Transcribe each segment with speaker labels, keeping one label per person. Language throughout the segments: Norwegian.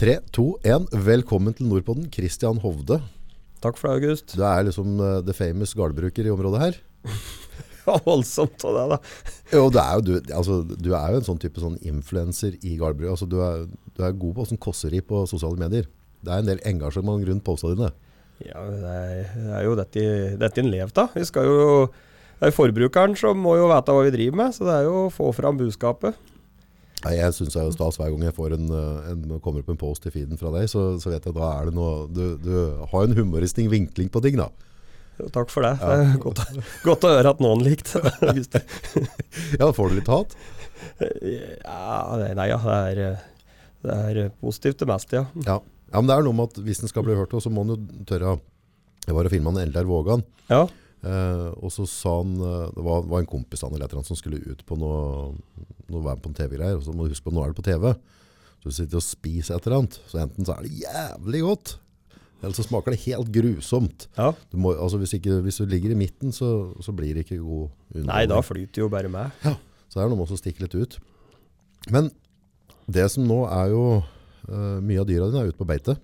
Speaker 1: 3, 2, 1. Velkommen til Nordpodden, Kristian Hovde.
Speaker 2: Takk for det, August.
Speaker 1: Du er liksom eh, the famous gardbruker i området her.
Speaker 2: Ja, voldsomt av deg, da.
Speaker 1: Jo, det er jo, du, altså, du er jo en sånn type sånn influencer i gardbruk. Altså, du, er, du er god på sånn kosseri på sosiale medier. Det er en del engasjement rundt postene dine.
Speaker 2: Ja, det er, det er jo dette, dette en lever av. Vi skal jo Det er jo forbrukeren som må jo vite hva vi driver med, så det er jo å få fram budskapet.
Speaker 1: Nei, jeg synes det er jo stas hver gang jeg får en, eh, en, kommer opp en post i feeden fra deg, så, så vet jeg da er det noe, du, du har en humoristisk vinkling på ting da.
Speaker 2: Jo, Takk for det. det er godt, å- godt å høre at noen likte det. August.
Speaker 1: Ja, får du litt hat?
Speaker 2: Ja, det- nei, ja, det er, eh, det er positivt det meste, ja.
Speaker 1: Ja. ja, men det er noe med at hvis den skal bli hørt, også, så må den jo tørre. å- Jeg var og filmet en Eldar Vågan,
Speaker 2: Ja,
Speaker 1: eh, og så sa han, eh, det var, var en kompis han eller et eller annet som skulle ut på noe, noe være med på en TV-greier, og så må du huske på, nå er det på TV. Så du sitter og spiser et eller annet, så enten så er det jævlig godt, eller så smaker det helt grusomt.
Speaker 2: ja.
Speaker 1: Du må, altså hvis, ikke, hvis du ligger i midten, så, så blir det ikke god underholdning.
Speaker 2: Nei, da flyter jo bare med.
Speaker 1: Ja, så det er noe med å stikke litt ut. Men det som nå er jo eh, Mye av dyra dine er ute på beite.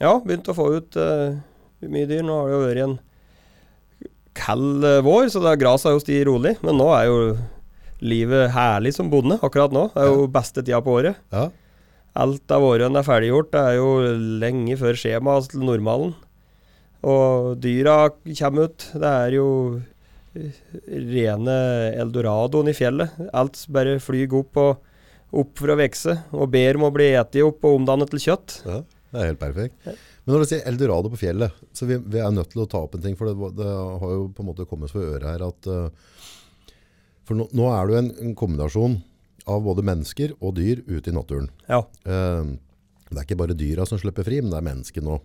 Speaker 2: Ja, begynt å få ut eh, mye dyr. Nå har det jo vært en kald eh, vår, så det er gresset er jo sti rolig. Men nå er jo livet herlig som bonde akkurat nå. Det er jo beste tida på året.
Speaker 1: Ja.
Speaker 2: Alt av vårøen er ferdiggjort. Det er jo lenge før skjemaet til normalen. Og dyra kommer ut. Det er jo eh, rene eldoradoen i fjellet. Alt bare flyr opp og opp for å vokse, og ber om å bli eti opp og omdannet til kjøtt.
Speaker 1: Det er helt perfekt. Men når du sier Eldorado på fjellet, så vi, vi er nødt til å ta opp en ting, for det, var- det har jo på en måte kommet for øret her at eh, For nå, nå er det jo en, en kombinasjon av både mennesker og dyr ute i naturen.
Speaker 2: Ja.
Speaker 1: Eh, det er ikke bare dyra som slipper fri, men det er menneskene òg.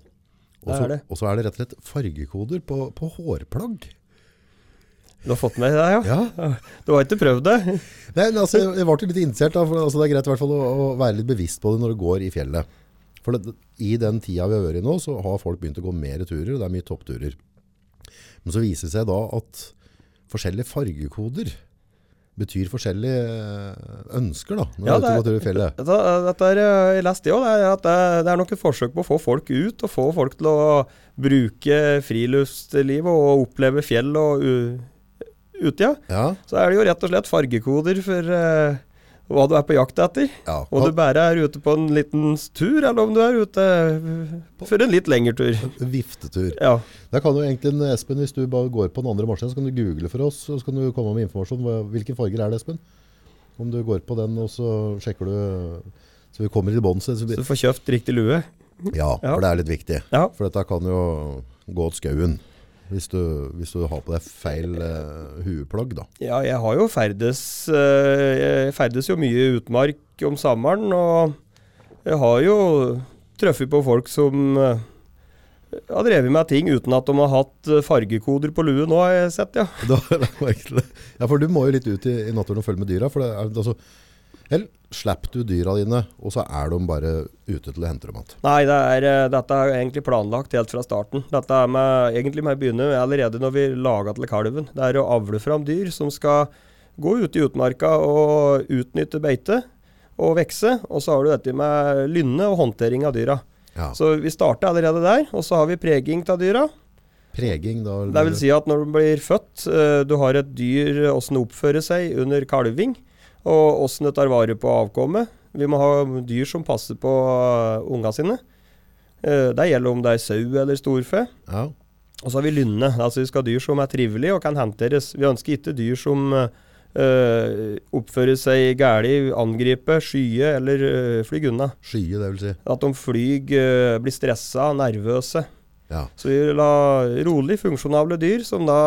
Speaker 1: Og
Speaker 2: Det er
Speaker 1: så-
Speaker 2: det.
Speaker 1: og så er det rett og slett fargekoder på, på hårplagg.
Speaker 2: Du har fått med deg det, ja?
Speaker 1: Ja,
Speaker 2: Du har ikke prøvd det?
Speaker 1: Nei, men altså, jeg ble litt interessert da, for altså, det er greit i hvert fall å, å være litt bevisst på det når du går i fjellet. For det, i den tida vi har vært i nå, så har folk begynt å gå mer turer, og det er mye toppturer. Men så viser det seg da at forskjellige fargekoder betyr forskjellige eh, ønsker da, når
Speaker 2: Ja,
Speaker 1: du er ute og
Speaker 2: det
Speaker 1: går tur i fjellet.
Speaker 2: Dette, dette er, eh, jeg leste det òg, det, er at eh, det- det er nok et forsøk på å få folk ut. Og få folk til å bruke friluftslivet og oppleve fjell og u- utida.
Speaker 1: Ja,
Speaker 2: Så er det jo rett og slett fargekoder for eh, hva du er på jakt etter.
Speaker 1: ja.
Speaker 2: Om du bare er ute på en liten tur, eller om du er ute eh, for en litt lengre tur.
Speaker 1: Viftetur.
Speaker 2: Ja.
Speaker 1: Der kan du egentlig, eh, Espen, hvis du bare går på den andre maskinen, så kan du google for oss, og så kan du komme med informasjon. Hva- Hvilke farger er det, Espen? Om du går på den, og så sjekker du, så vi kommer til bånd. Så så
Speaker 2: Så
Speaker 1: blir-
Speaker 2: du får kjøpt riktig lue.
Speaker 1: ja, for det er litt viktig.
Speaker 2: Ja.
Speaker 1: For dette kan jo gå åt skauen, hvis du, hvis du har på deg feil eh, hueplagg, da.
Speaker 2: Ja, jeg har jo ferdes eh, Jeg ferdes jo mye i utmark om sommeren, og jeg har jo truffet på folk som eh, har drevet med ting uten at de har hatt eh, fargekoder på luen òg, har jeg sett, ja.
Speaker 1: Da har jeg merket det. Ja, for du må jo litt ut i, i naturen og følge med dyra, for det er, altså, eller slipper du dyra dine, og så er de bare ute til å hente dem igjen.
Speaker 2: Nei, det er, eh, dette er egentlig planlagt helt fra starten. Dette er med, egentlig med å begynne allerede når vi laga til kalven. Det er å avle fram dyr som skal gå ute i utmarka og utnytte beite og vokse. Og så har du dette med lynne og håndtering av dyra.
Speaker 1: Ja.
Speaker 2: Så vi starter allerede der, og så har vi preging av dyra.
Speaker 1: Preging, da.
Speaker 2: Det vil si at når du blir født, eh, du har et dyr, eh, åssen det oppfører seg under kalving, og åssen det tar vare på avkommet. Vi må ha dyr som passer på eh, unga sine. Eh, Det gjelder om det er sau eller storfe.
Speaker 1: Ja.
Speaker 2: Og så har vi lynne. Altså vi skal ha dyr som er trivelige og kan håndteres. Vi ønsker ikke dyr som eh, eh, oppfører seg galt, angriper, skyer eller eh, flyr unna.
Speaker 1: Skye, det vil si.
Speaker 2: At de flyr, eh, blir stressa, nervøse.
Speaker 1: Ja.
Speaker 2: Så vi vil ha rolig, funksjonable dyr som da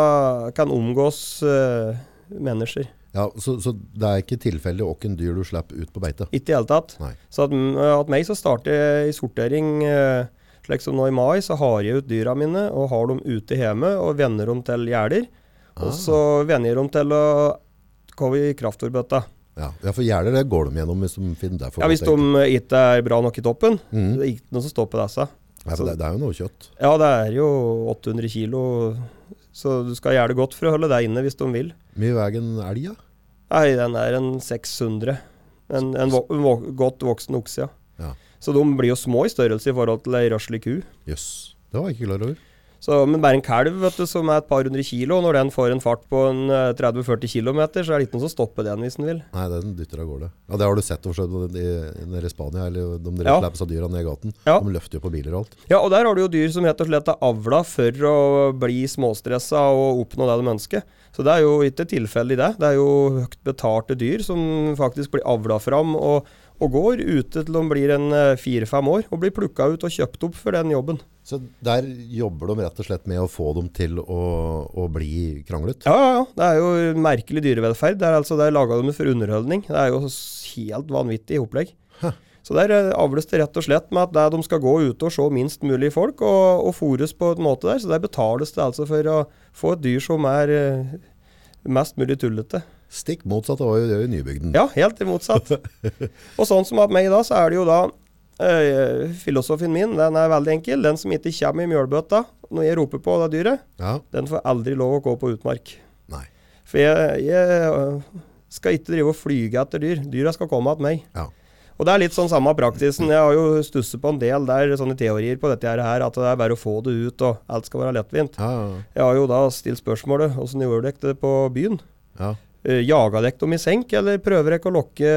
Speaker 2: kan omgås eh, mennesker.
Speaker 1: Ja, så, så det er ikke tilfeldig åkken dyr du slipper ut på beite?
Speaker 2: Ikke i det hele tatt.
Speaker 1: Nei.
Speaker 2: Så at, mm, eh, at meg så starter jeg i sortering eh, slik som nå i mai, så har jeg ut dyra mine og har dem ute hjemme og vender dem til gjerder.
Speaker 1: Ah.
Speaker 2: Og så vender jeg dem til å komme i kraftfòrbøtta.
Speaker 1: Ja, ja for gjerder det går de gjennom hvis de finner det for
Speaker 2: Ja, hvis de
Speaker 1: egentlig.
Speaker 2: ikke er bra nok i toppen.
Speaker 1: Mhm.
Speaker 2: Det er ikke noe som stopper disse.
Speaker 1: Nei, for det, det er jo noe kjøtt.
Speaker 2: Ja, det er jo 800 kilo, så du skal gjøre det godt for å holde deg inne hvis de vil.
Speaker 1: Mye veier en elg, ja.
Speaker 2: Nei, den er en 600. En, en, vo en vo godt voksen okse, ja.
Speaker 1: Ja.
Speaker 2: Så de blir jo små i størrelse i forhold til ei røslig ku.
Speaker 1: Jøss. Det var jeg ikke klar over.
Speaker 2: Så, men bare en kalv vet du, som er et par hundre kilo, når den får en fart på en eh, 30-40 km, så er det ikke noen som stopper den hvis den vil.
Speaker 1: Nei, den dytter av gårde. Ja, det har du sett forstå, i, i nede i Spania, eller de ja.
Speaker 2: Ja.
Speaker 1: slipper av dyra ned i gaten.
Speaker 2: Ja.
Speaker 1: De løfter jo på biler og alt.
Speaker 2: Ja, og der har du jo dyr som rett og slett er avla for å bli småstressa og oppnå det de ønsker. Så det er jo ikke tilfeldig, det. Det er jo høyt betalte dyr som faktisk blir avla fram og, og går ute til de blir en eh, fire-fem år, og blir plukka ut og kjøpt opp for den jobben.
Speaker 1: Så der jobber de rett og slett med å få dem til å, å bli kranglet.
Speaker 2: Ja, ja, ja. Det er jo merkelig dyrevelferd. Det er altså det er laga for underholdning. Det er jo s- helt vanvittig opplegg. Så der eh, avles det rett og slett med at det de skal gå ute og se minst mulig folk, og, og fôres på en måte der. Så der betales det altså for å få et dyr som er eh, mest mulig tullete.
Speaker 1: Stikk motsatt av hva vi gjør i Nybygden.
Speaker 2: Ja, helt i motsatt. Og sånn som at meg da, så er det jo da eh, Filosofien min den er veldig enkel. Den som ikke kommer i mjølbøtta når jeg roper på det dyret,
Speaker 1: Ja.
Speaker 2: den får aldri lov å gå på utmark.
Speaker 1: Nei.
Speaker 2: For jeg, jeg øh, skal ikke drive og flyge etter dyr. Dyra skal komme til meg.
Speaker 1: Ja.
Speaker 2: Og det er litt sånn samme praksisen. Jeg har jo stusset på en del der, sånne teorier på dette her, at det er bare å få det ut, og alt skal være lettvint.
Speaker 1: Ja, ja,
Speaker 2: Jeg har jo da stilt spørsmålet åssen gjorde dere det på byen?
Speaker 1: ja.
Speaker 2: Eh, Jaga dere dem i senk, eller prøver dere å lokke,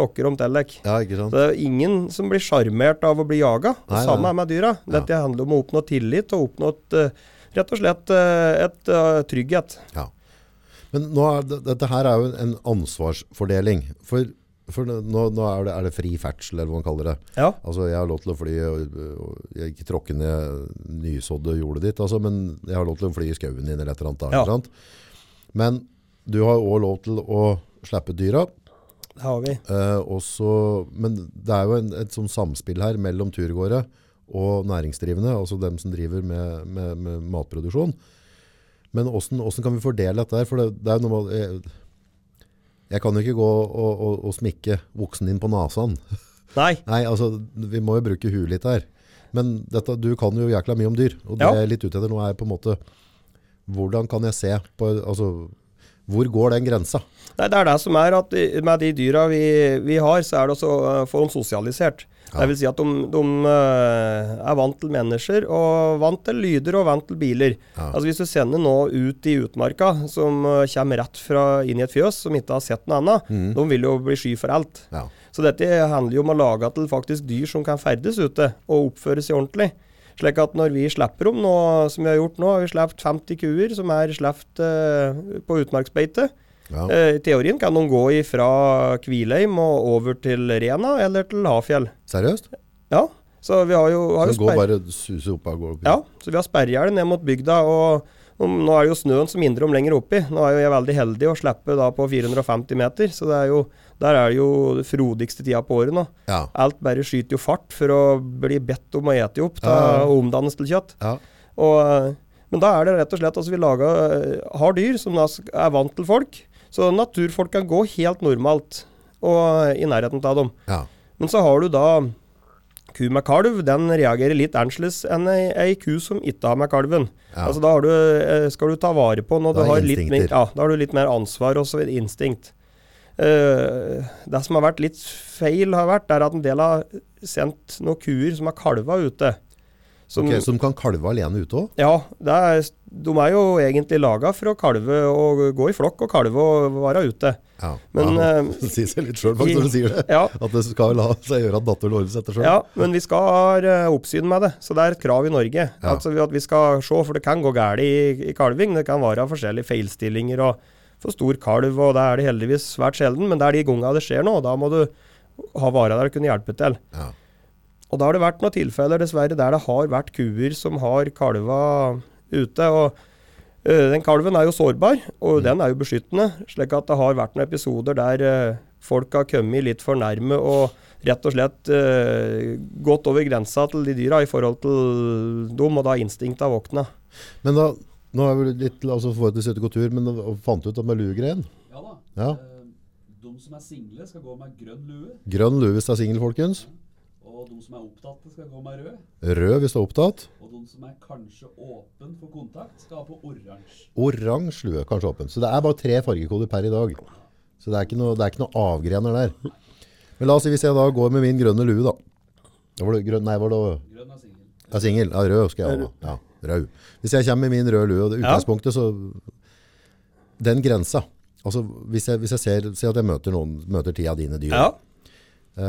Speaker 2: lokke dem til dere?
Speaker 1: ja, ikke
Speaker 2: Så
Speaker 1: sant?
Speaker 2: det er jo ingen som blir sjarmert av å bli jaga. Det
Speaker 1: Nei,
Speaker 2: samme
Speaker 1: nei.
Speaker 2: er med dyra. Dette handler om å oppnå tillit, og oppnå et, eh, rett og slett eh, et eh, trygghet.
Speaker 1: Ja. Men nå er det, dette her er jo en ansvarsfordeling. For, for nå, nå er, det, er det fri ferdsel, eller hva man kaller det.
Speaker 2: Ja.
Speaker 1: Altså, jeg har lov til å fly, og, og jeg har ikke tråkke ned nysådde jordet ditt, altså, men jeg har lov til å fly i skauen din eller et eller annet. Da,
Speaker 2: Ja.
Speaker 1: ikke sant? Men du har også lov til å slippe dyra,
Speaker 2: Det har vi.
Speaker 1: eh, og så- men det er jo en, et sånn samspill her mellom turgåere og næringsdrivende, altså dem som driver med, med, med matproduksjon. Men hvordan, hvordan kan vi fordele dette her? For det, det er jo noe med... Jeg, jeg kan jo ikke gå og, og, og smikke voksen din på nasen.
Speaker 2: Nei.
Speaker 1: Nei, altså, vi må jo bruke huet litt her. Men dette, du kan jo jækla mye om dyr, og det
Speaker 2: Ja.
Speaker 1: jeg er litt ute etter nå er på en måte, hvordan kan jeg se på, altså, hvor går den grensa?
Speaker 2: Nei, det er det som er at i- med de dyra vi, vi har, så er det også å få dem sosialisert.
Speaker 1: Ja.
Speaker 2: Det vil si at de, de eh, er vant til mennesker, og vant til lyder og vant til biler.
Speaker 1: Ja.
Speaker 2: Altså Hvis du sender nå ut i utmarka, som eh, kommer rett fra inn i et fjøs, som ikke har sett noe annet,
Speaker 1: Mm.
Speaker 2: de vil jo bli sky for alt.
Speaker 1: Ja,
Speaker 2: Så dette handler jo om å lage til faktisk dyr som kan ferdes ute og oppføre seg ordentlig. Slik at når vi slipper dem nå, som vi har gjort nå, har vi sluppet 50 kuer som er sluppet eh, på utmarksbeite.
Speaker 1: ja,
Speaker 2: Eh, I teorien kan de gå fra Kvilheim og over til Rena eller til Hafjell.
Speaker 1: seriøst?
Speaker 2: Ja, så vi har jo, har
Speaker 1: Så
Speaker 2: jo
Speaker 1: det går
Speaker 2: sperr...
Speaker 1: bare suser opp og går opp?
Speaker 2: Ja, så vi har sperrehjel ned mot bygda, og om- nå er det jo snøen som hindrer dem lenger oppi. Nå er jo jeg veldig heldig å slippe da på 450 meter, så det er jo, der er det jo det frodigste tida på året nå.
Speaker 1: Ja,
Speaker 2: Alt bare skyter jo fart for å bli bedt om å ete opp da,
Speaker 1: Ja, ja.
Speaker 2: og omdannes til kjøtt.
Speaker 1: ja,
Speaker 2: Og, eh, men da er det rett og slett altså vi lager, har dyr som da sk- er vant til folk, så naturfolk kan gå helt normalt og eh, i nærheten av dem.
Speaker 1: ja.
Speaker 2: Men så har du da ku med kalv, den reagerer litt annerledes enn ei, ei ku som ikke har med kalven.
Speaker 1: Ja.
Speaker 2: Altså da har du, eh, skal du ta vare på når
Speaker 1: Da
Speaker 2: du
Speaker 1: er
Speaker 2: har litt, mer,
Speaker 1: instinkter.
Speaker 2: ja, da har du litt mer ansvar og så videre, instinkt. Eh, det som har vært litt feil, har vært, er at en del har sendt noen kuer som har kalva ute. Som,
Speaker 1: Ok, så de kan kalve alene ute også?
Speaker 2: ja, det er, de er jo egentlig laga for å kalve og gå i flokk og kalve og være ute.
Speaker 1: Ja,
Speaker 2: Men,
Speaker 1: ja.
Speaker 2: eh,
Speaker 1: det sier seg litt selv faktisk når du sier det.
Speaker 2: Ja,
Speaker 1: At det skal la seg gjøre at datteren ordner seg etter selv.
Speaker 2: ja men vi skal ha eh, oppsyn med det, så det er et krav i Norge.
Speaker 1: Ja.
Speaker 2: Altså at vi skal se, for det kan gå galt i, i kalving. Det kan være forskjellige feilstillinger og for stor kalv, og det er det heldigvis svært sjelden. Men det er de gangene det skjer nå, og da må du ha vara der og kunne hjelpe til.
Speaker 1: Ja.
Speaker 2: Og da har det vært noen tilfeller dessverre der det har vært kuer som har kalva ute. og ø, Den kalven er jo sårbar,
Speaker 1: Mm.
Speaker 2: og den er jo beskyttende. slik at det har vært noen episoder der ø, folk har kommet litt for nærme og rett og slett ø, gått over grensa til de dyra i forhold til dem, og da har instinktet har våkna.
Speaker 1: Men da, nå er vi litt, altså forholdsvis ute og går tur, men da fant du ut at med lugreien?
Speaker 3: Ja da.
Speaker 1: Ja.
Speaker 3: Eh, De som er single, skal gå med grønn lue.
Speaker 1: Grønn lue hvis det er singel, folkens.
Speaker 3: Og de som er opptatte, skal gå med rød.
Speaker 1: Rød hvis det er opptatt.
Speaker 3: Og de som er kanskje åpen for kontakt, skal ha på oransje.
Speaker 1: Oransje lue, kanskje åpen. Så det er bare tre fargekoder per i dag. Så det er ikke noe, det er ikke noe avgrener der. Men la oss si hvis jeg da går med min grønne lue, da. Da var det grønn, nei, var det
Speaker 3: Grønn er singel.
Speaker 1: ja, singel? Ja, rød skal jeg ha. Ja, rød. Hvis jeg kommer i min røde lue, og det
Speaker 2: Ja.
Speaker 1: utgangspunktet, så Den grensa. Altså, hvis jeg, hvis jeg ser, ser at jeg møter noen, møter ti av dine dyr,
Speaker 2: Ja.
Speaker 1: eh,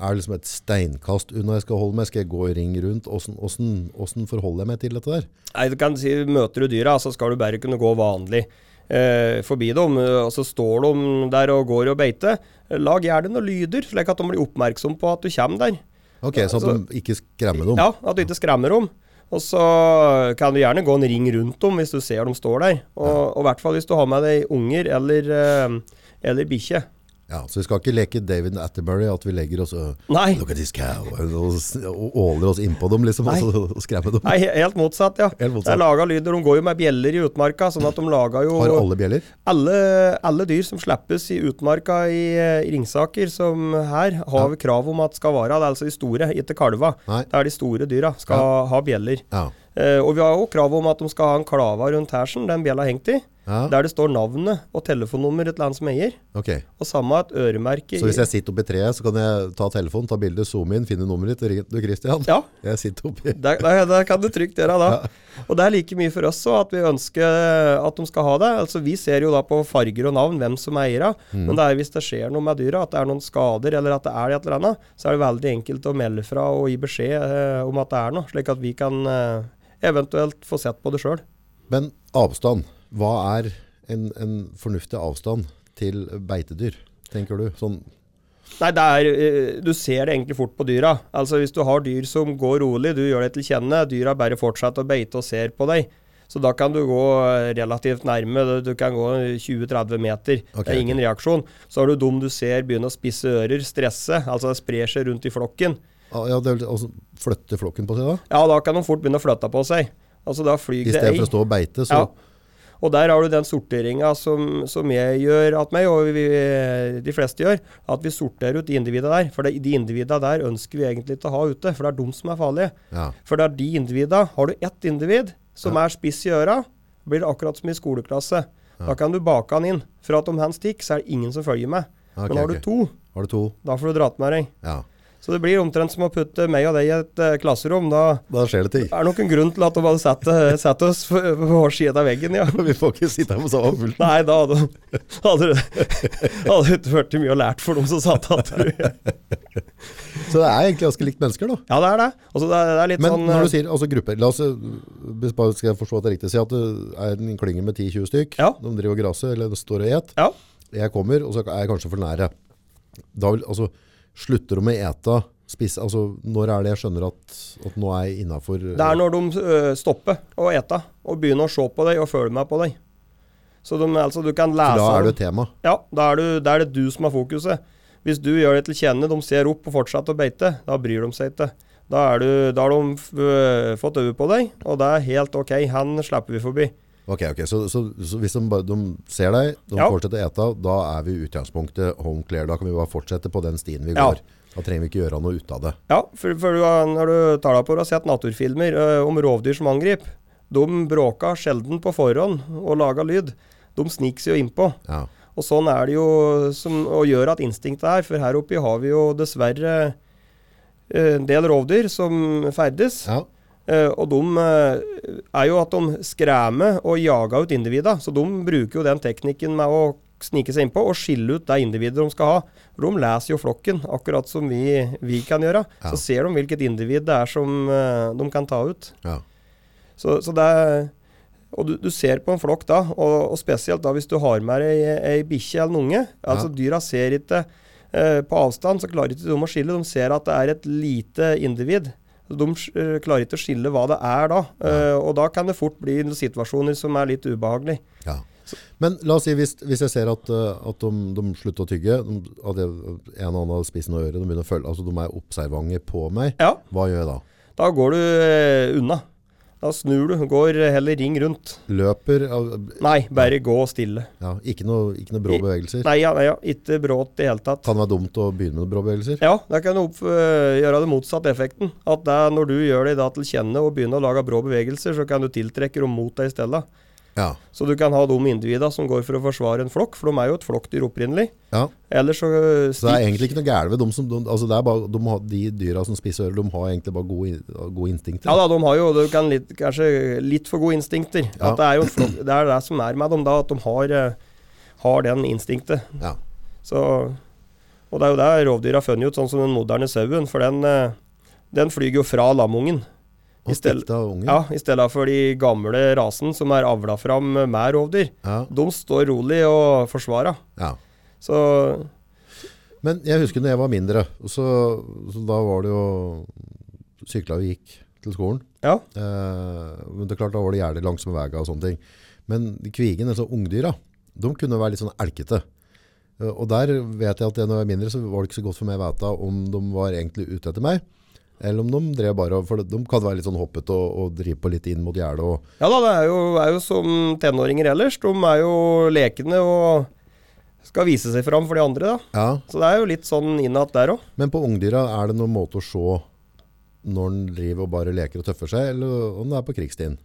Speaker 1: er det liksom et steinkast unna jeg skal holde meg? Skal jeg gå i ring rundt? Hvordan, hvordan, hvordan forholder jeg meg til dette der?
Speaker 2: Nei, du kan si Møter du dyra, så skal du bare kunne gå vanlig eh, forbi dem. eh, Og så står de der og går og beiter. Lag gjerne noen lyder, slik at de blir oppmerksom på at du kommer der.
Speaker 1: Ok, Sånn at de ikke skremmer dem?
Speaker 2: altså- Ja, At du ikke skremmer dem. Og så kan du gjerne gå en ring rundt dem hvis du ser de står der. Og, og i hvert fall hvis du har med deg unger eller, eh, eller bikkje.
Speaker 1: Ja, så vi skal ikke leke David Attenbury at vi legger oss og
Speaker 2: Nei.
Speaker 1: Look at this cow og, s- og åler oss innpå dem liksom, og så- og skremmer dem.
Speaker 2: Nei, he- helt motsatt, ja.
Speaker 1: Helt motsatt.
Speaker 2: Det er laga lyder. De går jo med bjeller i utmarka, sånn at de lager jo
Speaker 1: Har alle bjeller?
Speaker 2: Alle, alle dyr som slippes i utmarka i, eh, i Ringsaker, som her, har vi krav om at skal være. Det er altså de store, ikke kalva.
Speaker 1: Nei.
Speaker 2: Det er de store dyra. Skal ha bjeller.
Speaker 1: Ja.
Speaker 2: Eh, og vi har jo krav om at de skal ha en klava rundt hersen, den bjella hengt i.
Speaker 1: Ja.
Speaker 2: Der det står navnet og telefonnummer et land som eier.
Speaker 1: Ok.
Speaker 2: Og samme et øremerke.
Speaker 1: Så hvis
Speaker 2: i-
Speaker 1: jeg sitter oppi treet, så kan jeg ta telefonen, ta bilde, zoome inn, finne nummeret ditt og ringe til Christian?
Speaker 2: Ja.
Speaker 1: Jeg sitter oppi
Speaker 2: Der, der, der kan du trygt gjøre da. Og det er like mye for oss også at vi ønsker at de skal ha det. Altså Vi ser jo da på farger og navn hvem som eier av. Men det er hvis det skjer noe med dyra, at det er noen skader eller at det er et eller annet, så er det veldig enkelt å melde fra og gi beskjed eh, om at det er noe, slik at vi kan eh, eventuelt få sett på det sjøl.
Speaker 1: Men avstand. Hva er en, en fornuftig avstand til beitedyr, tenker du? Sånn,
Speaker 2: Nei, det er, eh, du ser det egentlig fort på dyra. Altså Hvis du har dyr som går rolig, du gjør det til kjenne, dyra bare fortsetter å beite og ser på deg. Så da kan du gå eh, relativt nærme, du- du kan gå 20-30 meter.
Speaker 1: Ok,
Speaker 2: det er ingen reaksjon. Så har du dum du ser begynne å spisse ører, stresse, altså det sprer seg rundt i flokken.
Speaker 1: ah, ja, det er, altså, flytte flokken på seg da?
Speaker 2: Ja, da kan de fort begynne å flytte på seg. Altså da
Speaker 1: I
Speaker 2: flyr det
Speaker 1: stedet
Speaker 2: ei.
Speaker 1: for å stå og beite, så
Speaker 2: Og der har du den sorteringa som, som jeg gjør at meg, og vi, de fleste gjør, at vi sorterer ut de individene der. For det, de individene der ønsker vi egentlig ikke å ha ute, for det er de som er farlige.
Speaker 1: ja.
Speaker 2: For det er de individene Har du ett individ som er spiss i øra, blir det akkurat som i skoleklasse. Da kan du bake han inn. For at om han stikker, så er det ingen som følger med.
Speaker 1: Ok,
Speaker 2: Men har
Speaker 1: ok.
Speaker 2: du to,
Speaker 1: Har du to?
Speaker 2: da får du dratt med deg.
Speaker 1: Ja.
Speaker 2: Så det blir omtrent som å putte meg og deg i et eh, klasserom. Da
Speaker 1: Da skjer det ting.
Speaker 2: er det nok en grunn til at de hadde satt, eh, satt oss på på hver side av veggen, ja.
Speaker 1: Vi får ikke sitte her på samme pult.
Speaker 2: Nei, da hadde hadde det hadde ikke vært mye å lært for dem som satt der.
Speaker 1: Så det er egentlig ganske likt mennesker, da.
Speaker 2: Ja, det er det. Altså, det, er, det er litt
Speaker 1: Men
Speaker 2: sånn
Speaker 1: når du
Speaker 2: eh,
Speaker 1: sier altså grupper La oss, eh, hvis bare skal jeg forstå at det er riktig, si at det er en klynge med 10-20 stykk.
Speaker 2: Ja.
Speaker 1: De driver og graser eller de står og et.
Speaker 2: Ja.
Speaker 1: Jeg kommer, og så er jeg kanskje for nære. Da vil, altså, slutter de med eta, spise, altså, når er det jeg skjønner at, at nå er jeg eh, innenfor?
Speaker 2: Det er når de ø, stopper å ete og begynner å se på deg og følge med på deg. Så de, altså, du kan
Speaker 1: For
Speaker 2: lese
Speaker 1: da er det
Speaker 2: dem.
Speaker 1: et tema.
Speaker 2: Ja, da er, du, da er det du som har fokuset. Hvis du gjør det til kjenne, de ser opp og fortsetter å beite, da bryr de seg ikke. Da, er du, da har de f- ø, fått øye på deg, og det er helt OK. Han slipper vi forbi.
Speaker 1: Ok, ok, så, så, så hvis de, bare, de ser deg, de
Speaker 2: Ja.
Speaker 1: fortsetter å eta, da er vi i utgangspunktet home clear. Da kan vi bare fortsette på den stien vi
Speaker 2: Ja.
Speaker 1: går. Da trenger vi ikke gjøre noe ut av det.
Speaker 2: Ja, for, for du har, når du tar deg på det og har sett naturfilmer ø, om rovdyr som angriper, de bråka sjelden på forhånd og laga lyd. De sniker seg jo innpå.
Speaker 1: Ja.
Speaker 2: Og sånn er det jo som og gjør at instinktet er, for her oppe har vi jo dessverre eh, en del rovdyr som ferdes.
Speaker 1: Ja.
Speaker 2: eh, Og de eh, er jo at de skremmer og jager ut individa, så de bruker jo den teknikken med å snike seg innpå og skille ut det individet de skal ha. For de leser jo flokken, akkurat som vi, vi kan gjøre.
Speaker 1: Ja.
Speaker 2: Så ser de hvilket individ det er som eh, de kan ta ut.
Speaker 1: ja.
Speaker 2: Så, så det er, og du, du ser på en flokk da, og, og spesielt da hvis du har med deg ei, ei bikkje eller en unge. Altså Dyra ser ikke eh, på avstand, så klarer ikke de å skille. De ser at det er et lite individ. De eh, klarer ikke å skille hva det er da. Eh, og da kan det fort bli noen situasjoner som er litt ubehagelige.
Speaker 1: Ja. Men la oss si, hvis, hvis jeg ser at, eh, at de, de slutter å tygge, de, at jeg, en og annen har spist noe øre, de begynner å følge, altså de er observange på meg,
Speaker 2: Ja,
Speaker 1: hva gjør jeg da?
Speaker 2: da går du eh, unna. Da snur du, går heller ring rundt.
Speaker 1: Løper,
Speaker 2: Nei, bare gå stille.
Speaker 1: ja, ikke, noe, ikke noe brå
Speaker 2: I-
Speaker 1: bevegelser.
Speaker 2: Nei, ja, nei, ja. ikke bråt i det hele tatt.
Speaker 1: Kan det være dumt å begynne med brå bevegelser?
Speaker 2: Ja, det kan opp, øh, gjøre det motsatte effekten. At det er når du gjør deg da til kjenne og begynner å lage brå bevegelser, så kan du tiltrekke dem mot deg i stedet.
Speaker 1: Ja.
Speaker 2: Så du kan ha de individene som går for å forsvare en flokk, for de er jo et flokkdyr opprinnelig.
Speaker 1: ja.
Speaker 2: Ellers så eh,
Speaker 1: Så det er
Speaker 2: stikk.
Speaker 1: egentlig ikke noe gærent ved dem som de, altså det er bare, de, har, de dyra som spiser ører, de har egentlig bare gode, in- gode instinkter.
Speaker 2: Ja da, de har jo du kan litt, kanskje litt for gode instinkter.
Speaker 1: Ja.
Speaker 2: At det, er jo en flokk, det er det som er med dem, da, at de har, eh, har den instinktet.
Speaker 1: Ja.
Speaker 2: Så, og det er jo det rovdyr har funnet ut, sånn som den moderne sauen. For den, eh, den flyger jo fra lamungen.
Speaker 1: og
Speaker 2: istell-
Speaker 1: stikta unger.
Speaker 2: Ja, I stedet for de gamle rasen som er avla fram med rovdyr.
Speaker 1: Ja,
Speaker 2: De står rolig og forsvarer.
Speaker 1: ja.
Speaker 2: Så
Speaker 1: Men jeg husker når jeg var mindre, og så, så da var det jo sykla vi gikk til skolen.
Speaker 2: Ja.
Speaker 1: Eh, men det er klart da var det gjerne langsomme veier og sånne ting. Men de kvigen, altså ungdyra, de kunne være litt sånn elkete. Eh, Og der vet jeg at jeg, når jeg var mindre, så var det ikke så godt for meg å vite om de var egentlig ute etter meg, eller om de drev bare, og- for de kan være litt sånn hoppet og, og drive på litt inn mot gjerdet og
Speaker 2: Ja da, det er jo, er jo som tenåringer ellers. De er jo lekende og skal vise seg fram for de andre, da.
Speaker 1: Ja,
Speaker 2: Så det er jo litt sånn innat der òg.
Speaker 1: Men på ungdyra, er det noen måte å se når den driver og bare leker og tøffer seg, eller om det er på krigsstien?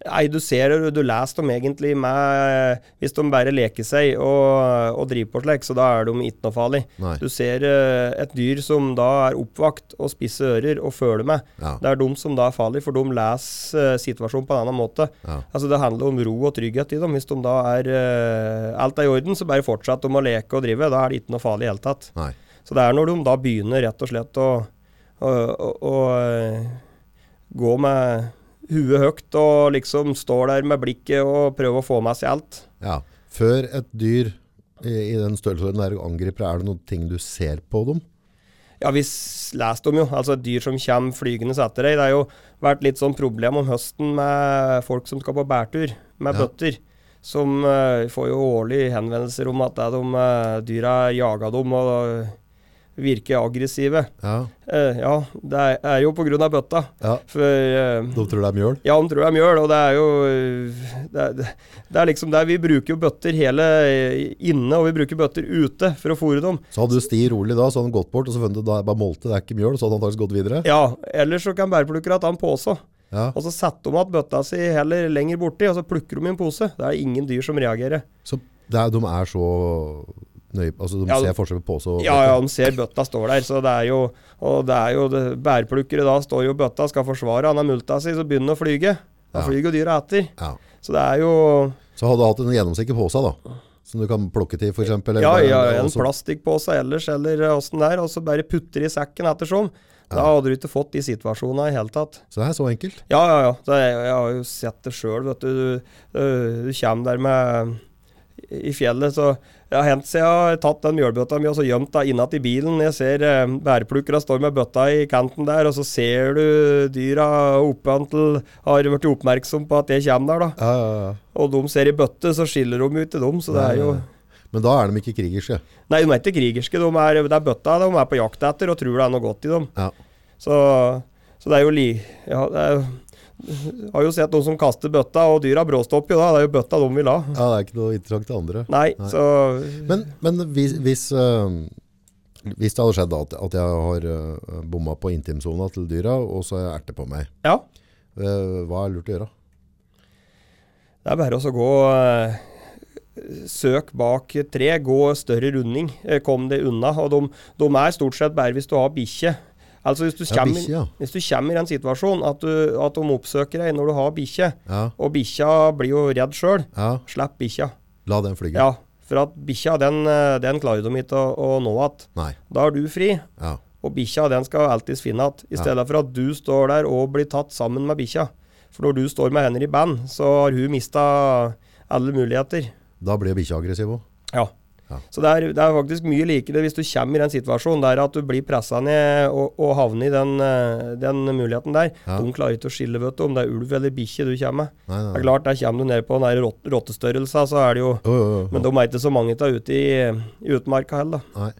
Speaker 2: Nei, du ser det, du leser dem egentlig med Hvis de bare leker seg og, og driver på slik, så da er de ikke noe farlig.
Speaker 1: Nei.
Speaker 2: Du ser eh, et dyr som da er oppvakt og spisse ører og føler med.
Speaker 1: Ja,
Speaker 2: Det er de som da er farlig, for de leser eh, situasjonen på en annen måte.
Speaker 1: ja,
Speaker 2: Altså Det handler om ro og trygghet i dem. Hvis de da er eh, alt er i orden, så bare fortsett de å leke og drive. Da er det ikke noe farlig i det hele tatt.
Speaker 1: nei.
Speaker 2: Så det er når de da begynner rett og slett å, å, å, å eh, gå med huet høyt og liksom står der med blikket og prøver å få med seg alt.
Speaker 1: Ja. Før et dyr i, i den størrelsen der angriper, er det noen ting du ser på dem?
Speaker 2: Ja, vi s- leser dem jo. Altså et dyr som kommer flygende etter deg. Det har jo vært litt sånn problem om høsten med folk som skal på bærtur med
Speaker 1: Ja.
Speaker 2: bøtter. Som eh, får jo årlig henvendelser om at det er de, eh, dyra jaga dem og eh, virker aggressive.
Speaker 1: Ja,
Speaker 2: Eh, ja, det er, er jo på grunn av bøtta.
Speaker 1: ja.
Speaker 2: For eh,
Speaker 1: De tror det er mjøl?
Speaker 2: ja, de tror jeg er mjøl, og det er jo det er, det er liksom der vi bruker jo bøtter hele inne, og vi bruker bøtter ute for å fôre dem.
Speaker 1: Så hadde du sti rolig da, så hadde han gått bort, og så funnet du da er bare molte, det er ikke mjøl, så hadde han faktisk gått videre?
Speaker 2: Ja, ellers så kan bærplukkere ta en pose,
Speaker 1: Ja.
Speaker 2: og så setter de igjen bøtta si heller lenger borti, og så plukker de i en pose. Det er ingen dyr som reagerer.
Speaker 1: Så det er, de er så nøye, altså de
Speaker 2: Ja,
Speaker 1: ser forskjell på så...
Speaker 2: Ja, ja, de ser bøtta står der, så det er jo Og det er jo det- bærplukkere da står jo i bøtta, skal forsvare han har multa si, så begynner han å flyge. Da
Speaker 1: Ja.
Speaker 2: flyger jo dyra etter.
Speaker 1: Ja.
Speaker 2: Så det er jo
Speaker 1: Så hadde du hatt en gjennomsikker på seg da, som du kan plukke til for eksempel? eller
Speaker 2: Ja,
Speaker 1: bare- altså,
Speaker 2: ja,
Speaker 1: og
Speaker 2: en
Speaker 1: så-
Speaker 2: plastikkpose ellers, eller eh, åssen det er, og så bare putter i sekken ettersom. Da hadde du ikke fått de situasjonene i det hele tatt.
Speaker 1: Så det er så enkelt?
Speaker 2: Ja, ja, ja. Det, jeg, jeg har jo sett det sjøl, vet du. Du, øh, du kommer der med i fjellet, så jeg har hendt seg, jeg har tatt den mjølbøtta mi og så gjemt den innat i bilen. Jeg ser eh, bæreplukkere står med bøtta i kanten der, og så ser du dyra oppe til har blitt oppmerksom på at jeg kommer der, da.
Speaker 1: Ja, ja, ja.
Speaker 2: Og de ser i bøtte, så skiller de ut til dem, så det er jo
Speaker 1: Men da er de ikke krigerske.
Speaker 2: Nei, de er ikke krigerske. De er, det er bøtta de er på jakt etter og tror det er noe godt i dem.
Speaker 1: Ja.
Speaker 2: Så, så det er jo li... Ja, det er, jeg har jo sett noen som kaster bøtta, og dyra bråstopper jo da. Det er jo bøtta de vil ha.
Speaker 1: Ja, det er ikke noe interessant til andre.
Speaker 2: Nei,
Speaker 1: Nei.
Speaker 2: så
Speaker 1: Men, men hvis, hvis, eh, hvis det hadde skjedd da, at, at jeg har eh, bomma på intimsona til dyra, og så har jeg erte på meg,
Speaker 2: Ja.
Speaker 1: eh, hva er lurt å gjøre?
Speaker 2: Det er bare å så gå eh, Søk bak tre, gå større runding. eh, Kom deg unna. Og de, de er stort sett bare hvis du har bikkje. Altså hvis du
Speaker 1: Ja,
Speaker 2: kommer,
Speaker 1: bikkje, ja.
Speaker 2: hvis du kommer i en situasjon at, du, at de oppsøker deg når du har bikkje,
Speaker 1: Ja,
Speaker 2: og bikkja blir jo redd sjøl,
Speaker 1: ja.
Speaker 2: slipp bikkja.
Speaker 1: La den flyge.
Speaker 2: Ja, for at bikkja den, eh, den klarer de ikke å, å nå igjen.
Speaker 1: Nei.
Speaker 2: Da er du fri,
Speaker 1: Ja.
Speaker 2: og bikkja den skal alltids finne igjen. I
Speaker 1: Ja.
Speaker 2: stedet for at du står der og blir tatt sammen med bikkja. For når du står med henne i band, så har hun mista alle muligheter.
Speaker 1: Da blir bikkja aggressiv òg.
Speaker 2: Ja.
Speaker 1: Ja.
Speaker 2: Så det er, det er faktisk mye likere hvis du kommer i den situasjonen der at du blir pressa ned og, og havner i den, eh, den muligheten der.
Speaker 1: Ja.
Speaker 2: De klarer ikke å skille vet du, om det er ulv eller bikkje du kommer med.
Speaker 1: Nei,
Speaker 2: Det
Speaker 1: nei.
Speaker 2: er klart, Der kommer du ned på den der rott- rottestørrelsen, så er det jo
Speaker 1: Jo, jo, jo.
Speaker 2: men de er ikke så mange av ute i, i utmarka heller. da.
Speaker 1: Nei.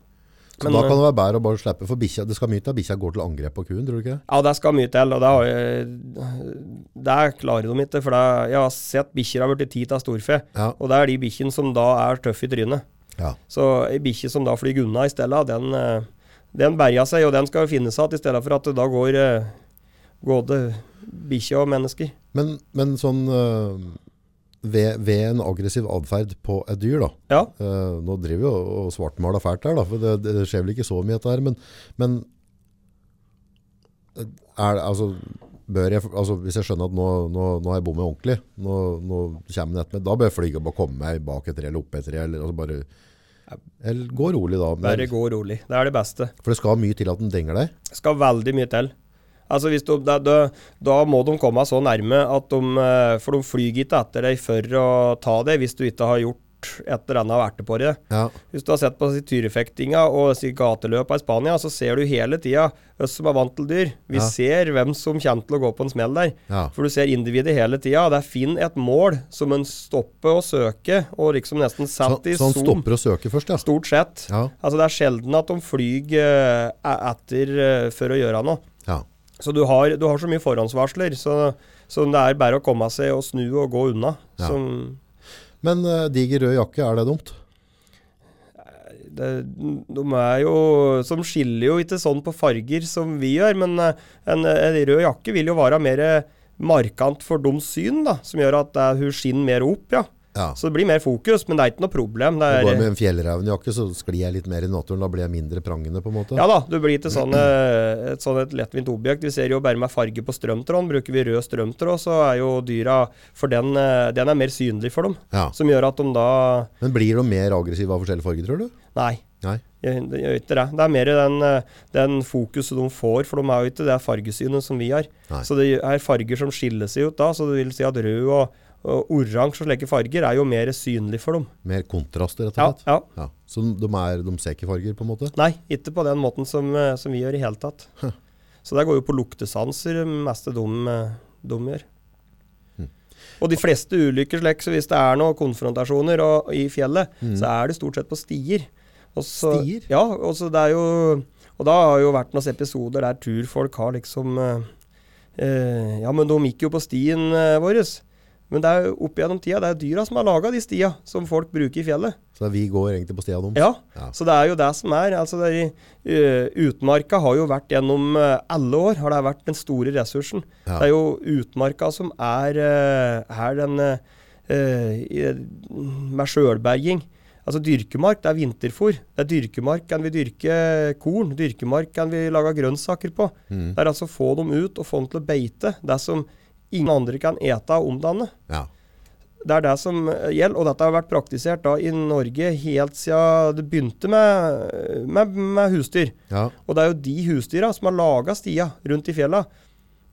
Speaker 1: Så
Speaker 2: Men, eh,
Speaker 1: da kan det være bedre å bare slippe, for bikkja, det skal mye til at bikkja går til angrep på kuen, tror du ikke det?
Speaker 2: Ja, det skal mye til, og det, har jeg, det klarer de ikke. For det, jeg har sett bikkjer har blitt tid av storfe,
Speaker 1: Ja.
Speaker 2: og det er de bikkjene som da er tøffe i trynet.
Speaker 1: ja.
Speaker 2: Så ei bikkje som da flyr unna i stedet, den, eh, den berger seg, og den skal finnes igjen, i stedet for at det da går eh, både bikkje og mennesker.
Speaker 1: Men, men sånn øh, ved, ved en aggressiv adferd på et dyr da.
Speaker 2: Ja.
Speaker 1: Eh, nå driver vi og, og svartmaler fælt her da, for det, det skjer vel ikke så mye dette her, men, men eh, er, det- altså, bør jeg, altså, hvis jeg skjønner at nå, nå, nå har jeg bommet ordentlig, nå, nå kommer den etter meg, da bør jeg flyge og bare komme meg bak et tre eller opp et tre, eller altså bare, eller gå rolig da.
Speaker 2: Bare
Speaker 1: Men,
Speaker 2: gå rolig. Det er det beste.
Speaker 1: for det skal mye til at den denger deg.
Speaker 2: skal veldig mye til. Altså hvis de, da, da, da må de komme så nærme at de eh, For de flyr ikke etter deg for å ta deg hvis du ikke har gjort et eller annet verte på det.
Speaker 1: Ja,
Speaker 2: Hvis du har sett på si tyrefektinga og si gateløpa i Spania, så ser du hele tida oss som er vant til dyr. Vi
Speaker 1: Ja.
Speaker 2: ser hvem som kommer til å gå på en smell der.
Speaker 1: ja,
Speaker 2: For du ser individet hele tida. Det er finn et mål som en stopper å søke, og liksom nesten
Speaker 1: så, sånn
Speaker 2: setter i
Speaker 1: så han
Speaker 2: zoom.
Speaker 1: stopper å søke først, ja.
Speaker 2: Stort sett.
Speaker 1: Ja,
Speaker 2: Altså Det er sjelden at de flyr eh, etter eh, for å gjøre noe.
Speaker 1: ja.
Speaker 2: Så du har, du har så mye forhåndsvarsler, så, så det er bare å komme seg og snu og gå unna.
Speaker 1: Ja.
Speaker 2: Som,
Speaker 1: Men eh, diger rød jakke, er det dumt?
Speaker 2: det, de er jo Som skiller jo ikke sånn på farger som vi gjør, men eh, en, en rød jakke vil jo være mer eh, markant for deres syn, da, som gjør at eh, hun skinner mer opp, ja.
Speaker 1: Ja.
Speaker 2: Så det blir mer fokus, men det er ikke noe problem. Det
Speaker 1: Når jeg går
Speaker 2: er,
Speaker 1: med en fjellrevenjakke, så sklir jeg litt mer i naturen. Da blir jeg mindre prangende, på en måte.
Speaker 2: ja da, du blir ikke sånn eh, et sånn et lettvint objekt. Vi ser jo bare med farge på strømtråden. Bruker vi rød strømtråd, så er jo dyra For den, eh, den er mer synlig for dem.
Speaker 1: Ja.
Speaker 2: Som gjør at de da
Speaker 1: Men blir de mer aggressive av forskjellige farger, tror du?
Speaker 2: Nei,
Speaker 1: Nei.
Speaker 2: gjør gjør ikke det. Det er mer den, eh, den fokuset de får, for de er jo ikke det fargesynet som vi har.
Speaker 1: Nei.
Speaker 2: Så det er farger som skiller seg ut da, så det vil si at rød og, og oransje og slike farger er jo mer synlig for dem.
Speaker 1: Mer kontraster, rett
Speaker 2: Ja,
Speaker 1: og slett. Ja.
Speaker 2: ja.
Speaker 1: Så de, er, de ser ikke farger, på en måte?
Speaker 2: Nei, ikke på den måten som, eh, som vi gjør i hele tatt. Så det går jo på luktesanser, det meste de, eh, de gjør.
Speaker 1: Hm.
Speaker 2: Og de fleste ulykker, slik, så hvis det er noen konfrontasjoner og, i fjellet, så er det stort sett på stier. Og så-
Speaker 1: Mm. Stier?
Speaker 2: Ja, og så det er jo Og da har jo vært noen episoder der turfolk har liksom eh, eh, Ja, men de gikk jo på stien eh, vår. Men det er jo opp gjennom tida, det er dyra som har laga de stia som folk bruker i fjellet.
Speaker 1: Så vi går egentlig på stia deres?
Speaker 2: Ja,
Speaker 1: Ja.
Speaker 2: så det er jo det som er. Altså det er, i- eh, utmarka har jo vært gjennom eh, alle år har det vært den store ressursen.
Speaker 1: Ja.
Speaker 2: Det er jo utmarka som er, eh, er den eh, eh, i- med sjølberging. Altså Dyrkemark det er vinterfôr. Det er dyrkemark kan vi dyrke korn. Dyrkemark kan vi lage grønnsaker på.
Speaker 1: Mm.
Speaker 2: Det er altså få dem ut og få dem til å beite. Det som ingen andre kan ete og omdanne.
Speaker 1: Ja.
Speaker 2: Det er det som eh, gjelder, og dette har vært praktisert da i Norge helt siden det begynte med, med, med husdyr.
Speaker 1: ja.
Speaker 2: Og det er jo de husdyra som har laga stia rundt i fjella.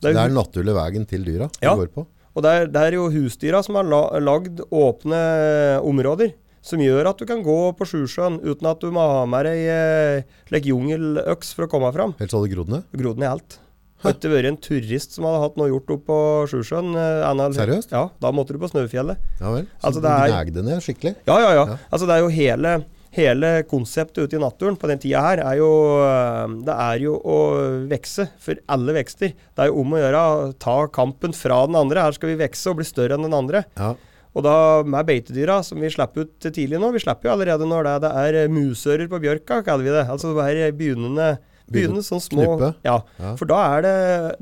Speaker 1: Så
Speaker 2: Det
Speaker 1: det
Speaker 2: er
Speaker 1: er
Speaker 2: jo,
Speaker 1: den naturlige veien til dyra
Speaker 2: Ja.
Speaker 1: vi går på?
Speaker 2: og det er, det er jo husdyra som har la, lagd åpne eh, områder, som gjør at du kan gå på Sjusjøen uten at du må ha med deg eh, slik jungeløks for å komme fram.
Speaker 1: Helt så hadde grodd ned?
Speaker 2: Grodd ned alt. Hadde ikke vært en turist som hadde hatt noe gjort oppe på Sjusjøen. eh, annet-
Speaker 1: Seriøst?
Speaker 2: Ja, da måtte du på Snøfjellet.
Speaker 1: Ja vel. Så
Speaker 2: Altså,
Speaker 1: de
Speaker 2: det er-
Speaker 1: gnagde ned skikkelig?
Speaker 2: Ja, ja, ja.
Speaker 1: Ja.
Speaker 2: Altså, det er jo hele, hele konseptet ute i naturen på den tida her er jo øh, Det er jo å vekse for alle vekster. Det er jo om å gjøre å ta kampen fra den andre. Her skal vi vekse og bli større enn den andre.
Speaker 1: Ja.
Speaker 2: Og da med beitedyra, som vi slipper ut tidlig nå Vi slipper jo allerede når det, det er eh, musører på bjørka, kaller vi det. Altså det er begynnende, begynnende sånn små
Speaker 1: Knuppe.
Speaker 2: Ja.
Speaker 1: Ja.
Speaker 2: For da er, det,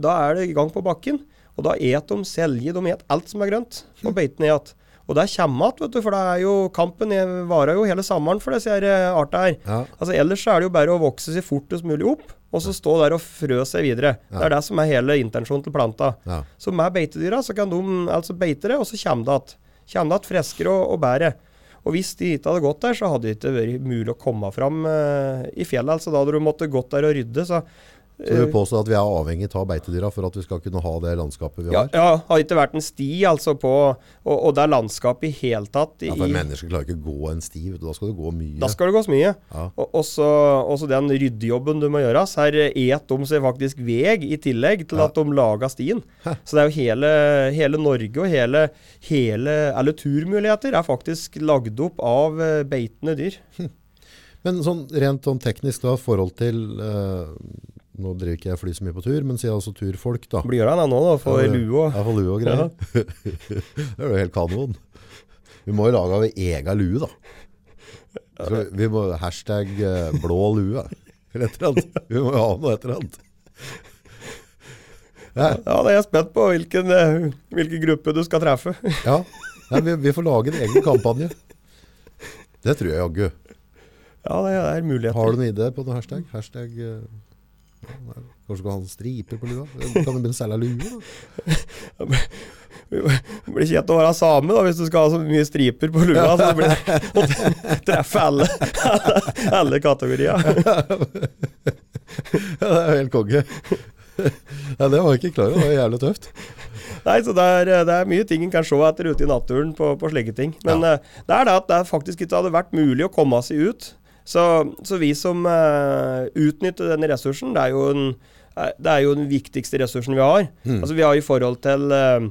Speaker 2: da er det i gang på bakken. Og da et de selje, de et alt som er grønt. Og beitene et. Og der kommer at, vet du, for det er jo kampen er- varer jo hele sommeren for disse her, eh, arta her.
Speaker 1: Ja.
Speaker 2: Altså Ellers så er det jo bare å vokse seg fortest mulig opp, og så stå der og frø seg videre. Det er det som er hele intensjonen til planta.
Speaker 1: Ja.
Speaker 2: Så med beitedyra så kan de altså beite det, og så kommer det igjen. Kommer det igjen friskere og, og bedre. Og hvis de ikke hadde gått der, så hadde det ikke vært mulig å komme fram eh, i fjellet. Altså da hadde du måttet gått der og rydde. Så,
Speaker 1: Så
Speaker 2: Eh.
Speaker 1: du påstår at vi er avhengig av beitedyra for at vi skal kunne ha det landskapet vi
Speaker 2: ja,
Speaker 1: har?
Speaker 2: ja, hadde ikke vært en sti altså på Og, og det er landskapet i hele tatt. I,
Speaker 1: Ja, for mennesker klarer ikke å gå en sti, vet du. da skal du gå mye.
Speaker 2: Da skal det gås mye.
Speaker 1: Ja.
Speaker 2: Og og så og så den ryddejobben du må gjøre. så Her et de seg faktisk veg i tillegg til at de laga stien. Så det er jo hele, hele Norge og hele, hele Alle turmuligheter er faktisk lagd opp av eh, beitende dyr.
Speaker 1: Men sånn, rent sånn teknisk da, forhold til, eh, nå driver ikke jeg fly så mye på tur, men sier altså turfolk da.
Speaker 2: Blir det nå, da? For
Speaker 1: Ja, det-
Speaker 2: lue og
Speaker 1: Ja, for lue og greier. det er jo helt kanon. Vi må jo lage av ega lue da. Så vi må hashtag eh, blå lue, eller et eller annet. Vi må jo ha noe et eller annet. Ja,
Speaker 2: Ja, da er jeg spent på hvilken, eh, hvilken gruppe du skal treffe.
Speaker 1: ja. Nei, vi, vi får lage en egen kampanje. Det tror jeg jaggu.
Speaker 2: Ja, det er muligheter.
Speaker 1: Har du noen ideer på noe hashtag? Hashtag eh, ja, nei, Kanskje du kan ha en striper på lua? Kan du begynne å selge lue? da?
Speaker 2: Det blir kjent å være same da, hvis du skal ha så mye striper på lua. Så det blir å treffe alle, alle kategorier.
Speaker 1: Ja, det er jo helt konge. Ja, det var jeg ikke klar over. Det var jævlig tøft.
Speaker 2: Nei, så det er, det er mye ting en kan se etter ute i naturen på, på slike ting. Men eh, det er det at det faktisk ikke hadde vært mulig å komme seg ut. Så, så vi som eh, utnytter denne ressursen, det er jo, en, eh, det er jo den viktigste ressursen vi har.
Speaker 1: Hmm.
Speaker 2: Altså Vi har i forhold til eh,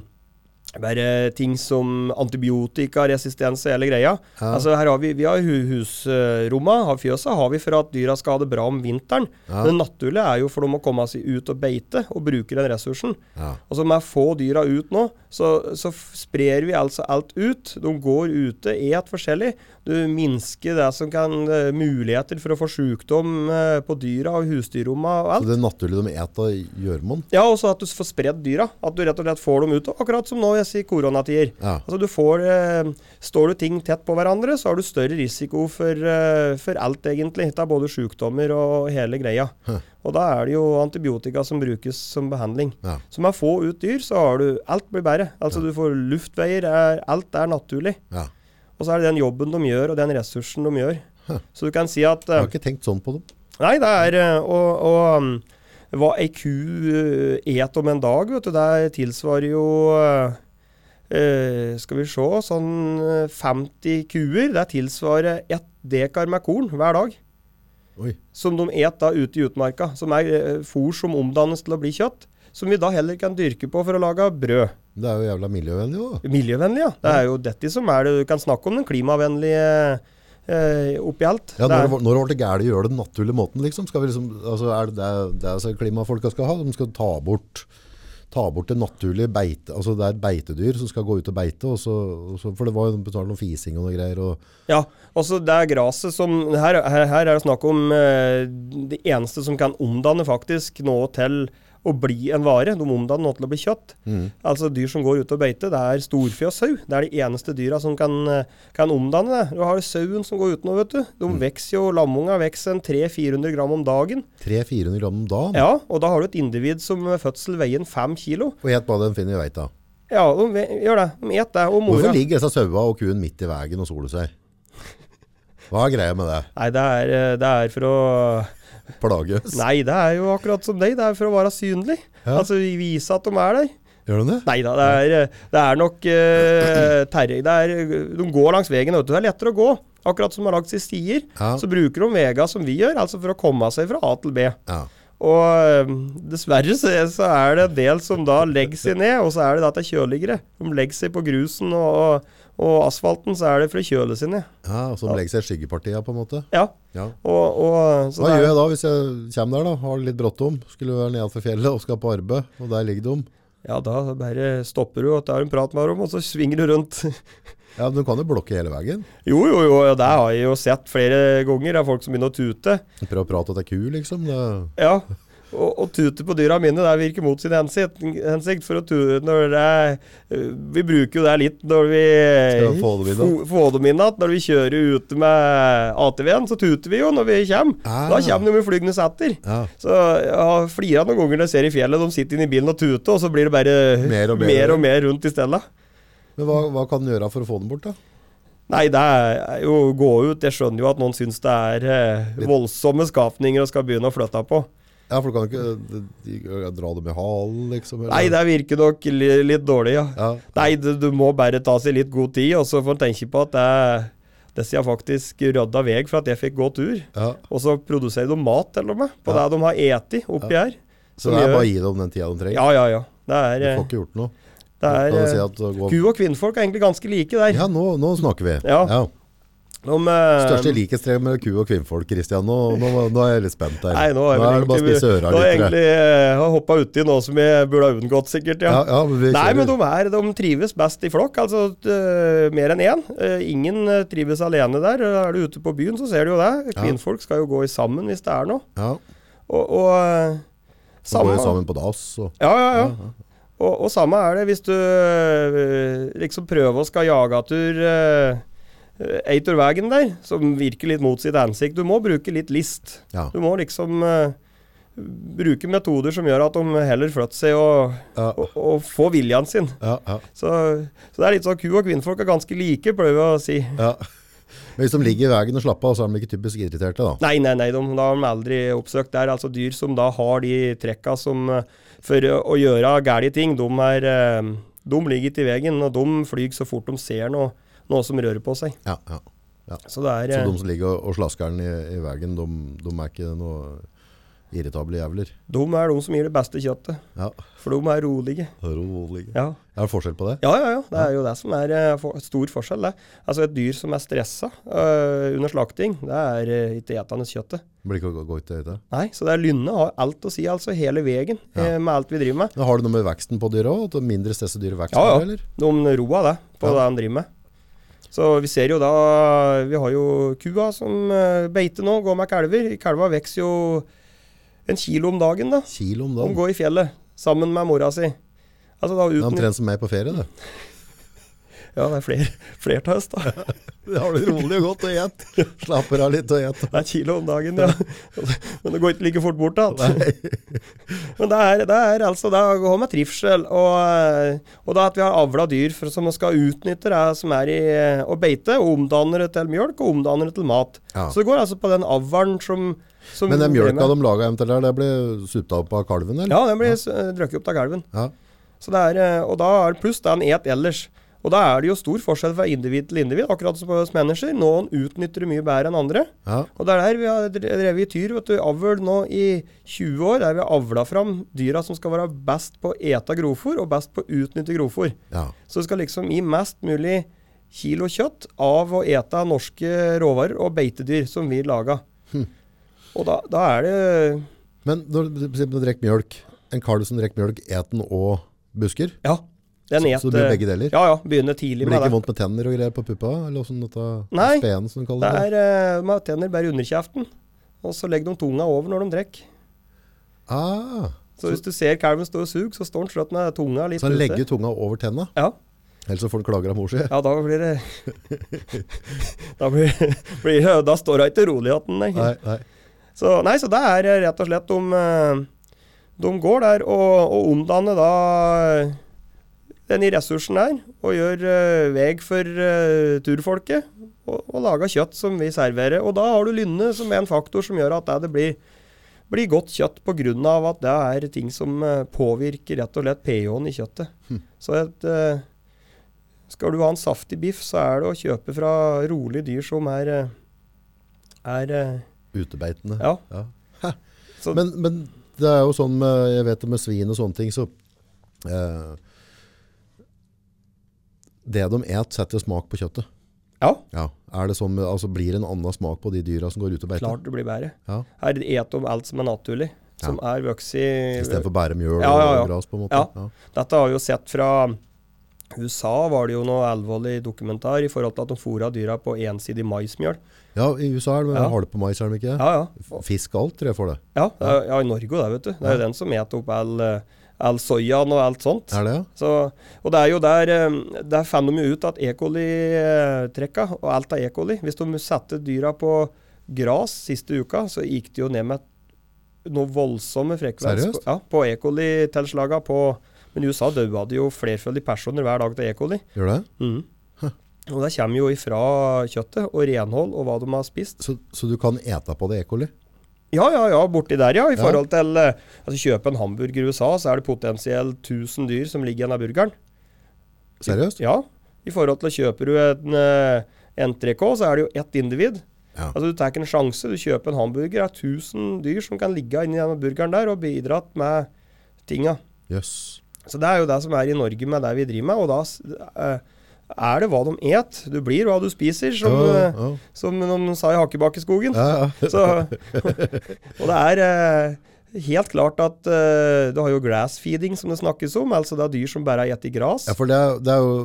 Speaker 2: bare ting som antibiotikaresistens og hele greia.
Speaker 1: Ja.
Speaker 2: Altså her har Vi vi har hu- husromma, har fjøsa, har vi for at dyra skal ha det bra om vinteren.
Speaker 1: Ja.
Speaker 2: Det naturlige er jo for dem å komme seg ut og beite og bruke den ressursen.
Speaker 1: Ja.
Speaker 2: Altså Med få dyra ut nå, så, så f- sprer vi altså alt ut. De går ute, et forskjellig. Du minsker det som kan eh, muligheter for å få sykdom eh, på dyra og husdyrromma og
Speaker 1: Så
Speaker 2: alt.
Speaker 1: det er naturlig de et av gjørmån.
Speaker 2: Ja, og så at du s- får spredd dyra. At du rett og slett får dem ut. Akkurat som nå jeg sier koronatider.
Speaker 1: Ja.
Speaker 2: Altså du får, eh, Står du ting tett på hverandre, så har du større risiko for, eh, for alt, egentlig. Det er både sykdommer og hele greia.
Speaker 1: Hæ.
Speaker 2: Og da er det jo antibiotika som brukes som behandling.
Speaker 1: Ja.
Speaker 2: Så med få ut dyr, så har du Alt blir bedre. Altså du får luftveier, er, alt er naturlig.
Speaker 1: Ja.
Speaker 2: Og så er det den jobben de gjør, og den ressursen de gjør.
Speaker 1: Hæ.
Speaker 2: Så du kan si at
Speaker 1: Jeg
Speaker 2: eh,
Speaker 1: har ikke tenkt sånn på dem.
Speaker 2: Nei, det er eh, Og, og um, hva ei ku eh, et om en dag, vet du, det tilsvarer jo eh, eh, Skal vi se Sånn eh, 50 kuer. Det tilsvarer ett dekar med korn hver dag.
Speaker 1: Oi.
Speaker 2: Som de et da ute i utmarka. Som er eh, fôr som omdannes til å bli kjøtt. Som vi da heller kan dyrke på for å lage brød.
Speaker 1: Det er jo jævla miljøvennlig òg.
Speaker 2: Miljøvennlig, ja. Det er jo dette som er det. Du kan snakke om den klimavennlige eh, oppi alt.
Speaker 1: Ja,
Speaker 2: Det er-
Speaker 1: når, det- når ble det gærent å gjøre det den naturlige måten, liksom? Skal vi liksom altså, er det det, det er så klimafolka skal ha? De skal ta bort, ta bort det naturlige beite... Altså, det er beitedyr som skal gå ut og beite, og så, og så, for det var jo betalt noe fising og noe greier. Og,
Speaker 2: Ja, altså det er graset som Her, her, her er det snakk om eh, det eneste som kan omdanne faktisk noe til å bli en vare. De omdanner noe til å bli kjøtt. Altså dyr som går ut og beite. Det er storfe og sau. Det er de eneste dyra som kan, eh, kan omdanne det. Du har sauen som går ut nå, vet du. De vokser jo, Lamunga vokser en 300-400 gram om dagen.
Speaker 1: 300-400 gram om dagen.
Speaker 2: Ja, og da har du et individ som ved fødsel veier en fem kilo.
Speaker 1: Og et bare den finner vi veita.
Speaker 2: Ja, de ve- gjør det. De et det. Og mora
Speaker 1: Hvorfor ligger disse saua og kuen midt i veien og soler seg? Hva er greia med det?
Speaker 2: Nei, det er, eh, det er for å
Speaker 1: Plages?
Speaker 2: Nei, det er jo akkurat som deg. Det er for å være synlig.
Speaker 1: Ja.
Speaker 2: Altså vise at de er der.
Speaker 1: Gjør de det?
Speaker 2: Nei da, det er, det er nok eh, terreng. Det er, de går langs veien. Vet du. Det er lettere å gå. Akkurat som de har lagd sine stier,
Speaker 1: Ja.
Speaker 2: så bruker de vega som vi gjør, altså for å komme seg fra A til B.
Speaker 1: Ja.
Speaker 2: Og eh, dessverre så, så er det en del som da legger seg ned, og så er det da at det er kjøligere. De legger seg på grusen og, og asfalten, så er det for å kjøle seg ned.
Speaker 1: ja og så legger seg skyggepartiet, på en måte.
Speaker 2: Ja,
Speaker 1: Ja.
Speaker 2: og, og så
Speaker 1: Hva
Speaker 2: det er-
Speaker 1: gjør jeg da hvis jeg kommer der da, har litt bråttom, skulle være nede for fjellet og skal på arbeid, og der ligger de?
Speaker 2: Ja, da bare stopper du og tar en prat med dem, og så svinger du rundt.
Speaker 1: Ja, men du kan jo blokke hele veien.
Speaker 2: Jo, jo, jo, ja, det har jeg jo sett flere ganger. Det er folk som begynner å tute.
Speaker 1: Prøv å prate til ku, liksom. Det,
Speaker 2: Ja, og, og tute på dyra mine, det virker mot sin hensikt. hensikt for å tute når det er, Vi bruker jo det litt når vi
Speaker 1: Skal få dem inn, da.
Speaker 2: Få- få dem inn igjen. Når vi kjører ute med ATV-en, så tuter vi jo når vi kommer.
Speaker 1: Ah.
Speaker 2: Da kommer de jo flygende etter.
Speaker 1: ja.
Speaker 2: Så jeg har flira noen ganger når jeg ser i fjellet, de sitter inne i bilen og tuter, og så blir det bare
Speaker 1: Mer og mer.
Speaker 2: mer, og mer rundt i stedet.
Speaker 1: Men hva, hva kan du gjøre for å få den bort, da?
Speaker 2: Nei, det er jo å gå ut. Jeg skjønner jo at noen syns det er eh, voldsomme skapninger og skal begynne å flytte på.
Speaker 1: Ja, for du kan jo ikke de, de, dra dem i halen, liksom. eller-
Speaker 2: Nei, det virker nok li litt dårlig, ja.
Speaker 1: Ja.
Speaker 2: Nei, du, du må bare ta seg litt god tid, og så får en tenke på at det, det sier faktisk rydda vei for at jeg fikk gå tur.
Speaker 1: Ja.
Speaker 2: Og så produserer de mat til og med, på
Speaker 1: Ja.
Speaker 2: det de har eti oppi her.
Speaker 1: Så
Speaker 2: Som
Speaker 1: det er
Speaker 2: gjør-
Speaker 1: bare å gi dem den tida de trenger.
Speaker 2: Ja, ja, ja. Det er,
Speaker 1: Du
Speaker 2: eh,
Speaker 1: får ikke gjort noe.
Speaker 2: det
Speaker 1: Du
Speaker 2: er
Speaker 1: kan jo si
Speaker 2: eh,
Speaker 1: at det går...
Speaker 2: Ku- og kvinnfolk er egentlig ganske like der.
Speaker 1: Ja, nå, nå snakker vi.
Speaker 2: Ja. De, eh,
Speaker 1: Største likhetstrekk mellom ku og kvinnfolk, Kristian. Nå, nå, nå er jeg litt spent her.
Speaker 2: Nei, nå er,
Speaker 1: nå er det bare å spisse øra
Speaker 2: Nå har jeg
Speaker 1: litt. tror jeg.
Speaker 2: egentlig eh, hoppa uti noe som jeg burde ha unngått, sikkert.
Speaker 1: Ja,
Speaker 2: ja.
Speaker 1: ja, men vi
Speaker 2: Nei,
Speaker 1: kjører.
Speaker 2: men de, er, de trives best i flokk, altså eh, mer enn én. Eh, ingen eh, trives alene der. Eh, Er du ute på byen, så ser du jo det.
Speaker 1: Ja.
Speaker 2: Kvinnfolk skal jo gå i sammen hvis det er noe.
Speaker 1: Ja.
Speaker 2: Og, og eh,
Speaker 1: Så går
Speaker 2: samme-
Speaker 1: vi sammen på dass. Og,
Speaker 2: Ja, ja, ja. Og, og samme er det hvis du eh, liksom prøver å skal jage tur eh, ei tur veien der, som virker litt mot sitt ansikt. Du må bruke litt list.
Speaker 1: Ja.
Speaker 2: Du må liksom eh, bruke metoder som gjør at de heller flytter seg og,
Speaker 1: Ja,
Speaker 2: og, og får viljen sin.
Speaker 1: ja, ja,
Speaker 2: Så, så det er litt sånn ku- og kvinnfolk er ganske like, pleier vi å si.
Speaker 1: ja. Men hvis de ligger i veien og slapper av, så er de ikke typisk irriterte da.
Speaker 2: Nei, nei, nei, de, da har de aldri oppsøkt der. Altså dyr som da har de trekka som eh, For å å gjøre gærne ting, de, er, eh, de ligger ikke i veien, og de flyr så fort de ser noe, noe som rører på seg.
Speaker 1: Ja, ja.
Speaker 2: Så det er
Speaker 1: Så
Speaker 2: eh,
Speaker 1: de som ligger og- og slasker den i, i veien, de, de er ikke noe irritable jævler.
Speaker 2: de er de som gir det beste kjøttet.
Speaker 1: Ja,
Speaker 2: For de er rolige.
Speaker 1: rolig.
Speaker 2: Ja,
Speaker 1: Er det forskjell på det?
Speaker 2: ja, ja. ja. Det er jo det som er eh, for, stor forskjell, det. Altså et dyr som er stressa eh, under slakting, det er eh, ikke etende kjøttet.
Speaker 1: Blir ikke å gå- gå ut til det?
Speaker 2: Nei, så det er lynne har alt å si, altså. Hele veien
Speaker 1: Ja.
Speaker 2: eh, med alt vi driver med.
Speaker 1: Men har det noe med veksten på dyret òg? Mindre stressa dyr vekst?
Speaker 2: Ja, ja.
Speaker 1: på det, eller?
Speaker 2: De roa det på
Speaker 1: Ja.
Speaker 2: det de driver med. Så vi ser jo da Vi har jo kua som eh, beiter nå, går med kalver. Kalva vokser jo en kilo om dagen, da.
Speaker 1: Kilo om
Speaker 2: De
Speaker 1: dagen.
Speaker 2: går i fjellet sammen med mora si. Altså da
Speaker 1: Det er
Speaker 2: uten
Speaker 1: omtrent som meg på ferie, det.
Speaker 2: Ja, det er flere, flere til oss, da.
Speaker 1: Det har det rolig og godt å gjette. Slapper av litt og gjette.
Speaker 2: Det er kilo om dagen, ja. Men det går ikke like fort bort, da. Men det er, det er altså det går med trivsel, og, eh, og da at vi har avla dyr for, som skal utnytte det som er i eh, å beite, og omdanne det til mjølk, og omdanne det til mat.
Speaker 1: Ja.
Speaker 2: Så det går altså på den avlen som, som
Speaker 1: Men den
Speaker 2: driver
Speaker 1: mjølka
Speaker 2: med-
Speaker 1: de laga eventuelt der, det ble supta opp av kalven, eller?
Speaker 2: Ja, den blir eh, drukket opp av kalven.
Speaker 1: Ja.
Speaker 2: Så det er, eh, og da er det pluss det en et ellers. Og da er det jo stor forskjell fra individ til individ, akkurat som hos mennesker. Noen utnytter det mye bedre enn andre.
Speaker 1: Ja.
Speaker 2: Og det er der vi har dre- drevet i tyr, vet du, avl nå i 20 år, der vi har avla fram dyra som skal være best på å ete grovfôr, og best på å utnytte grovfôr.
Speaker 1: ja.
Speaker 2: Så det skal liksom gi mest mulig kilo kjøtt av å ete norske råvarer og beitedyr som vi laga.
Speaker 1: Hm.
Speaker 2: Og da, da er det
Speaker 1: Men når du for eksempel drikker mjølk, en kalv som drikker mjølk, et den og busker?
Speaker 2: Ja. Den
Speaker 1: Så-
Speaker 2: et,
Speaker 1: så det blir
Speaker 2: eh,
Speaker 1: begge deler?
Speaker 2: Ja, ja. Begynner tidlig
Speaker 1: Det blir
Speaker 2: med
Speaker 1: ikke
Speaker 2: det.
Speaker 1: vondt med tenner og greier på puppa? Eller åssen dette
Speaker 2: Nei,
Speaker 1: spenen som de
Speaker 2: Det
Speaker 1: kaller det?
Speaker 2: er eh, med tenner bare under kjeften, og så legger de tunga over når de drikker.
Speaker 1: Ah,
Speaker 2: Så hvis du ser kalven stå og suge, så står den slått med tunga litt
Speaker 1: så han
Speaker 2: ute.
Speaker 1: legger tunga over tenna,
Speaker 2: Ja.
Speaker 1: ellers så får han klager av mor si.
Speaker 2: Ja, da blir det Da, blir, blir, det- da står hun ikke rolig igjen, nei.
Speaker 1: Nei, nei.
Speaker 2: Så, nei. Så det er rett og slett om eh, De går der og, og omdanner da denne ressursen der, og gjør eh, veg for eh, turfolket. Og, og lager kjøtt som vi serverer. Og da har du lynne som er en faktor som gjør at det, det blir, blir godt kjøtt pga. at det er ting som eh, påvirker rett og slett pH-en i kjøttet. Så et eh, skal du ha en saftig biff, så er det å kjøpe fra rolige dyr som er, eh, er eh,
Speaker 1: Utebeitende.
Speaker 2: Ja. Så-
Speaker 1: Men, men det er jo sånn med, jeg vet det med svin og sånne ting, så eh, Det de et, setter smak på kjøttet.
Speaker 2: Ja,
Speaker 1: Ja. Er det sånn, med- altså Blir det en annen smak på de dyra som går ut og beiter?
Speaker 2: klart det blir bedre.
Speaker 1: Ja.
Speaker 2: Her et om alt som er naturlig, som er vokst i
Speaker 1: Istedenfor bare mjøl
Speaker 2: Ja, ja, ja.
Speaker 1: og gras, på en måte?
Speaker 2: Ja. Dette har vi jo sett fra USA var det jo noe alvorlig dokumentar i forhold til at de fôra dyra på ensidig maismjøl.
Speaker 1: Ja, i USA er det
Speaker 2: Ja.
Speaker 1: har det på mais, er det ikke?
Speaker 2: Ja, ja.
Speaker 1: det? Fisk og alt, tror jeg, for det.
Speaker 2: Ja, det er- ja i Norge òg, vet du. Det er jo den som eter opp all, eh, all soyaen og alt sånt.
Speaker 1: Er det, ja?
Speaker 2: Så, og det er jo der eh, Der fant de jo ut at E. coli-trekka og alt av E. coli Hvis de satte dyra på gras siste uka, så gikk det jo ned med noe voldsomme frekvens på,
Speaker 1: Seriøst?
Speaker 2: ja, på E. coli-tilslaga på Men i USA daua det jo flerføldige personer hver dag til E. coli.
Speaker 1: Gjør det?
Speaker 2: Mhm. Og det kommer jo ifra kjøttet og renhold og hva de har spist.
Speaker 1: Så, så du kan ete på det E. coli?
Speaker 2: Ja, ja, ja, borti der, ja. I
Speaker 1: Ja.
Speaker 2: forhold til eh, altså Kjøpe en hamburger i USA, så er det potensielt 1000 dyr som ligger i denne burgeren.
Speaker 1: Seriøst?
Speaker 2: Ja. I forhold til kjøper du en eh, entrecôte, så er det jo ett individ.
Speaker 1: Ja.
Speaker 2: Altså Du tar ikke en sjanse. Du kjøper en hamburger av 1000 dyr som kan ligge inni denne burgeren der og bidratt med tinga.
Speaker 1: Jøss.
Speaker 2: Så det er jo det som er i Norge med det vi driver med. Og da s- eh, er det hva de et. Du blir hva du spiser, som, eh,
Speaker 1: ja,
Speaker 2: som noen sa i Hakebakkeskogen.
Speaker 1: ja. ja,
Speaker 2: Så, og det er eh, helt klart at eh, du har jo glass feeding, som det snakkes om. Altså det er dyr som bare har spist gras.
Speaker 1: Ja, for det er, det er jo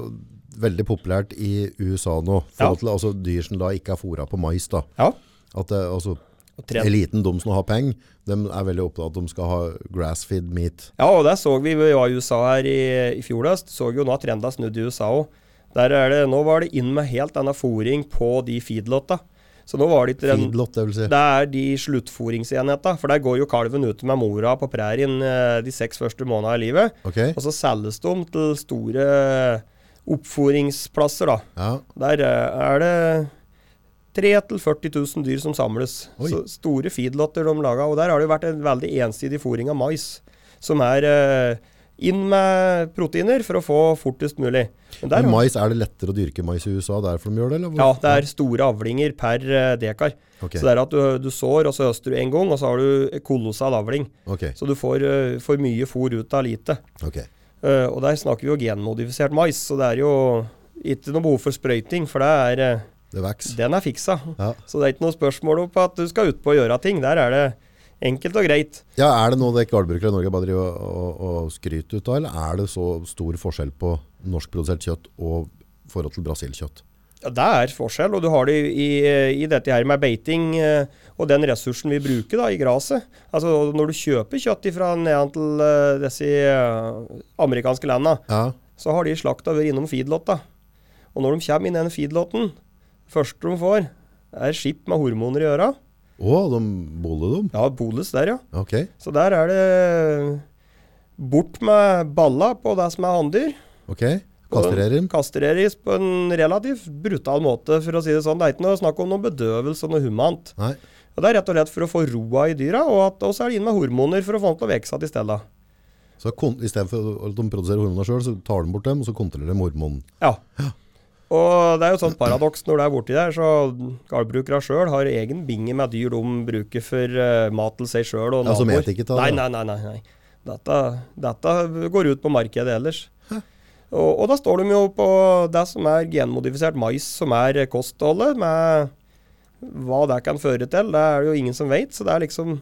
Speaker 1: veldig populært i USA nå.
Speaker 2: Ja.
Speaker 1: Forhold til altså, dyr som da ikke er fôra på mais. da.
Speaker 2: Ja.
Speaker 1: At det, altså,
Speaker 2: Og trent.
Speaker 1: Eliten, de som har penger, de er veldig opptatt av at de skal ha grass-feed meat.
Speaker 2: Ja, og der så vi vi var i USA her i, i fjor høst. Så vi jo nå har trenda snudd i USA òg. Der er det, nå var det inn med helt annen fôring på de feedlotta. Så nå var det ikke den
Speaker 1: Feedlot, det vil si.
Speaker 2: Det er de sluttfôringsenhetene. For der går jo kalven ute med mora på prærien eh, de seks første månedene av livet.
Speaker 1: Ok,
Speaker 2: Og så selges de til store oppfôringsplasser, da.
Speaker 1: ja.
Speaker 2: Der eh, er det 3 000-40 000 dyr som samles.
Speaker 1: Oi.
Speaker 2: Så store feedlotter de laga. Og der har det jo vært en veldig ensidig fôring av mais, som er eh, inn med proteiner for å få fortest mulig. Men der,
Speaker 1: Men mais, er det lettere å dyrke mais i USA derfor de gjør det? Eller?
Speaker 2: ja, det er store avlinger per eh, dekar.
Speaker 1: Ok,
Speaker 2: Så det er at du, du sår, og så høster du en gang, og så har du kolossal avling.
Speaker 1: ok,
Speaker 2: Så du får eh, for mye fôr ut av lite.
Speaker 1: ok.
Speaker 2: Eh, og der snakker vi jo genmodifisert mais, så det er jo ikke noe behov for sprøyting, for det er, eh,
Speaker 1: Det veks.
Speaker 2: den er fiksa.
Speaker 1: Ja.
Speaker 2: Så det er ikke noe spørsmål om at du skal utpå og gjøre ting. Der er det enkelt og greit.
Speaker 1: Ja, er det noe dere gardbrukere i Norge bare driver og, og, og skryter ut av, eller er det så stor forskjell på norskprodusert kjøtt og forhold til brasilkjøtt?
Speaker 2: Ja, det er forskjell, og du har det i, i dette her med beiting eh, og den ressursen vi bruker da, i graset. Altså, når du kjøper kjøtt fra ned til eh, disse eh, amerikanske landene,
Speaker 1: Ja,
Speaker 2: så har de slakta vært innom feedlotta. Og når de kommer inn i den feedlotten, første de får, er skip med hormoner i øra.
Speaker 1: å, de boller dem.
Speaker 2: Ja, bolus der, ja.
Speaker 1: Ok,
Speaker 2: Så der er det bort med balla på det som er hanndyr.
Speaker 1: ok. Kastrerer dem.
Speaker 2: Kastreres på en relativt brutal måte, for å si det sånn. Det er ikke noe snakk om noe bedøvelse og noe humant.
Speaker 1: Nei,
Speaker 2: Og Det er rett og slett for å få roa i dyra, og at- og så er det inn med hormoner for å få dem til å vokse igjen i stedet.
Speaker 1: så kon- i stedet for at de produserer hormoner selv, så tar de bort dem, og så kontrollerer de hormonen.
Speaker 2: Ja. Og det er jo et sånt paradoks når det er borti der, så gårdbrukerne sjøl har egen binge med dyr de bruker for eh, mat til seg sjøl og
Speaker 1: Ja, som
Speaker 2: naboer.
Speaker 1: et ikke tar
Speaker 2: nei,
Speaker 1: det.
Speaker 2: nei, nei, nei, nei. Dette, dette går ut på markedet ellers. Og, og da står de jo på det som er genmodifisert mais, som er kostholdet, med hva det kan føre til. Det er det jo ingen som vet, så det er liksom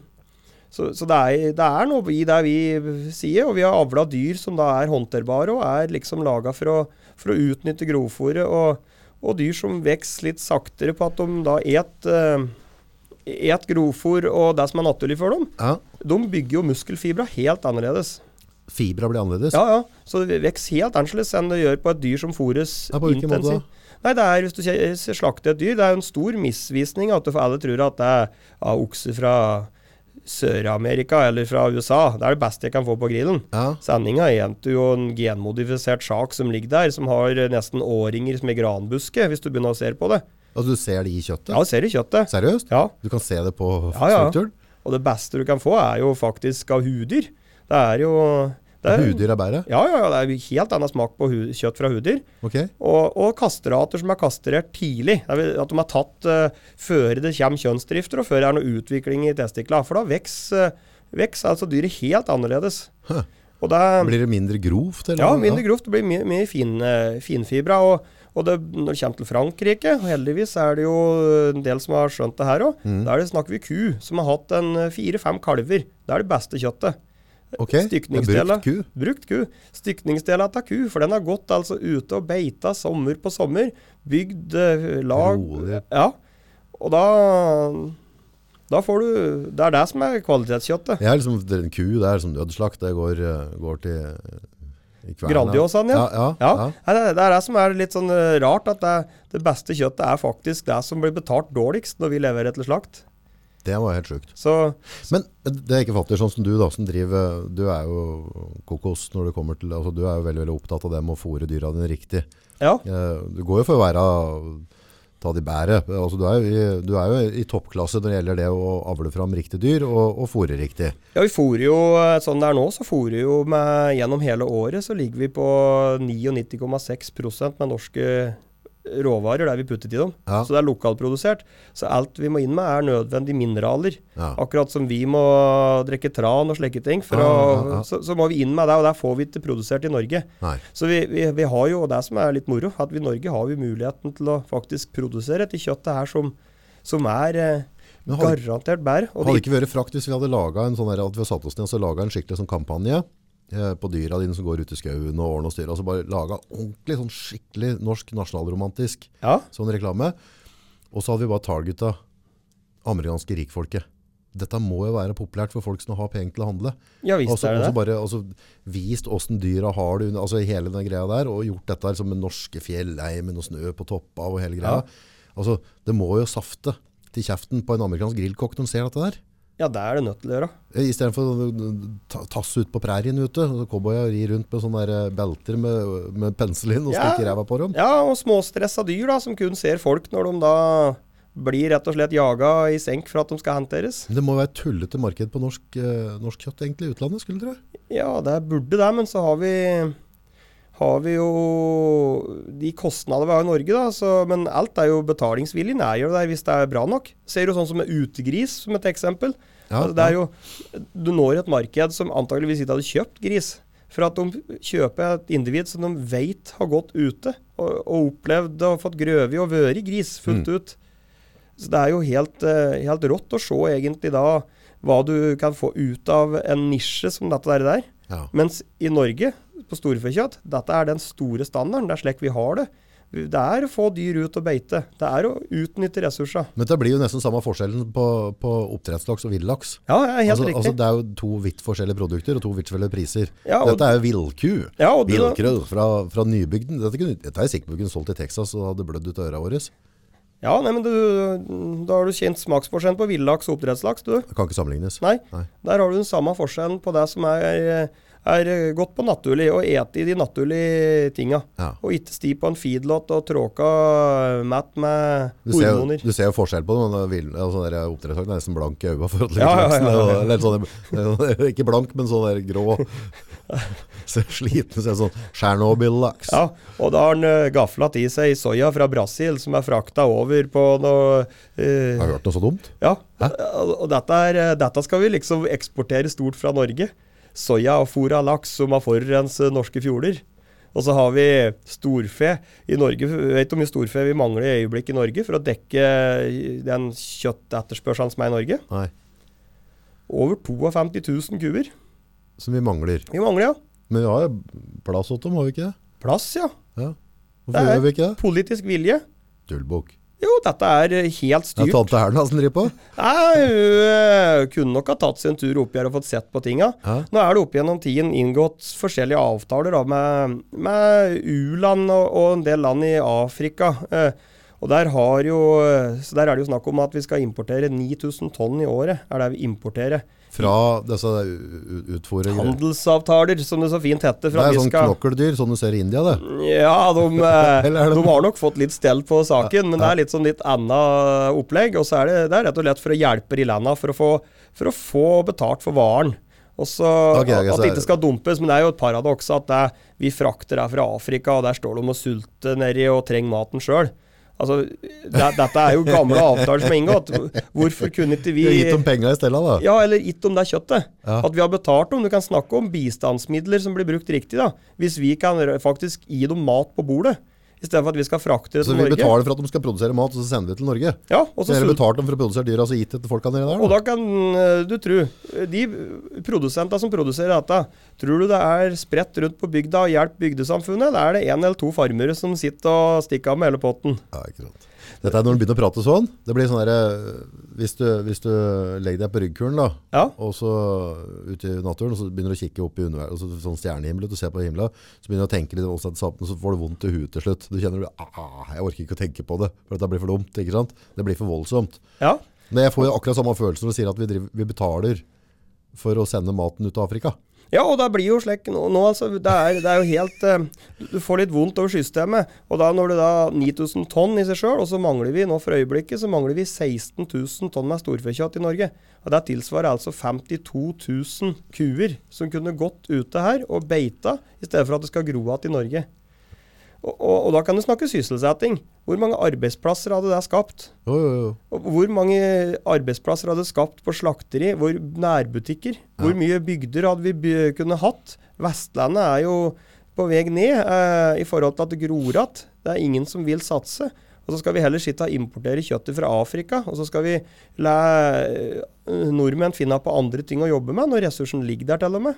Speaker 2: så, så det, er, det er noe i det vi sier, og vi har avla dyr som da er håndterbare og er liksom laga for, å- for å utnytte grovfòret, og, og dyr som vokser litt saktere på at de da et, eh, et grovfòr og det som er naturlig for dem.
Speaker 1: Ja,
Speaker 2: De bygger jo muskelfibra helt annerledes.
Speaker 1: fibra blir annerledes.
Speaker 2: Ja, ja. Så det vokser helt annerledes enn det gjør på et dyr som fôres
Speaker 1: Ja, på hvilken måte da?
Speaker 2: intensivt. Nei, det er, Hvis du kje- s- slakter et dyr, det er jo en stor misvisning at du- for alle tror at det er ja, okse fra Sør-Amerika eller fra USA. Det er det beste jeg kan få på grillen.
Speaker 1: Ja,
Speaker 2: Sendinga endte jo en genmodifisert sak som ligger der, som har eh, nesten årringer som ei granbuske, hvis du begynner å se på det.
Speaker 1: altså du ser det i kjøttet?
Speaker 2: Ja, du ser i kjøttet.
Speaker 1: Seriøst?
Speaker 2: Ja,
Speaker 1: Du kan se det på
Speaker 2: Ja, ja.
Speaker 1: strukturen?
Speaker 2: Og det beste du kan få, er jo faktisk av huddyr. Det er jo det er,
Speaker 1: Huddyr er bedre?
Speaker 2: Ja, ja, ja, det er jo helt annen smak på hu kjøtt fra huddyr.
Speaker 1: Ok.
Speaker 2: Og, og kastrater som er kastrert tidlig. Det vil, at de er tatt eh, før det kommer kjønnsdrifter, og før det er noe utvikling i testiklene. For da vokser veks, altså dyret helt annerledes.
Speaker 1: Hæ.
Speaker 2: Og det,
Speaker 1: Blir det mindre grovt? Eller?
Speaker 2: ja, mindre grovt. Det blir mye, mye fin, eh, finfibra. Og, og det, når det kommer til Frankrike, og heldigvis er det jo en del som har skjønt det her òg, da er det snakker vi ku som har hatt en eh, fire-fem kalver. Det er det beste kjøttet.
Speaker 1: Ok, det er
Speaker 2: Stykningsdeler.
Speaker 1: Brukt ku?
Speaker 2: Brukt ku. Stykningsdelen av ku, for den har gått altså ute og beita sommer på sommer. Bygd eh, lag
Speaker 1: Rolig.
Speaker 2: Ja. Og da Da får du Det er det som er kvalitetskjøttet.
Speaker 1: Jeg er liksom det er en ku der som dødsslakt. Det går, eh, går til eh, i kverna.
Speaker 2: Grandiosaen, ja.
Speaker 1: Ja, ja,
Speaker 2: Ja.
Speaker 1: ja.
Speaker 2: Nei, Det, det er det som er litt sånn eh, rart, at det, det beste kjøttet er faktisk det som blir betalt dårligst når vi leverer til slakt.
Speaker 1: Det var helt sjukt.
Speaker 2: Så
Speaker 1: Men det jeg ikke fatter, sånn som du da, som driver Du er jo kokos når det kommer til altså, Du er jo veldig, veldig opptatt av det med å fôre dyra dine riktig.
Speaker 2: ja.
Speaker 1: Eh, Du går jo for å være Ta de bæret. Altså, du, er jo i, du er jo i toppklasse når det gjelder det å avle fram riktig dyr og, og fôre riktig.
Speaker 2: ja vi fôrer jo eh, sånn det er nå, så fôrer vi jo med Gjennom hele året så ligger vi på 99,6 med norske råvarer der vi putter i dem.
Speaker 1: Ja.
Speaker 2: Så det er lokalprodusert. Så alt vi må inn med, er nødvendige mineraler.
Speaker 1: Ja.
Speaker 2: Akkurat som vi må drikke tran og slike ting, for
Speaker 1: Ja,
Speaker 2: å,
Speaker 1: ja, ja.
Speaker 2: Så, så må vi inn med det, og det får vi ikke produsert i Norge.
Speaker 1: Nei.
Speaker 2: Så vi, vi, vi har jo, og det som er litt moro, at vi i Norge har vi muligheten til å faktisk produsere dette kjøttet her som, som er eh,
Speaker 1: Men hadde-
Speaker 2: garantert bedre. Og
Speaker 1: Hadde
Speaker 2: det,
Speaker 1: det ikke vært frakt hvis vi hadde laget en sånn der, at vi hadde satt oss ned og så laget en skikkelig sånn kampanje eh, på dyra dine som går ut i skauen og årene og styrer, altså bare laget ordentlig sånn skikkelig norsk nasjonalromantisk
Speaker 2: ja,
Speaker 1: sånn reklame, og så hadde vi bare targeta amerikanske rikfolket. Dette må jo være populært for folk som har penger til å handle.
Speaker 2: Ja visst
Speaker 1: Altså,
Speaker 2: er det
Speaker 1: altså
Speaker 2: det.
Speaker 1: bare altså, vist åssen dyra har det under altså, hele den greia der, og gjort dette her som med norske fjellheimen og snø på toppa og hele greia.
Speaker 2: Ja.
Speaker 1: Altså, det må jo safte til kjeften på en amerikansk grillkokk når de ser dette der. Eh,
Speaker 2: Ja, det er det nødt til å gjøre.
Speaker 1: I stedet for å eh, ta- tasse ut på prærien ute, og så cowboya rir rundt med sånne der eh, belter med, med penselin og
Speaker 2: Ja.
Speaker 1: stikker ræva på dem.
Speaker 2: Ja, og småstressa dyr da, som kun ser folk når de da blir rett og slett jaga i senk for at de skal henteres.
Speaker 1: Men Det må være et tullete marked på norsk, eh, norsk kjøtt egentlig i utlandet, skulle dere?
Speaker 2: Ja, det burde det, men så har vi har vi jo de kostnadene vi har i Norge, da. Så, men alt er jo betalingsviljen er jo der hvis det er bra nok. Ser jo sånn som med utegris som et eksempel.
Speaker 1: Ja,
Speaker 2: altså, det er
Speaker 1: ja.
Speaker 2: jo, du når et marked som antageligvis ikke hadde kjøpt gris. For at de kjøper et individ som de vet har gått ute og, og opplevd og fått grøvet og vært gris fullt
Speaker 1: Mm.
Speaker 2: ut. Så det er jo helt, eh, helt rått å se egentlig da hva du kan få ut av en nisje som dette der. der.
Speaker 1: Ja.
Speaker 2: Mens i Norge, på storfekjøtt, dette er den store standarden. Det er slik vi har det. Det er å få dyr ut og beite. Det er å utnytte ressurser.
Speaker 1: Men det blir jo nesten samme forskjellen på, på oppdrettslaks og villaks.
Speaker 2: Ja, det er helt
Speaker 1: Altså,
Speaker 2: riktig.
Speaker 1: altså, det er jo to vidt forskjellige produkter og to vidt forskjellige priser.
Speaker 2: Ja, og-
Speaker 1: Dette er jo villku.
Speaker 2: ja, og du,
Speaker 1: Villkrøll fra, fra nybygden. Dette, kunne, dette er jeg sikker på vi kunne solgt i Texas og hadde blødd ut av øra våre.
Speaker 2: ja nei, men du, da har du kjent smaksforskjellen på villaks og oppdrettslaks, du.
Speaker 1: Det kan ikke sammenlignes.
Speaker 2: Nei,
Speaker 1: Nei.
Speaker 2: der har du den samme forskjellen på det som er, er godt på naturlig, og ete i de naturlige tinga.
Speaker 1: Ja.
Speaker 2: Og ikke sti på en feedlot og tråka matt med
Speaker 1: Du ser, jo-
Speaker 2: hormoner.
Speaker 1: du ser jo forskjell på det, men det er vill- altså, den der oppdrettslaksen er nesten blank i øynene. for at
Speaker 2: Ja, ja,
Speaker 1: laksen
Speaker 2: ja,
Speaker 1: er-
Speaker 2: ja, ja.
Speaker 1: eller sånn der- Ikke blank, men sånn der grå. Ser sliten ser sånn Tsjernobyl-laks.
Speaker 2: Ja, og da har han eh, gaflet i seg soya fra Brasil, som er frakta over på noe eh,
Speaker 1: Har du hørt noe så dumt?
Speaker 2: Ja,
Speaker 1: Hæ?
Speaker 2: og og dette, er, dette skal vi liksom eksportere stort fra Norge. Soya og fôr av laks som har forurenset norske fjorder. Og så har vi storfe i Norge. Vi Vet du hvor mye storfe vi mangler i øyeblikket i Norge for å dekke eh, den kjøttetterspørselen som er i Norge?
Speaker 1: Nei.
Speaker 2: Over 52 000 kuer.
Speaker 1: Som vi mangler.
Speaker 2: Vi mangler, ja.
Speaker 1: Men vi har jo plass til dem, har vi ikke det?
Speaker 2: Plass, ja.
Speaker 1: Ja.
Speaker 2: Det
Speaker 1: Hvorfor
Speaker 2: er-
Speaker 1: gjør vi ikke det?
Speaker 2: Politisk vilje.
Speaker 1: Tullbukk.
Speaker 2: Jo, dette er eh, helt
Speaker 1: Det er
Speaker 2: styrt.
Speaker 1: tante Erna som driver på.
Speaker 2: Nei, hun eh, kunne nok ha tatt sin tur opp her og fått sett på tinga.
Speaker 1: Ja.
Speaker 2: Nå er det opp gjennom tiden inngått forskjellige avtaler da, med, med U-land og, og en del land i Afrika. Eh, og der, har jo, eh, så der er det jo snakk om at vi skal importere 9000 tonn i året. er det vi importerer.
Speaker 1: Fra disse u- u- utfòre greier.
Speaker 2: Handelsavtaler, som det så fint
Speaker 1: Det
Speaker 2: heter. Fra
Speaker 1: er
Speaker 2: vi
Speaker 1: sånn
Speaker 2: skal,
Speaker 1: knokkeldyr, sånn du ser i India, det.
Speaker 2: Ja, de, eh,
Speaker 1: Eller er det-
Speaker 2: de har nok fått litt stell på saken, men det er litt sånn litt annet opplegg. Og så er det, det er rett og slett for å hjelpe de landa for å få, for å få betalt for varen. Og så
Speaker 1: Ok, ok,
Speaker 2: At
Speaker 1: så
Speaker 2: det
Speaker 1: er-
Speaker 2: ikke skal dumpes, men det er jo et paradoks at det, vi frakter her fra Afrika, og der står de og sulter nedi og trenger maten sjøl. Altså, det, dette er jo gamle avtaler som er inngått. Hvorfor kunne ikke
Speaker 1: Vi
Speaker 2: vi
Speaker 1: har gitt dem penger i stedet, da.
Speaker 2: ja, eller gitt om det kjøttet.
Speaker 1: Ja.
Speaker 2: At vi har betalt om. Du kan snakke om bistandsmidler som blir brukt riktig, da. Hvis vi kan r- faktisk gi dem mat på bordet, istedenfor at vi skal frakte det
Speaker 1: Så
Speaker 2: til
Speaker 1: vi
Speaker 2: Norge.
Speaker 1: betaler for at de skal produsere mat, og så sender vi til Norge.
Speaker 2: Ja, og så
Speaker 1: Dere
Speaker 2: sult-
Speaker 1: betalte dem for å produsere dyra, så gitt det til folka nedi der?
Speaker 2: Og
Speaker 1: Da.
Speaker 2: da kan eh, du tro De produsentene som produserer dette, tror du det er spredt rundt på bygda og hjelp bygdesamfunnet? Da er det én eller to farmere som sitter og stikker av med hele potten.
Speaker 1: Ja, ikke sant. Dette er når du begynner å prate sånn. Det blir sånn derre hvis, du- hvis du legger deg på ryggkulen, da,
Speaker 2: Ja.
Speaker 1: og så ute i naturen, og så begynner du å kikke opp i univer- altså, sånn stjernehimmel, ut og ser på himmelen, så begynner du å tenke litt, og så, så får du vondt i huet til slutt. Du kjenner du, ah, jeg orker ikke å tenke på det, for dette blir for dumt, ikke sant? Det blir for voldsomt.
Speaker 2: Ja.
Speaker 1: Men jeg får jo akkurat samme følelse når du sier at vi, driver, vi betaler for å sende maten ut til Afrika.
Speaker 2: Ja, og det blir jo slik nå, nå altså, det er, det er jo helt eh, Du du får litt vondt over systemet. Og da når du da 9000 tonn i seg sjøl, og så mangler vi nå for øyeblikket så mangler vi 16 000 tonn med storfekjøtt i Norge. Og Det tilsvarer altså 52 000 kuer som kunne gått ute her og beita, i stedet for at det skal gro igjen i Norge. Og, og, og da kan du snakke sysselsetting. Hvor mange arbeidsplasser hadde det skapt?
Speaker 1: Jo, jo, jo.
Speaker 2: Og Hvor mange arbeidsplasser hadde skapt på slakteri? Hvor nærbutikker? Hvor mye bygder hadde vi by kunne hatt? Vestlandet er jo på vei ned eh, i forhold til at det gror igjen. Det er ingen som vil satse. Og så skal vi heller sitte og importere kjøttet fra Afrika, og så skal vi la eh, nordmenn finne på andre ting å jobbe med, når ressursen ligger der til og med.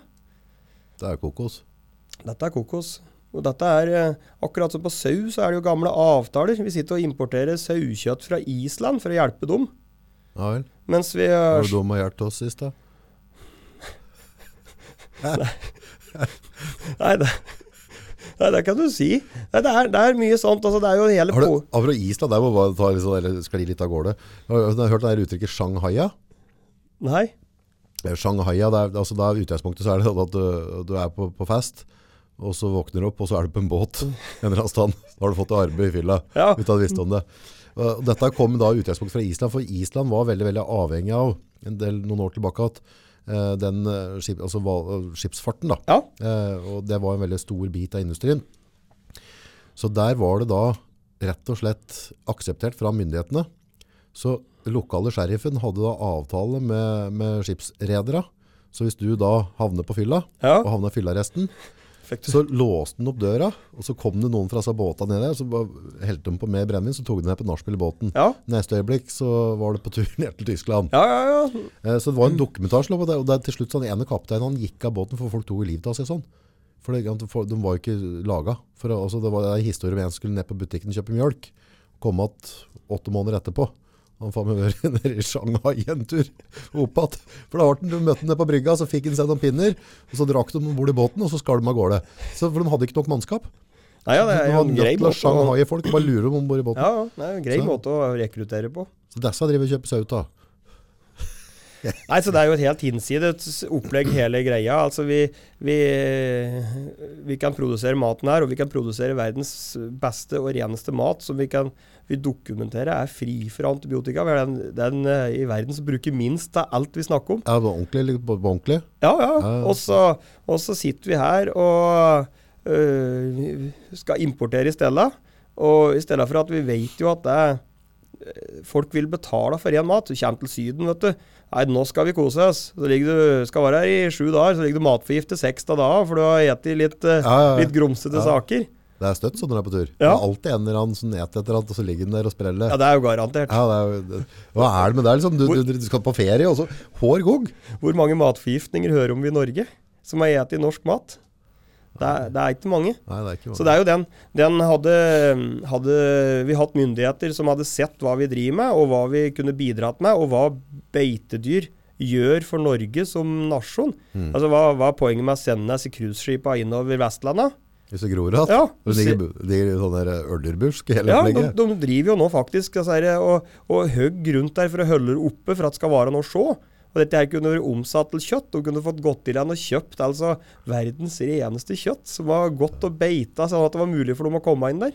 Speaker 1: Det er kokos.
Speaker 2: Dette er kokos. Og dette er, eh, akkurat som på sau, så er det jo gamle avtaler. Vi sitter og importerer saukjøtt fra Island for å hjelpe dem.
Speaker 1: Ja vel.
Speaker 2: Mens vi
Speaker 1: Hva var
Speaker 2: har
Speaker 1: det de har hjulpet oss sist, da?
Speaker 2: Nei, det, nei, det kan du si. Nei, det, er, det er mye sånt. Altså, det er jo hele
Speaker 1: Har du,
Speaker 2: po...
Speaker 1: apropos Island, der må vi bare ta litt sånn, eller skli litt av gårde. Har du har du hørt det der uttrykket Shanghaia?
Speaker 2: Nei.
Speaker 1: Eh, Shanghaia, det er, altså, da er utgangspunktet så er det sånn at du, du er på, på fest, og så våkner du opp, og så er du på en båt en eller annen stand. Da har du fått deg arbeid i fylla,
Speaker 2: Ja.
Speaker 1: uten at du visste om det. Og dette kom da i utgangspunkt fra Island, for Island var veldig, veldig avhengig av, en del noen år tilbake, at eh, den eh, skip, altså, hval- skipsfarten da,
Speaker 2: Ja.
Speaker 1: Eh, og det var en veldig stor bit av industrien. Så der var det da rett og slett akseptert fra myndighetene. Så lokale sheriffen hadde da avtale med, med skipsredere. Så hvis du da havner på fylla,
Speaker 2: ja.
Speaker 1: og havner i fyllaresten,
Speaker 2: Fikk du
Speaker 1: så låste den opp døra, og så kom det noen fra seg båta ned der, så bare heldte de på mer brennevin, så tok de ned på nachspiel i båten.
Speaker 2: Ja.
Speaker 1: Neste øyeblikk så var det på tur ned til Tyskland.
Speaker 2: Ja, ja, ja.
Speaker 1: Eh, Så det var en
Speaker 2: Mm.
Speaker 1: dokumentasje på det, og det er til slutt sånn ene kapteinen han gikk av båten for folk tok livet av seg sånn. For, det, at for de var jo ikke laget. For, altså, det var en historie om en som skulle ned på butikken og kjøpe mjølk. Kom at åtte måneder etterpå. Han faen meg vært nede i Shanghai en tur opp att. For da var den, du møtte han ned på brygga, så fikk han seg noen pinner, og så drakk de ombord i båten, og så skar de av gårde. Så, for de hadde ikke nok mannskap.
Speaker 2: Nei, ja, det er
Speaker 1: de
Speaker 2: jo
Speaker 1: var
Speaker 2: en
Speaker 1: nødt
Speaker 2: grei
Speaker 1: til å
Speaker 2: måte å,
Speaker 1: Shanghai folk, bare lure dem ombord i båten.
Speaker 2: ja, ja, det er en grei
Speaker 1: Så-
Speaker 2: måte å rekruttere på.
Speaker 1: Så disse driver og kjøper sauta.
Speaker 2: Nei, så det er jo et helt hinsides opplegg hele greia. Altså vi, vi, vi kan produsere maten her, og vi kan produsere verdens beste og reneste mat som vi kan vi dokumentere er fri for antibiotika. Vi er den, den eh, i verden som bruker minst av alt vi snakker om.
Speaker 1: Ja, det var ordentlig, eller på, på ordentlig.
Speaker 2: Ja, ja.
Speaker 1: Ja, ja.
Speaker 2: Og så, og så sitter vi her og øh, skal importere i stedet. Og i stedet for at vi vet jo at det, øh, folk vil betale for ren mat. Du kommer til Syden, vet du. Nei, nå skal vi kose oss. Så ligger du, skal være her i sju dager, så ligger du matforgiftet seks av dager, for du har spist litt, øh,
Speaker 1: Ja, ja, ja.
Speaker 2: litt grumsete
Speaker 1: Ja.
Speaker 2: saker.
Speaker 1: Det er støtt sånn når det er på tur.
Speaker 2: Ja.
Speaker 1: Det er alltid en eller annen som neter etter at, og så ligger den der og spreller.
Speaker 2: Ja,
Speaker 1: Ja,
Speaker 2: det er jo garantert.
Speaker 1: det er, jo- det- hva er det med deg, liksom? Du,
Speaker 2: Hvor-
Speaker 1: du, du skal på ferie, og så hår gogg.
Speaker 2: Hvor mange matforgiftninger hører om vi i Norge som har spist norsk mat? Det er, det er ikke mange.
Speaker 1: Nei, det er ikke
Speaker 2: Så det er jo den. Den hadde, hadde vi hatt myndigheter som hadde sett hva vi driver med, og hva vi kunne bidratt med, og hva beitedyr gjør for Norge som nasjon.
Speaker 1: Mm.
Speaker 2: Altså, hva, hva er poenget med å sende disse cruiseskipa innover Vestlandet?
Speaker 1: Hvis du gror hatt,
Speaker 2: Ja,
Speaker 1: og
Speaker 2: du
Speaker 1: det
Speaker 2: ser-
Speaker 1: ligger, ligger sånn der ørnerbusk i hele
Speaker 2: ja de,
Speaker 1: opplegget.
Speaker 2: de driver jo nå faktisk altså, her, og, og høgg rundt der for å holde det oppe for at det skal være noe å se. Og dette her kunne vært omsatt til kjøtt. De kunne fått gått i land og kjøpt altså verdens reneste kjøtt, som var godt og beita, sånn at det var mulig for dem å komme inn der.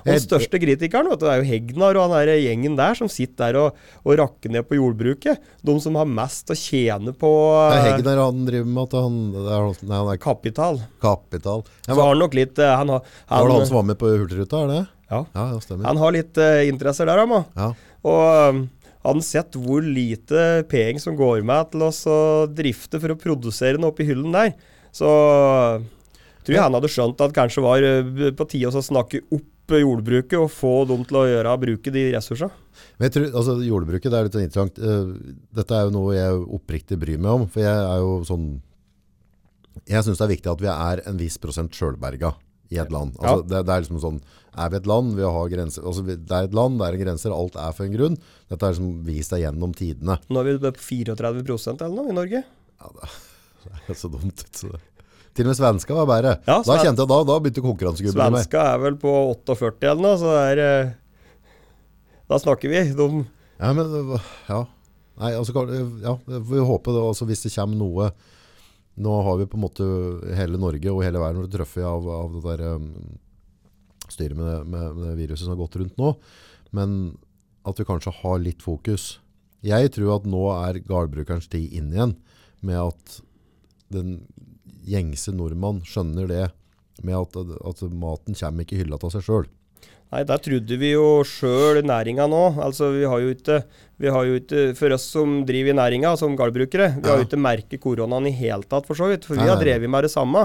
Speaker 2: Og den
Speaker 1: Jeg-
Speaker 2: største kritikeren vet du, det er jo Hegnar og han der gjengen der som sitter der og, og rakker ned på jordbruket. De som har mest å tjene på
Speaker 1: Det er
Speaker 2: eh,
Speaker 1: Hegnar han driver med at han, det er, han- nei, han er
Speaker 2: kapital.
Speaker 1: kapital. Ja,
Speaker 2: Så
Speaker 1: men,
Speaker 2: har han nok litt eh, Han har,
Speaker 1: var det han
Speaker 2: han,
Speaker 1: som var med på Hurtigruta, er det?
Speaker 2: ja,
Speaker 1: Ja, det stemmer.
Speaker 2: han har litt eh, interesser der, han òg.
Speaker 1: Ja.
Speaker 2: Og um, han sett hvor lite peng som går med til oss å drifte for å produsere den oppe i hyllen der. Så um, tror jeg han hadde skjønt at kanskje var uh, på tide å snakke opp uh, jordbruket og få dem til å gjøre bruke de ressursene.
Speaker 1: Men jeg tror, altså jordbruket, det er litt sånn interessant. Eh, Dette er jo noe jeg oppriktig bryr meg om, for jeg er jo sånn, jeg synes det er viktig at vi er en viss prosent selvberga i et land. Altså, det, det er liksom sånn, er vi et land, vi har grenser, altså vi, det er et land, det er en grenser, alt er for en grunn. Dette er liksom vist deg gjennom tidene.
Speaker 2: Nå er vi på 34 eller noe i Norge.
Speaker 1: Det er så dumt. ut, Så det. Til og med svenska var bedre.
Speaker 2: Ja,
Speaker 1: da
Speaker 2: sve-
Speaker 1: kjente jeg da, da begynte konkurransegubben med.
Speaker 2: Svenska er vel på 48 eller noe, så det er eh, Da snakker vi. De,
Speaker 1: Ja, men øh, ja. Nei, altså, Karl, øh, ja, vi håper det, altså, hvis det kommer noe Nå har vi på en måte hele Norge og hele verden blitt truffet av, av det der um, styret med, det- med, med det viruset som har gått rundt nå. Men at vi kanskje har litt fokus. Jeg tror at nå er gardbrukerens tid inn igjen med at den gjengse nordmann skjønner det med at, at maten kommer ikke i hylla av seg sjøl.
Speaker 2: Nei, der trodde vi jo sjøl næringa nå. Altså, vi har jo ikke vi har jo ikke, For oss som driver i næringa, som gardbrukere, vi har
Speaker 1: Ja.
Speaker 2: jo ikke merket koronaen i hele tatt, for så vidt. For
Speaker 1: Nei,
Speaker 2: vi har
Speaker 1: nei, nei.
Speaker 2: drevet med det samme.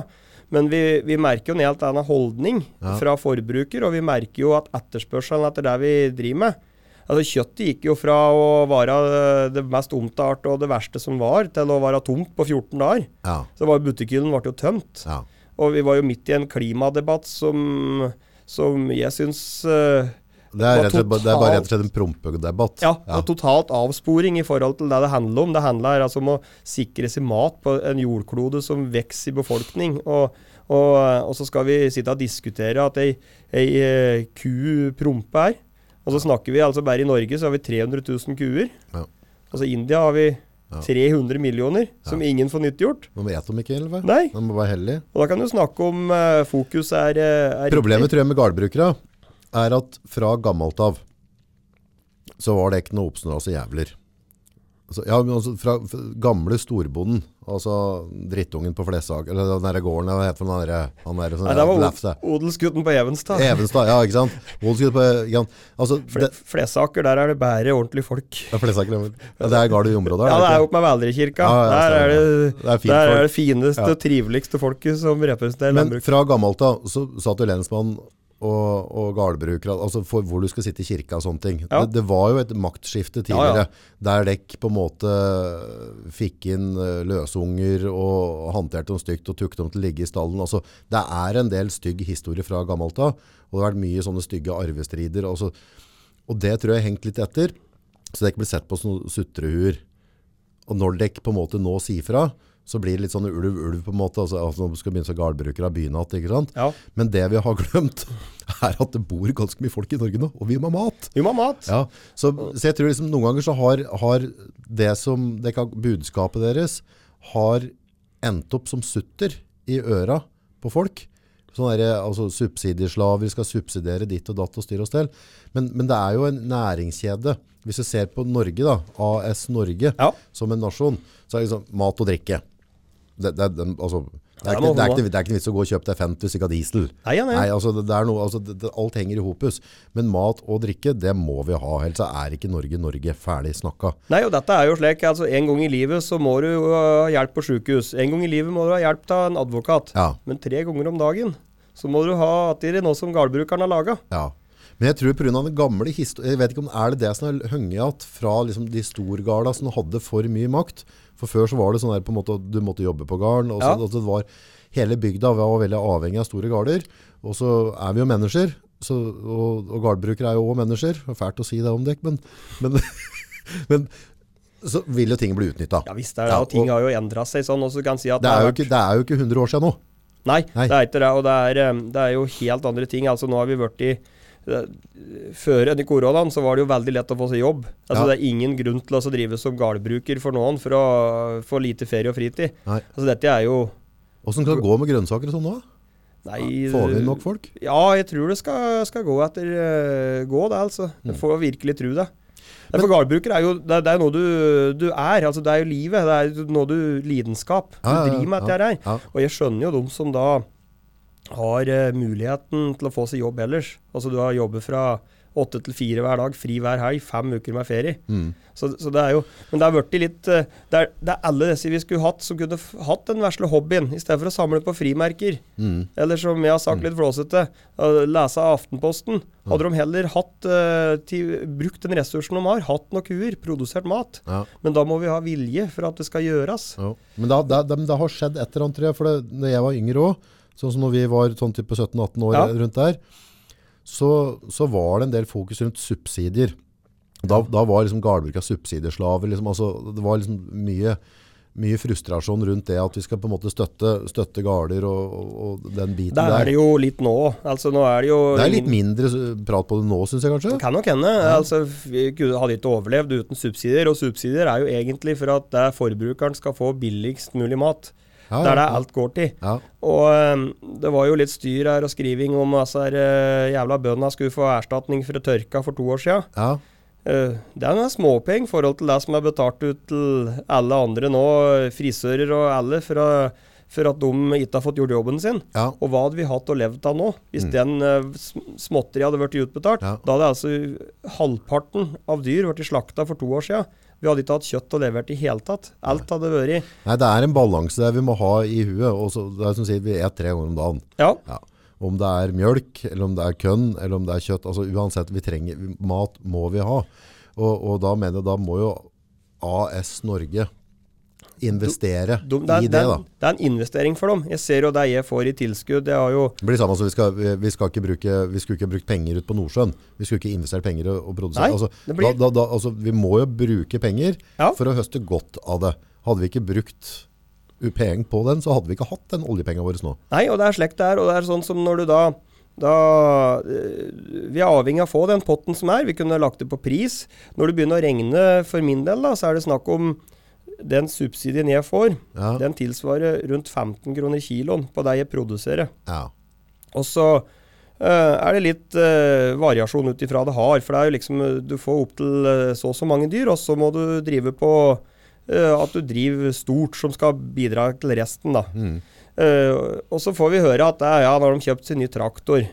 Speaker 2: Men vi, vi merker jo en helt annen holdning
Speaker 1: Ja.
Speaker 2: fra forbruker, og vi merker jo at etterspørselen etter det vi driver med Altså, Kjøttet gikk jo fra å være eh, det mest omtalte og det verste som var, til å være tomt på 14 dager.
Speaker 1: Ja,
Speaker 2: Så var jo butikkhyllen ble jo tømt.
Speaker 1: ja.
Speaker 2: Og vi var jo midt i en klimadebatt som, som jeg syns eh,
Speaker 1: Det er,
Speaker 2: var
Speaker 1: rett og slett, ba- det er bare rett og
Speaker 2: totalt-
Speaker 1: slett en prompedebatt.
Speaker 2: Ja, og totalt avsporing i forhold til det det handler om. Det handler altså om å sikre seg mat på en jordklode som vokser i befolkning. Og, og, og så skal vi sitte og diskutere at ei, ei eh, ku prompe her. Og så snakker vi altså bare i Norge så har vi 300 000 kuer.
Speaker 1: Ja.
Speaker 2: Altså India har vi
Speaker 1: Ja.
Speaker 2: 300 millioner som
Speaker 1: Ja.
Speaker 2: ingen får nyttiggjort.
Speaker 1: Man vet om ikke, eller hva?
Speaker 2: Nei.
Speaker 1: Man må være heldig.
Speaker 2: Og da kan du snakke om eh, fokus er, eh, er
Speaker 1: Problemet
Speaker 2: riktig.
Speaker 1: tror jeg med gardbrukere er at fra gammelt av så var det ikke noe oppsnåelse jævler. Altså, ja, men altså fra fra gamle storbonden, altså drittungen på Flesag, eller den der gården, eller hva heter den der, han der som
Speaker 2: Nei, det var
Speaker 1: lefse.
Speaker 2: od- odelsgutten på Evenstad.
Speaker 1: Evenstad, ja, ikke sant? Odelsgutt på, ikke sant? Altså,
Speaker 2: Fle,
Speaker 1: det,
Speaker 2: Flesaker, der er det bare ordentlige folk.
Speaker 1: ja, Flesag, ja, det er gard i området.
Speaker 2: Ja, det er
Speaker 1: ikke?
Speaker 2: oppe med Vælerikirka.
Speaker 1: Ja, ja,
Speaker 2: der er det,
Speaker 1: stemmer. Det er fint
Speaker 2: der
Speaker 1: folk.
Speaker 2: er det
Speaker 1: Ja.
Speaker 2: fineste og triveligste folket som representerer
Speaker 1: Men
Speaker 2: landbruk.
Speaker 1: fra gammelt av så satt jo lensmann og, og gardbrukere, altså for hvor du skal sitte i kirka og sånne ting.
Speaker 2: Ja.
Speaker 1: Det, det var jo et maktskifte
Speaker 2: Ja, ja.
Speaker 1: tidligere, der dekk på en måte fikk inn eh, løsunger og håndterte dem stygt og tukte dem til å ligge i stallen. Altså, det er en del stygg historie fra gammelt av, og det har vært mye sånne stygge arvestrider. Altså, og det tror jeg har hengt litt etter, så det ikke blir sett på som noen sutrehuer. Og når dere på en måte nå sier fra, så blir det litt sånn ulv-ulv på en måte. Altså, altså når du skal begynne som gardbruker av byen igjen, ikke sant?
Speaker 2: Ja.
Speaker 1: Men det vi har glemt, er at det bor ganske mye folk i Norge nå, og vi må ha mat.
Speaker 2: Vi må ha mat.
Speaker 1: Ja, så, så jeg tror liksom noen ganger så har, har det som dere har- budskapet deres har endt opp som sutter i øra på folk. Sånn der, altså subsidieslaver skal subsidiere ditt og datt og styre og stell. Men, men det er jo en næringskjede. Hvis du ser på Norge da, AS Norge
Speaker 2: Ja.
Speaker 1: som en nasjon, så er det liksom mat og drikke. Det, det, det, altså, det,
Speaker 2: Ja,
Speaker 1: er ikke, det, er
Speaker 2: det må holde.
Speaker 1: ikke, det er ikke noe vits å gå og kjøpe deg 50 stykker diesel.
Speaker 2: Nei, ja, nei.
Speaker 1: Nei, altså, det, det er noe, altså, det, det, alt henger i hopus. Men mat og drikke, det må vi ha. Ellers så er ikke Norge Norge ferdig snakka.
Speaker 2: Nei, og dette er jo slik. altså En gang i livet så må du jo ha hjelp på sykehus. En gang i livet må du ha hjelp av en advokat.
Speaker 1: Ja,
Speaker 2: Men tre ganger om dagen så må du ha attiri noe som gardbrukeren har laga.
Speaker 1: ja. Men jeg tror på grunn av den gamle historien, jeg vet ikke om er det det som har hengt igjen fra liksom, de storgarda som hadde for mye makt. For før så var det sånn der på en måte at du måtte jobbe på garden, og så,
Speaker 2: Ja.
Speaker 1: og så var hele bygda var veldig avhengig av store garder. Og så er vi jo mennesker, så, og, og gardbrukere er jo også mennesker. Det er fælt å si det om dere, men, men, men så vil jo ting bli utnytta.
Speaker 2: Ja visst er det,
Speaker 1: Ja,
Speaker 2: og ting
Speaker 1: og-
Speaker 2: har jo endra seg sånn. Og så kan jeg si at
Speaker 1: Det
Speaker 2: har
Speaker 1: er, jo
Speaker 2: vært-
Speaker 1: ikke, det er jo ikke 100 år siden nå.
Speaker 2: Nei,
Speaker 1: Nei.
Speaker 2: det er ikke det. Og det er, eh, det er jo helt andre ting. Altså Nå har vi vært i eh, Før enn i koronaen så var det jo veldig lett å få seg jobb. Altså
Speaker 1: Ja.
Speaker 2: Det er ingen grunn til å så drive som gardbruker for noen for å få lite ferie og fritid.
Speaker 1: Nei.
Speaker 2: Altså Dette er jo
Speaker 1: Åssen skal det gå med grønnsaker og sånn nå?
Speaker 2: Nei
Speaker 1: Får vi nok folk?
Speaker 2: Ja, jeg tror det skal, skal gå etter eh, Gå, det, altså.
Speaker 1: Mm.
Speaker 2: Jeg får virkelig tro det. Men, for gardbruker er jo det, det er noe du, du er. Altså Det er jo livet. Det er noe du Lidenskap. Du
Speaker 1: Ja, ja,
Speaker 2: driver med
Speaker 1: ja,
Speaker 2: dette her.
Speaker 1: ja.
Speaker 2: Og jeg skjønner jo de som da har eh, muligheten til å få seg jobb ellers. Altså du har jobbet fra åtte til fire hver dag, fri hver helg, fem uker med ferie.
Speaker 1: Mm.
Speaker 2: Så, så det er jo, Men det er blitt litt eh, det er, det er alle disse vi skulle hatt, som kunne f hatt den vesle hobbyen, i stedet for å samle på frimerker.
Speaker 1: Mm.
Speaker 2: Eller som jeg har sagt litt flåsete, eh, lese Aftenposten.
Speaker 1: Mm.
Speaker 2: Hadde de heller hatt, eh, ti- brukt den ressursen de har, hatt noen kuer, produsert mat.
Speaker 1: Ja.
Speaker 2: Men da må vi ha vilje for at det skal gjøres.
Speaker 1: Jo. Men det, det, det, det har skjedd et eller annet, tror jeg. For det, når jeg var yngre òg, sånn som når vi var sånn type 17-18 år
Speaker 2: Ja.
Speaker 1: rundt der, så, så var det en del fokus rundt subsidier. Da, da var liksom gardbruka subsidieslaver. Liksom, altså, det var liksom mye, mye frustrasjon rundt det at vi skal på en måte støtte, støtte garder og, og, og den biten
Speaker 2: Der er det jo litt nå òg. Altså, nå er det jo
Speaker 1: det er litt
Speaker 2: ingen-
Speaker 1: mindre eh, prat på det nå, syns jeg kanskje.
Speaker 2: Det kan nok hende. Altså, vi kunne- hadde ikke overlevd uten subsidier. Og subsidier er jo egentlig for at det forbrukeren skal få billigst mulig mat.
Speaker 1: Ja,
Speaker 2: Der det
Speaker 1: ja,
Speaker 2: er alt går til.
Speaker 1: ja.
Speaker 2: Og øhm, det var jo litt styr her og skriving om at altså, uh, jævla bøndene skulle få erstatning for tørka for to år siden.
Speaker 1: ja.
Speaker 2: Eh, det er en småpeng i forhold til det som er betalt ut til alle andre nå, eh, frisører og alle, for, å- for at de ikke har fått gjort jobben sin.
Speaker 1: ja.
Speaker 2: Og hva hadde vi hatt og levd av nå, hvis
Speaker 1: Mm.
Speaker 2: den uh, småtteri hadde blitt utbetalt?
Speaker 1: Ja.
Speaker 2: Da hadde altså halvparten av dyr blitt slakta for to år siden. Vi hadde ikke hatt kjøtt å levere til i hele tatt. Alt hadde vært
Speaker 1: Nei, det er en balanse der vi må ha i huet. Og så, det er som sier, vi et tre ganger om dagen.
Speaker 2: Ja,
Speaker 1: Ja. Om det er mjølk, eller om det er kønn, eller om det er kjøtt. Altså uansett, vi trenger, vi- mat må vi ha. Og, og da mener jeg, da må jo AS Norge investere
Speaker 2: De, det, er,
Speaker 1: i
Speaker 2: det,
Speaker 1: det,
Speaker 2: er,
Speaker 1: da.
Speaker 2: det er en investering for dem. Jeg ser jo det jeg får i tilskudd. Jeg har jo
Speaker 1: Det blir samme som vi, skal, vi- vi, skal ikke bruke, vi skulle ikke brukt penger ut på Nordsjøen. Vi skulle ikke investert penger og, og produsert.
Speaker 2: Nei,
Speaker 1: altså,
Speaker 2: det blir-
Speaker 1: da, da, da, altså, vi må jo bruke penger
Speaker 2: Ja.
Speaker 1: for å høste godt av det. Hadde vi ikke brukt penger på den, så hadde vi ikke hatt den oljepengen vår nå.
Speaker 2: Nei, og det er slekt det er. Og det er sånn som når du da da, eh, vi er avhengig av å få den potten som er. Vi kunne lagt det på pris. Når det begynner å regne, for min del, da, så er det snakk om den subsidien jeg får.
Speaker 1: Ja.
Speaker 2: Den tilsvarer rundt 15 kroner kiloen på det jeg produserer.
Speaker 1: Ja.
Speaker 2: Og så eh, er det litt eh, variasjon ut ifra det har. For det er jo liksom eh, Du får opptil uh, så og så mange dyr, og så må du drive på eh, at du driver stort, som skal bidra til resten, da.
Speaker 1: Mm.
Speaker 2: Eh, og så får vi høre at eh, ja, nå har de kjøpt sin nye traktor.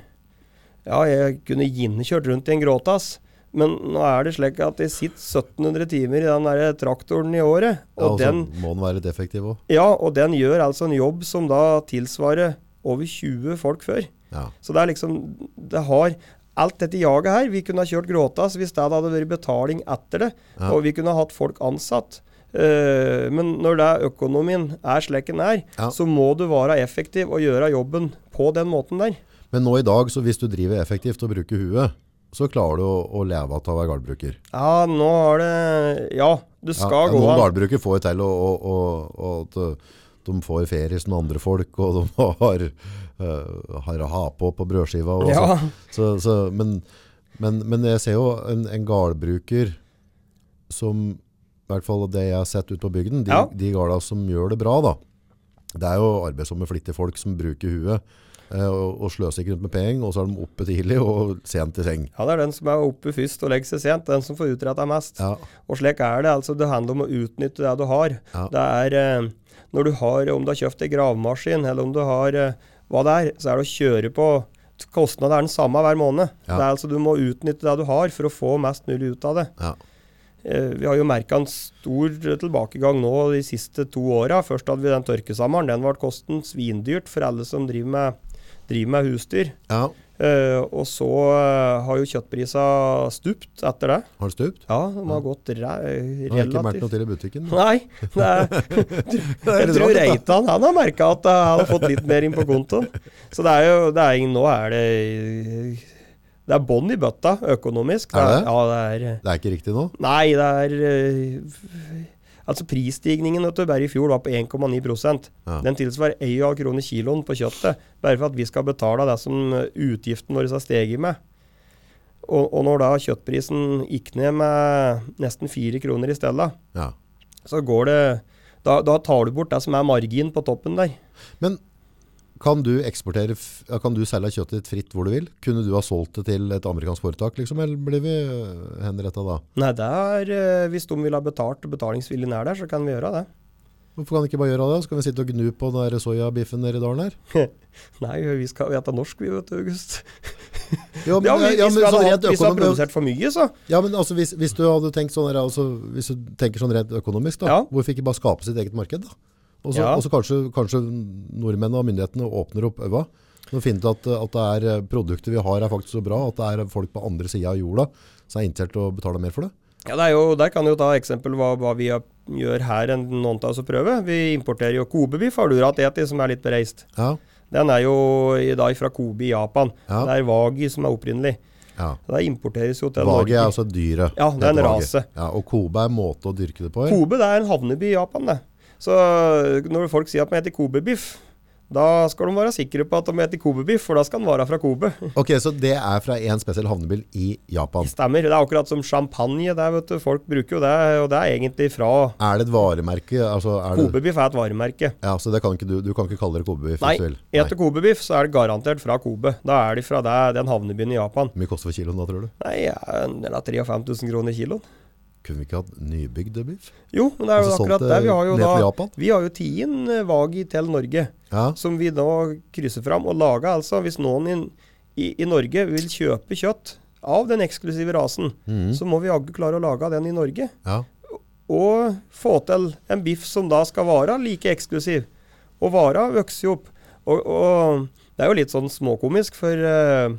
Speaker 2: Ja, jeg kunne gjerne kjørt rundt i en gråtass. Men nå er det slik at jeg sitter 1700 timer i den der traktoren i året.
Speaker 1: Ja, altså, og
Speaker 2: Og
Speaker 1: så
Speaker 2: den
Speaker 1: må den være litt effektiv òg.
Speaker 2: ja, og den gjør altså en jobb som da tilsvarer over 20 folk før.
Speaker 1: Ja.
Speaker 2: Så det er liksom Det har Alt dette jaget her Vi kunne ha kjørt gråtass hvis det hadde vært betaling etter det,
Speaker 1: Ja.
Speaker 2: og vi kunne ha hatt folk ansatt. Eh, men når det er økonomien er slik den er,
Speaker 1: Ja.
Speaker 2: så må du være effektiv og gjøre jobben på den måten der.
Speaker 1: Men nå i dag, så hvis du driver effektivt og bruker huet, så klarer du å, å leve av å være gardbruker.
Speaker 2: Ja, nå har det Ja, du
Speaker 1: Ja,
Speaker 2: skal
Speaker 1: ja,
Speaker 2: gå
Speaker 1: noen
Speaker 2: an.
Speaker 1: gardbrukere får jo til å- å- å- å- at øh, de får ferie som andre folk, og de har, øh, har å ha på på brødskiva. Og
Speaker 2: Ja,
Speaker 1: sånn. så, så, men, men, men jeg ser jo en, en gardbruker som, i hvert fall det jeg har sett ut på bygden, de,
Speaker 2: Ja.
Speaker 1: de garda som gjør det bra da, det er jo arbeidsomme flittige folk som bruker huet, eh, og, og sløser ikke rundt med peng, og så er de oppe tidlig og sent i seng.
Speaker 2: ja, det er den som er oppe først og legger seg sent, den som får utretta mest.
Speaker 1: Ja,
Speaker 2: Og slik er det. altså Det handler om å utnytte det du har.
Speaker 1: Ja.
Speaker 2: Det er eh, når du har, Om du har kjøpt en gravemaskin, eller om du har eh, hva det er, så er det å kjøre på Kostnaden er den samme hver måned.
Speaker 1: Ja.
Speaker 2: Det er altså Du må utnytte det du har for å få mest mulig ut av det.
Speaker 1: ja,
Speaker 2: Eh, vi har jo merka en stor tilbakegang nå de siste to åra. Først hadde vi den tørkesommeren. Den ble kosten svindyrt for alle som driver med, driver med husdyr.
Speaker 1: ja.
Speaker 2: Eh, og så eh, har jo kjøttprisa stupt etter det.
Speaker 1: Har det stupt?
Speaker 2: Ja, de har gått re
Speaker 1: Jeg har ikke merkt
Speaker 2: relativt
Speaker 1: noe til i butikken.
Speaker 2: Nei. Det er, jeg
Speaker 1: litt
Speaker 2: tror
Speaker 1: rart, dette.
Speaker 2: Reitan han har merka at eh, han har fått litt mer inn på kontoen. Så det er jo det er, ingen- Nå er det Det er bånn i bøtta økonomisk.
Speaker 1: Er det?
Speaker 2: Ja, det er
Speaker 1: Det er ikke riktig nå?
Speaker 2: Nei, det er eh, Altså prisstigningen vet du, bare i fjor var på 1,9
Speaker 1: Ja.
Speaker 2: Den tilsvarer 1,5 kroner kiloen på kjøttet. Bare for at vi skal betale det som eh, utgiften vår har steget med. Og, og når da kjøttprisen gikk ned med nesten 4 kroner i stedet,
Speaker 1: Ja.
Speaker 2: så går det da, da tar du bort det som er margin på toppen der.
Speaker 1: Men kan du eksportere, f- ja, kan du selge kjøttet ditt fritt hvor du vil? Kunne du ha solgt det til et amerikansk foretak, liksom, eller blir vi øh, henrettet da?
Speaker 2: Nei, det er eh, Hvis de vil ha betalt, og betalingsviljen er der, så kan vi gjøre det.
Speaker 1: Hvorfor kan vi ikke bare gjøre det? Så kan vi sitte og gnu på den der soyabiffen nede i dalen her.
Speaker 2: Nei, vi skal vi er norsk, vi, vet du, August.
Speaker 1: Jo, men,
Speaker 2: Ja, men,
Speaker 1: ja, ja,
Speaker 2: hvis,
Speaker 1: men,
Speaker 2: vi
Speaker 1: sånn
Speaker 2: hadde
Speaker 1: rent
Speaker 2: hatt, hvis vi hadde
Speaker 1: økonomisk,
Speaker 2: produsert for mye, så
Speaker 1: ja, men altså, hvis, hvis du hadde tenkt sånn, her, altså, hvis du tenker sånn rent økonomisk da,
Speaker 2: Ja.
Speaker 1: hvorfor ikke bare skape sitt eget marked da? Og så,
Speaker 2: Ja.
Speaker 1: og så kanskje, kanskje nordmennene og myndighetene åpner opp øva, og finner ut at, at det er eh, produkter vi har er faktisk så bra, at det er folk på andre siden av jorda som er interessert i å betale mer for det.
Speaker 2: Ja, det er jo, Der kan du jo ta eksempel hva, hva vi gjør her enn noen av oss å prøve. Vi importerer jo kobebiff, har du hatt eti, som er litt bereist.
Speaker 1: Ja,
Speaker 2: Den er jo i dag fra Kobe i Japan.
Speaker 1: Ja.
Speaker 2: Det er wagi som er opprinnelig.
Speaker 1: ja.
Speaker 2: Det importeres jo til
Speaker 1: Vage er
Speaker 2: Norge.
Speaker 1: altså dyret.
Speaker 2: Ja, det er en
Speaker 1: Heter vage.
Speaker 2: rase.
Speaker 1: Ja, og Kobe er en måte å dyrke det på. eller?
Speaker 2: Kobe det er en havneby i Japan, det. Så når folk sier at de heter kobebiff, da skal de være sikre på at de heter kobebiff, for da skal den være fra Kobe.
Speaker 1: Ok, så det er fra en spesiell havnebil i Japan.
Speaker 2: Stemmer. Det er akkurat som champagne. Det er, vet du, folk bruker jo det, og det er egentlig fra
Speaker 1: Er det et varemerke? Altså, er det,
Speaker 2: Kobebiff er et varemerke.
Speaker 1: ja, så det kan ikke du, du kan ikke kalle det Kobe hvis
Speaker 2: Nei,
Speaker 1: du vil.
Speaker 2: etter Kobe-biff så er det garantert fra Kobe. Da er de fra det, den havnebyen i Japan.
Speaker 1: Hvor mye koster for kiloen da, tror du?
Speaker 2: Nei, det er 5000 kroner kiloen.
Speaker 1: Kunne vi ikke hatt nybygd biff?
Speaker 2: Jo, men det er jo
Speaker 1: Altså,
Speaker 2: akkurat
Speaker 1: solgt,
Speaker 2: det. Vi har jo
Speaker 1: ned til
Speaker 2: da
Speaker 1: Japan?
Speaker 2: vi har jo tien eh, vagi til Norge,
Speaker 1: Ja,
Speaker 2: som vi nå krysser fram og lager. Altså, hvis noen i, i, i Norge vil kjøpe kjøtt av den eksklusive rasen,
Speaker 1: Mhm.
Speaker 2: så må vi jaggu klare å lage den i Norge.
Speaker 1: ja.
Speaker 2: Og få til en biff som da skal være like eksklusiv. Og vara vokser jo opp. Og, og det er jo litt sånn småkomisk, for eh,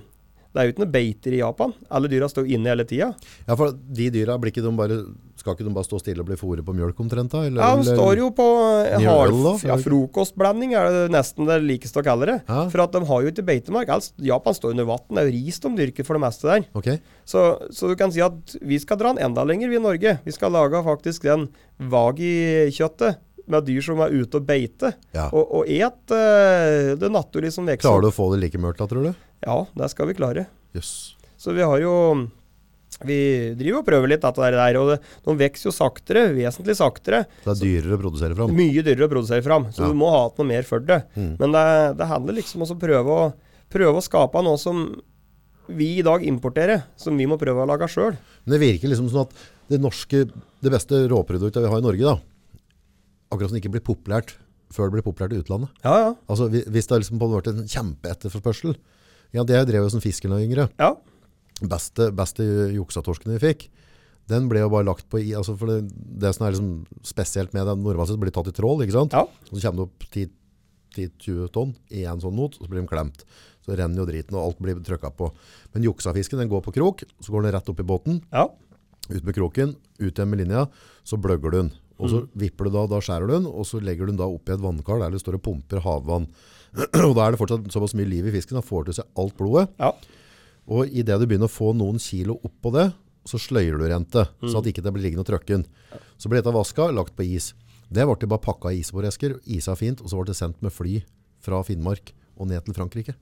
Speaker 2: Det er jo ikke noen beiter i Japan. Alle dyra står jo inne hele tida.
Speaker 1: Ja, for de dyra, blir ikke de bare, skal ikke de bare stå stille og bli fôret på mjølk omtrent da? Eller,
Speaker 2: Ja, de står jo på eh,
Speaker 1: Ny
Speaker 2: hard,
Speaker 1: øl da,
Speaker 2: ja,
Speaker 1: er det ikke?
Speaker 2: frokostblanding, er det nesten det likeste å kalle det.
Speaker 1: Ja.
Speaker 2: For at de har jo ikke beitemark. Alt, Japan står under vann. Det er jo ris de dyrker for det meste der.
Speaker 1: Ok,
Speaker 2: Så, så du kan si at vi skal dra den enda lenger, vi i Norge. Vi skal lage faktisk den vagi-kjøttet med dyr som er ute og beite.
Speaker 1: ja.
Speaker 2: Og, og et eh, det naturlige som vokser.
Speaker 1: Klarer du å få det like mørkt da, tror du?
Speaker 2: Ja, det skal vi klare.
Speaker 1: Jøss.
Speaker 2: Så vi har jo Vi driver og prøver litt dette der. Og det, de vokser jo saktere. Vesentlig saktere.
Speaker 1: Det er dyrere å produsere fram.
Speaker 2: Mye dyrere å produsere fram, så
Speaker 1: Ja.
Speaker 2: du må ha hatt noe mer for det.
Speaker 1: Mm.
Speaker 2: Men det, det handler liksom om å prøve, å prøve å skape noe som vi i dag importerer, som vi må prøve å lage sjøl.
Speaker 1: Men det virker liksom sånn at det norske, det beste råproduktet vi har i Norge da, akkurat som det ikke blir populært før det blir populært i utlandet.
Speaker 2: Ja, ja.
Speaker 1: Altså, hvi- hvis det er liksom på en måte en kjempeetterforspørsel, ja, det drev jo som fisken og yngre.
Speaker 2: ja.
Speaker 1: beste, beste juksatorsken vi fikk, den ble jo bare lagt på i, altså for det, det som er liksom spesielt med den, normalt sett blir det tatt i trål, ikke sant?
Speaker 2: Ja.
Speaker 1: Og så kommer det opp 10 10-20 tonn i en sånn not, og så blir de klemt. Så renner jo driten, og alt blir trøkket på. Men juksafisken, den går på krok, så går den rett opp i båten,
Speaker 2: ja.
Speaker 1: ut med kroken, ut igjen med linja, så bløgger du den. Og
Speaker 2: Mm.
Speaker 1: så vipper du da, da skjærer du den, og så legger du den da opp i et vannkar der du står og pumper havvann. og da er det fortsatt såpass mye liv i fisken, da får du til seg alt blodet,
Speaker 2: ja.
Speaker 1: og i det du begynner å få noen kilo opp på det, så sløyer du rente,
Speaker 2: Mm.
Speaker 1: så at ikke det blir liggende og trøkken. Så ble dette vasket, lagt på is. Det ble det bare pakket i isboresker, isa fint, og så ble det sendt med fly fra Finnmark og ned til Frankrike.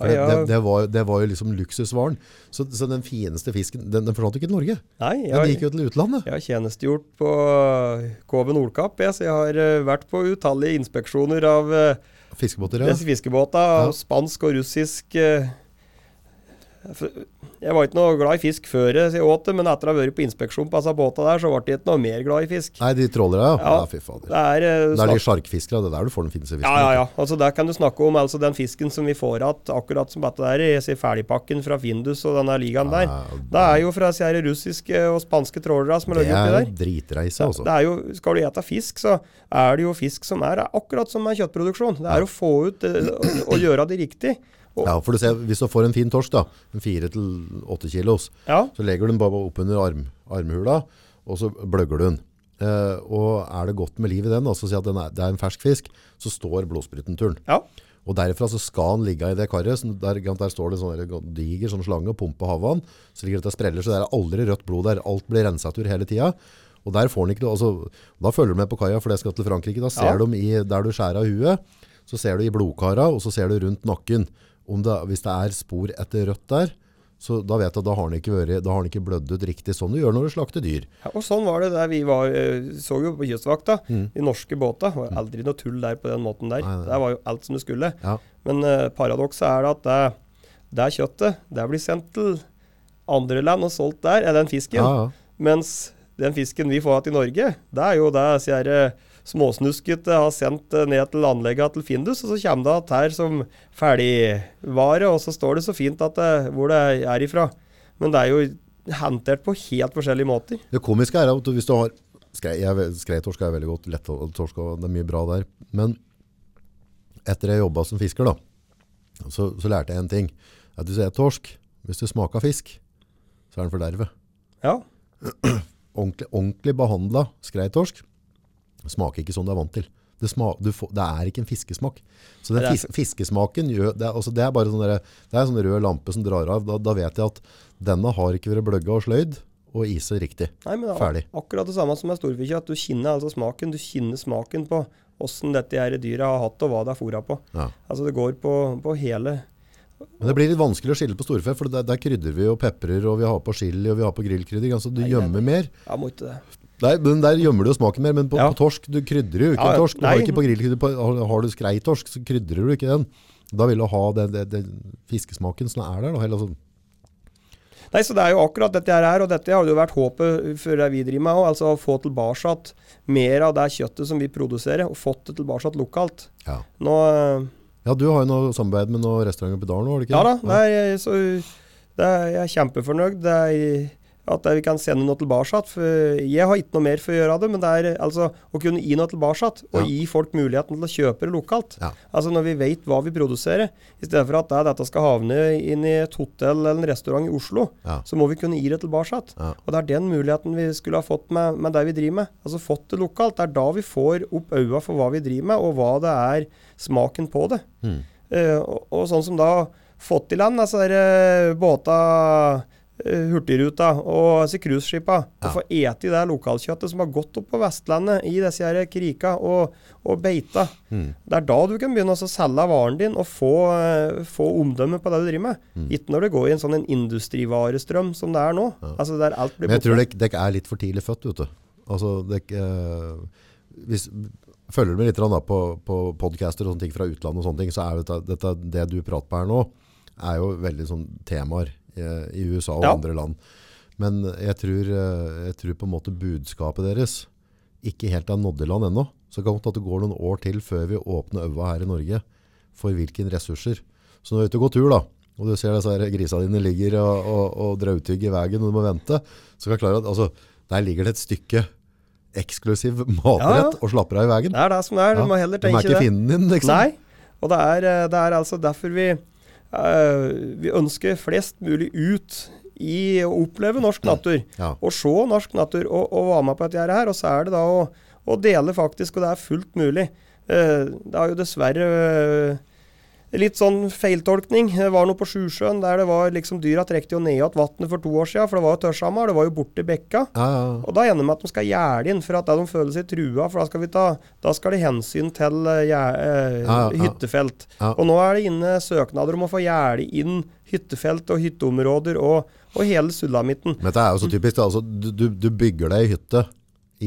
Speaker 1: For det,
Speaker 2: Ja,
Speaker 1: det,
Speaker 2: ja.
Speaker 1: det, var, det var jo liksom luksusvaren. Så, så den fineste fisken, den, den forsvant jo ikke til Norge.
Speaker 2: Nei,
Speaker 1: Den
Speaker 2: jeg,
Speaker 1: gikk jo til utlandet.
Speaker 2: jeg har tjenestegjort på eh, KV Nordkapp, jeg, så jeg har eh, vært på utallige inspeksjoner av eh,
Speaker 1: Fiskebåter, ja.
Speaker 2: disse fiskebåta,
Speaker 1: Ja.
Speaker 2: og spansk og russisk eh, f- Jeg var ikke noe glad i fisk før eh, jeg åt det, men etter å ha vært på inspeksjon på disse båta der, så ble jeg ikke noe mer glad i fisk.
Speaker 1: Nei, de trålere, ja. ja.
Speaker 2: Ja.
Speaker 1: fy fader.
Speaker 2: Det er, eh,
Speaker 1: Det er
Speaker 2: snakk-
Speaker 1: de sjarkfiskere, det er der du får den fineste fisken.
Speaker 2: ja, ja, ja. Altså, der kan du snakke om altså, den fisken som vi får igjen, akkurat som dette der, jeg ser ferdigpakken fra Findus og denne ligaen der.
Speaker 1: Ah.
Speaker 2: Det er jo fra disse her russiske og spanske trålere som er
Speaker 1: det
Speaker 2: lagd oppi
Speaker 1: er
Speaker 2: der.
Speaker 1: dritreise, altså.
Speaker 2: Det er jo, skal du ete fisk, så er det jo fisk som er, er akkurat som med kjøttproduksjon. Det er å få ut eh, og, og gjøre det riktig. Og,
Speaker 1: Ja, for du ser, hvis du får en fin torsk da, en 4-8 kilos,
Speaker 2: ja.
Speaker 1: så legger du den bare opp under arm, armhula, og så bløgger du den. Eh, og er det godt med liv i den, altså si at den er, det er en fersk fisk, så står blodsprutenturen.
Speaker 2: ja.
Speaker 1: Og derfra så skal den ligge i det karret, så der, der står det en sånn der diger sånn slange og pumper havvann, så ligger det og spreller, så det er aldri rødt blod der, alt blir renset ut hele tiden. Og der får den ikke, noe- altså, da følger du med på kaja, for det skal til Frankrike, da ser
Speaker 2: Ja.
Speaker 1: de i, der du skjærer av huet, så ser du i blodkara, og så ser du rundt nakken. Om det, hvis det er spor etter rødt der, så da vet jeg at da har den ikke, vært, da har den ikke blødd ut riktig, sånn du gjør når du slakter dyr.
Speaker 2: Ja, og sånn var det der vi var, eh, så jo på kystvakta. De norske båta var jo aldri noe tull der på den måten der.
Speaker 1: Mm. Nei, nei.
Speaker 2: Der var jo alt som det skulle.
Speaker 1: Ja.
Speaker 2: Men eh, paradokset er at det, det kjøttet, det blir sendt til andre land og solgt der, er den fisken.
Speaker 1: Ja, ja.
Speaker 2: Mens den fisken vi får til Norge, det er jo det sier eh, småsnusket eh, har sendt eh, ned til anlegget til Findus, og så kommer det at her som ferdigvare, og så står det så fint at det, hvor det er ifra. Men det er jo hentert på helt forskjellige måter.
Speaker 1: Det komiske er at hvis du har skrei, jeg vet- Skreitorsk er veldig godt, lettorsk og det er mye bra der. Men etter jeg jobba som fisker, da, så, så lærte jeg en ting. At hvis det er torsk, hvis det smaker fisk, så er den fordervet.
Speaker 2: Ja,
Speaker 1: Ordentlig, ordentlig behandla skreitorsk smaker ikke sånn du er vant til. Det, sma- du får, det er ikke en fiskesmak. Så den
Speaker 2: Nei, det
Speaker 1: fis,
Speaker 2: er
Speaker 1: fiskesmaken gjør, det, er, altså det er bare sånn derre- det er en sånn rød lampe som drar av. Da, da vet jeg at denne har ikke vært bløgga og sløyd og iset riktig.
Speaker 2: Nei, men det er
Speaker 1: Ferdig.
Speaker 2: ak- akkurat det samme som med storfekjøtt. Du kjenner altså smaken. Du kjenner smaken på åssen dette her dyret har hatt, og hva det er fôra på.
Speaker 1: Ja.
Speaker 2: Altså, det går på, på hele
Speaker 1: Men det blir litt vanskelig å skille på storfe, for der, der krydder vi og peprer, og vi har på chili, og vi har på grillkrydder, altså du
Speaker 2: Nei,
Speaker 1: gjemmer mer.
Speaker 2: Ja, må ikke det.
Speaker 1: Nei, men der gjemmer du jo smaken mer, men på,
Speaker 2: Ja.
Speaker 1: på torsk, du krydder jo ikke
Speaker 2: Ja, ja.
Speaker 1: en torsk. Du har,
Speaker 2: Nei.
Speaker 1: ikke på grillkrydder, på, har- har du skreitorsk, så krydder du ikke den. Da vil du ha den, den, den fiskesmaken som er der, da, eller sånn.
Speaker 2: Nei, så det er jo akkurat dette her, er, og dette har jo vært håpet for det vi driver med òg. Altså å få tilbake at mer av det kjøttet som vi produserer, og fått det tilbake at lokalt.
Speaker 1: Ja.
Speaker 2: Nå, eh,
Speaker 1: ja, du har jo noe samarbeid med noen restauranter på Dalen, har du ikke?
Speaker 2: ja da, det er, så, det er, jeg er kjempefornøyd. Det er, At vi kan sende noe tilbake. igjen, For jeg har ikke noe mer for å gjøre det, men det er altså å kunne gi noe tilbake igjen, og
Speaker 1: Ja.
Speaker 2: gi folk muligheten til å kjøpe det lokalt.
Speaker 1: Ja.
Speaker 2: Altså Når vi vet hva vi produserer, i stedet for at det, dette skal havne inn i et hotell eller en restaurant i Oslo,
Speaker 1: Ja.
Speaker 2: så må vi kunne gi det tilbake igjen.
Speaker 1: Ja.
Speaker 2: Og det er den muligheten vi skulle ha fått med, med det vi driver med. Altså fått det lokalt. Det er da vi får opp øya for hva vi driver med, og hva det er smaken på det.
Speaker 1: Mm.
Speaker 2: Eh, og, og sånn som da fått i land disse uh, båta, eh, hurtigruta og disse cruiseskipa.
Speaker 1: Ja.
Speaker 2: Og få ete i det lokalkjøttet som har gått opp på Vestlandet i disse her krika og, og beita.
Speaker 1: Mm.
Speaker 2: Det er da du kan begynne også å selge varen din og få, eh, få omdømme på det du driver med.
Speaker 1: Mm.
Speaker 2: Ikke når det går i en sånn en industrivarestrøm som det er nå. Altså der alt blir
Speaker 1: Men jeg tror
Speaker 2: borte.
Speaker 1: dere dere er litt for tidlig født, vet du. Altså, dere, eh, hvis, følger du med litt grann da, på, på podcaster og sånne ting fra utlandet, og sånne ting, så er dette, dette, det du prater på her nå, er jo veldig sånn temaer eh, i USA og
Speaker 2: Ja.
Speaker 1: andre land. Men jeg tror, eh, jeg tror på en måte budskapet deres ikke helt er nådd i land ennå. Så det kan godt at det går noen år til før vi åpner øva her i Norge for hvilke ressurser. Så når du er ute og går tur da, og du ser disse her grisa dine ligger og, og, og drautygg i veien og du må vente, så kan jeg klare at altså, der ligger det et stykke eksklusiv
Speaker 2: Ja,
Speaker 1: matrett
Speaker 2: ja.
Speaker 1: og slapper av i veien.
Speaker 2: Det er det som det er.
Speaker 1: Ja,
Speaker 2: Du må heller
Speaker 1: De er
Speaker 2: tenke
Speaker 1: ikke
Speaker 2: det.
Speaker 1: fienden din, liksom.
Speaker 2: Nei, og det er, eh, det er altså derfor vi, eh, vi ønsker flest mulig ut i å oppleve norsk natur.
Speaker 1: Ja.
Speaker 2: Og se norsk natur og, og være med på dette her. Og så er det da å, å dele, faktisk, og det er fullt mulig. Eh, det er jo dessverre eh, Litt sånn feiltolkning. Det var noe på Sjusjøen der det var liksom dyra trekte jo ned igjen vannet for to år siden, for det var jo tørrsammer. Det var jo borti bekka.
Speaker 1: Ja, ja.
Speaker 2: Og da ender det med at de skal gjerde inn, for at det de føler seg trua, for da skal, vi ta, da skal det hensyn til eh, gjer- eh,
Speaker 1: Ja, ja.
Speaker 2: hyttefelt.
Speaker 1: Ja.
Speaker 2: Og nå er det inne søknader om å få gjerde inn hyttefelt og hytteområder og, og hele sulamitten.
Speaker 1: Men dette er jo så typisk. da. Altså, du, du, du bygger deg i hytte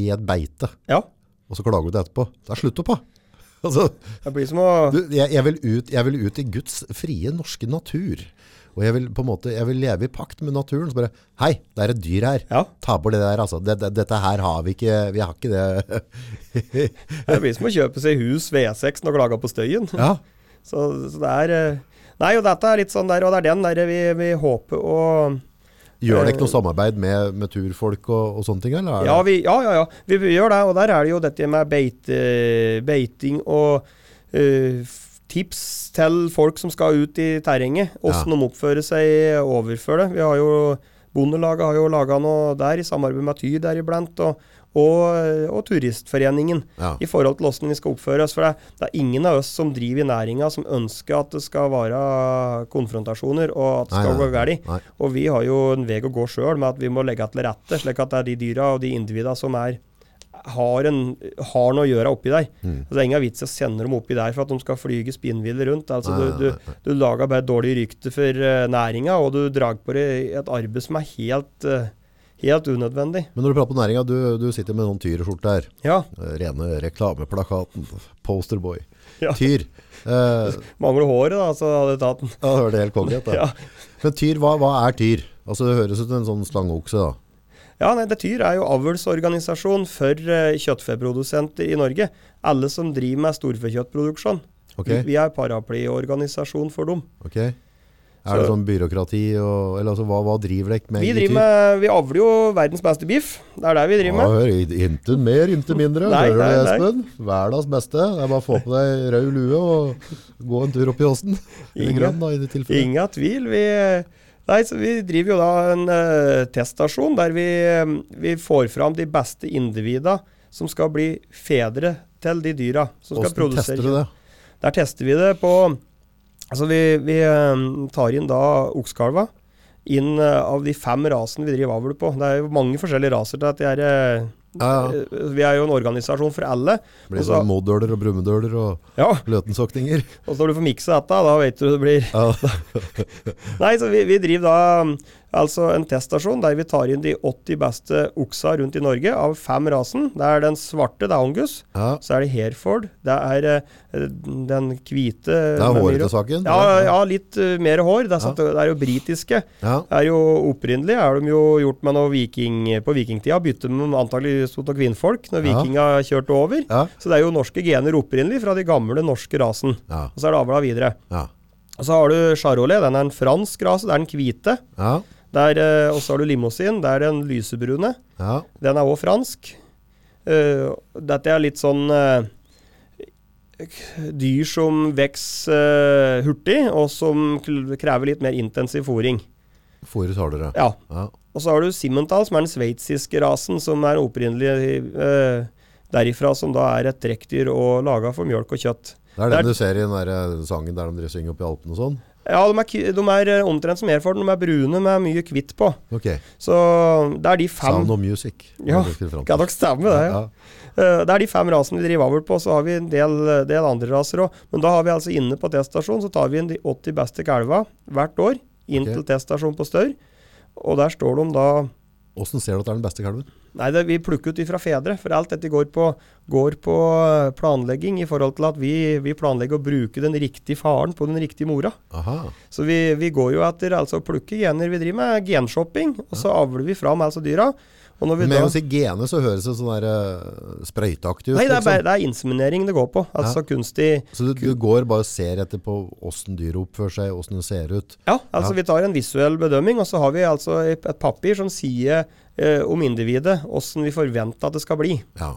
Speaker 1: i et beite,
Speaker 2: Ja,
Speaker 1: og så klager du til etterpå. Da er slutt opp, da. Altså,
Speaker 2: det blir som å
Speaker 1: Du, jeg, jeg, vil ut, jeg vil ut i Guds frie norske natur. Og jeg vil på en måte, jeg vil leve i pakt med naturen. Så bare, hei, det er et dyr her.
Speaker 2: Ja.
Speaker 1: Ta bort det der, altså. Det, det, dette her har vi ikke, vi har ikke det.
Speaker 2: Det blir som å kjøpe seg hus V6 og klage på støyen.
Speaker 1: Ja,
Speaker 2: Så, så det er eh, Nei, og dette er litt sånn der, og det er den der vi, vi håper å
Speaker 1: gjør det ikke noe samarbeid med, med turfolk og, og sånne ting, eller? er det-
Speaker 2: Ja, vi, ja, ja, ja. Vi gjør det. Og der er det jo dette med beite, beiting og eh, f- tips til folk som skal ut i terrenget. Åssen de oppfører seg overfor det. Vi har jo Bondelaget har jo laga noe der i samarbeid med Tyr deriblant, og, og, og Turistforeningen.
Speaker 1: Ja.
Speaker 2: I forhold til åssen vi skal oppføre oss. For det, det er ingen av oss som driver i næringa som ønsker at det skal være konfrontasjoner, og at det
Speaker 1: Nei,
Speaker 2: skal
Speaker 1: nei,
Speaker 2: gå galt.
Speaker 1: nei.
Speaker 2: Og vi har jo en vei å gå sjøl med at vi må legge til rette, slik at det er de dyra og de individa som er, har, en, har noe å gjøre oppi der.
Speaker 1: Mm.
Speaker 2: Altså, det er ingen vits i å sende dem oppi der for at de skal flyge spinnville rundt. Altså,
Speaker 1: Nei,
Speaker 2: du, du, du lager bare et dårlig rykte for uh, næringa, og du drar på deg et arbeid som er helt, eh, helt unødvendig.
Speaker 1: Men når du prater på næringa, du, du sitter med en sånn tyreskjorte her.
Speaker 2: Ja,
Speaker 1: Eh, Rene reklameplakaten. Posterboy.
Speaker 2: Ja.
Speaker 1: Tyr. Eh,
Speaker 2: mangler håret, da, så hadde jeg tatt den.
Speaker 1: ja, det var det helt konge. dette.
Speaker 2: Ja.
Speaker 1: Men tyr, hva, hva er tyr? Altså, det høres ut som en sånn slangeokse, da.
Speaker 2: Ja, nei, det Tyr er jo avlsorganisasjon for eh, kjøttfeprodusenter i Norge. Alle som driver med storfekjøttproduksjon.
Speaker 1: Ok?
Speaker 2: Vi, vi er paraplyorganisasjon for dem.
Speaker 1: Ok. Er det
Speaker 2: Så-
Speaker 1: sånn byråkrati og Eller altså, hva, hva driver dere med?
Speaker 2: Vi, driver med, vi avler jo verdens beste biff. Det er det vi driver med.
Speaker 1: Ja, hør, intet mer, intet mindre.
Speaker 2: Nei,
Speaker 1: Hører du det,
Speaker 2: nei, nei.
Speaker 1: Espen? Hverdags beste. Det er bare å få på deg rød lue og gå en tur opp i åsen. Eller
Speaker 2: Inga-
Speaker 1: grønn, da, i det tilfellet.
Speaker 2: Inga tvil. Vi, nei, så vi driver jo da en eh, teststasjon der vi, eh, vi får fram de beste individa som skal bli fedre til de dyra som skal
Speaker 1: Åssen
Speaker 2: produsere
Speaker 1: tester du det?
Speaker 2: Der tester vi det på Altså vi, vi eh, tar inn da oksekalva inn eh, av de fem rasene vi driver avl på. Det er jo mange forskjellige raser til at de er eh,
Speaker 1: Ja, ja.
Speaker 2: eh, Vi er jo en organisasjon for alle.
Speaker 1: Det Blir
Speaker 2: Og så-
Speaker 1: sånn modøler og brummedøler og
Speaker 2: Ja,
Speaker 1: løtensokninger.
Speaker 2: og så når du får miksa dette, da vet du det blir
Speaker 1: Ja.
Speaker 2: Nei, så vi, vi driver da mm, altså en teststasjon der vi tar inn de 80 beste oksa rundt i Norge av fem rasen. Det er den svarte, det er Angus.
Speaker 1: ja.
Speaker 2: Så er det Hereford. Det er eh, den hvite
Speaker 1: Det er håret til saken.
Speaker 2: Ja, ja, litt eh, mer hår. Det er, sant, det er jo britiske.
Speaker 1: ja.
Speaker 2: Det er jo Opprinnelig er de jo gjort med noe viking på vikingtida. Bytte med antagelig stort og kvinnfolk når
Speaker 1: Ja.
Speaker 2: vikinga kjørte over.
Speaker 1: Ja.
Speaker 2: Så det er jo norske gener opprinnelig fra de gamle norske rasen.
Speaker 1: Ja.
Speaker 2: Og så er det avla videre.
Speaker 1: Ja.
Speaker 2: Og så har du charolais. Den er en fransk rase. Det er den hvite.
Speaker 1: ja.
Speaker 2: Der, eh, og så har du limousin. Det er den lysebrune.
Speaker 1: Ja,
Speaker 2: Den er òg fransk. Eh, dette er litt sånn eh, k- dyr som vokser eh, hurtig, og som kl- krever litt mer intensiv fôring.
Speaker 1: fôret har dere.
Speaker 2: Ja.
Speaker 1: Ja.
Speaker 2: Og så har du Simmental, som er den sveitsiske rasen, som er opprinnelig eh, derifra, som da er et trekkdyr og laga for mjølk og kjøtt.
Speaker 1: Det er
Speaker 2: Det er-
Speaker 1: den du ser i den der eh, sangen der de driver og synger oppe i Alpen og sånn.
Speaker 2: Ja, de er, ki- de er eh, omtrent som Herford, de er brune med mye hvitt på.
Speaker 1: Ok,
Speaker 2: Så det er de fem
Speaker 1: Sound of Music.
Speaker 2: Ja,
Speaker 1: Det skulle fram til.
Speaker 2: Kan nok stemme det, ja.
Speaker 1: Ja,
Speaker 2: Eh, Det er de fem rasene vi driver avl på, så har vi en del, eh, del andre raser òg. Men da har vi altså inne på teststasjonen, så tar vi inn de 80 beste kalva hvert år. Inn
Speaker 1: Ok.
Speaker 2: til teststasjonen på Stør. Og der står de da
Speaker 1: Hvordan ser du at det er den beste kalven?
Speaker 2: Nei, det, vi plukker ut ifra fedre, for alt dette går på, går på eh, planlegging i forhold til at vi, vi planlegger å bruke den riktige faren på den riktige mora.
Speaker 1: Aha,
Speaker 2: Så vi, vi går jo etter altså å plukke gener. Vi driver med genshopping, og så avler vi fram altså dyra. Og når vi
Speaker 1: Men
Speaker 2: da,
Speaker 1: å si gene så høres det sånn der eh, sprøyteaktig ut.
Speaker 2: nei, det er, bare-
Speaker 1: liksom.
Speaker 2: det er inseminering det går på. Altså kunstig
Speaker 1: Så du, du går bare og ser etter på hvordan dyret oppfører seg, hvordan det ser ut.
Speaker 2: Ja, altså
Speaker 1: Ja.
Speaker 2: vi tar en visuell bedømming, og så har vi altså et et papir som sier eh, om individet åssen vi forventer at det skal bli.
Speaker 1: Ja,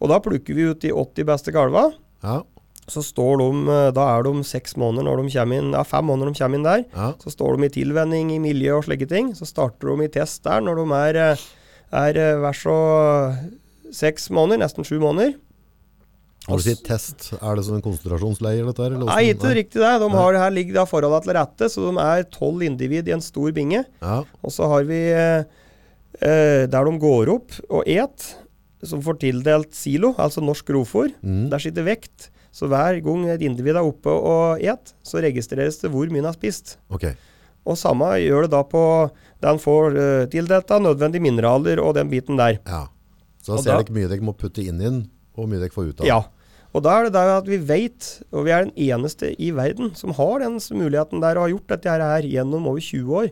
Speaker 2: Og da plukker vi ut de 80 beste kalva.
Speaker 1: ja,
Speaker 2: Så står de, eh, da er de seks måneder når de kommer inn, ja, fem måneder når de kommer inn der.
Speaker 1: ja.
Speaker 2: Så står de i tilvenning i miljø og slike ting. Så starter de i test der når de er, eh, er eh, hver så seks måneder, nesten sju måneder.
Speaker 1: Når du sier test, er det sånn en konsentrasjonsleir dette her? eller hvordan-
Speaker 2: Nei, ikke riktig det. De
Speaker 1: Nei.
Speaker 2: har, her ligger da forholdene til rette, så de er tolv individ i en stor binge.
Speaker 1: Ja,
Speaker 2: Og så har vi eh, eh, der de går opp og et, som får tildelt silo, altså norsk grovfôr.
Speaker 1: mm.
Speaker 2: Der sitter vekt. Så hver gang et individ er oppe og et, så registreres det hvor mye han har spist.
Speaker 1: ok.
Speaker 2: Og samme gjør det da på den får eh, tildelt av nødvendige mineraler og den biten der.
Speaker 1: Ja. Så da
Speaker 2: Og
Speaker 1: ser
Speaker 2: da-
Speaker 1: dere mye dere må putte inn i den, og mye dere får ut av den.
Speaker 2: Ja. Og da er det der at vi veit, og vi er den eneste i verden som har den s- muligheten der og har gjort dette her, her gjennom over 20 år,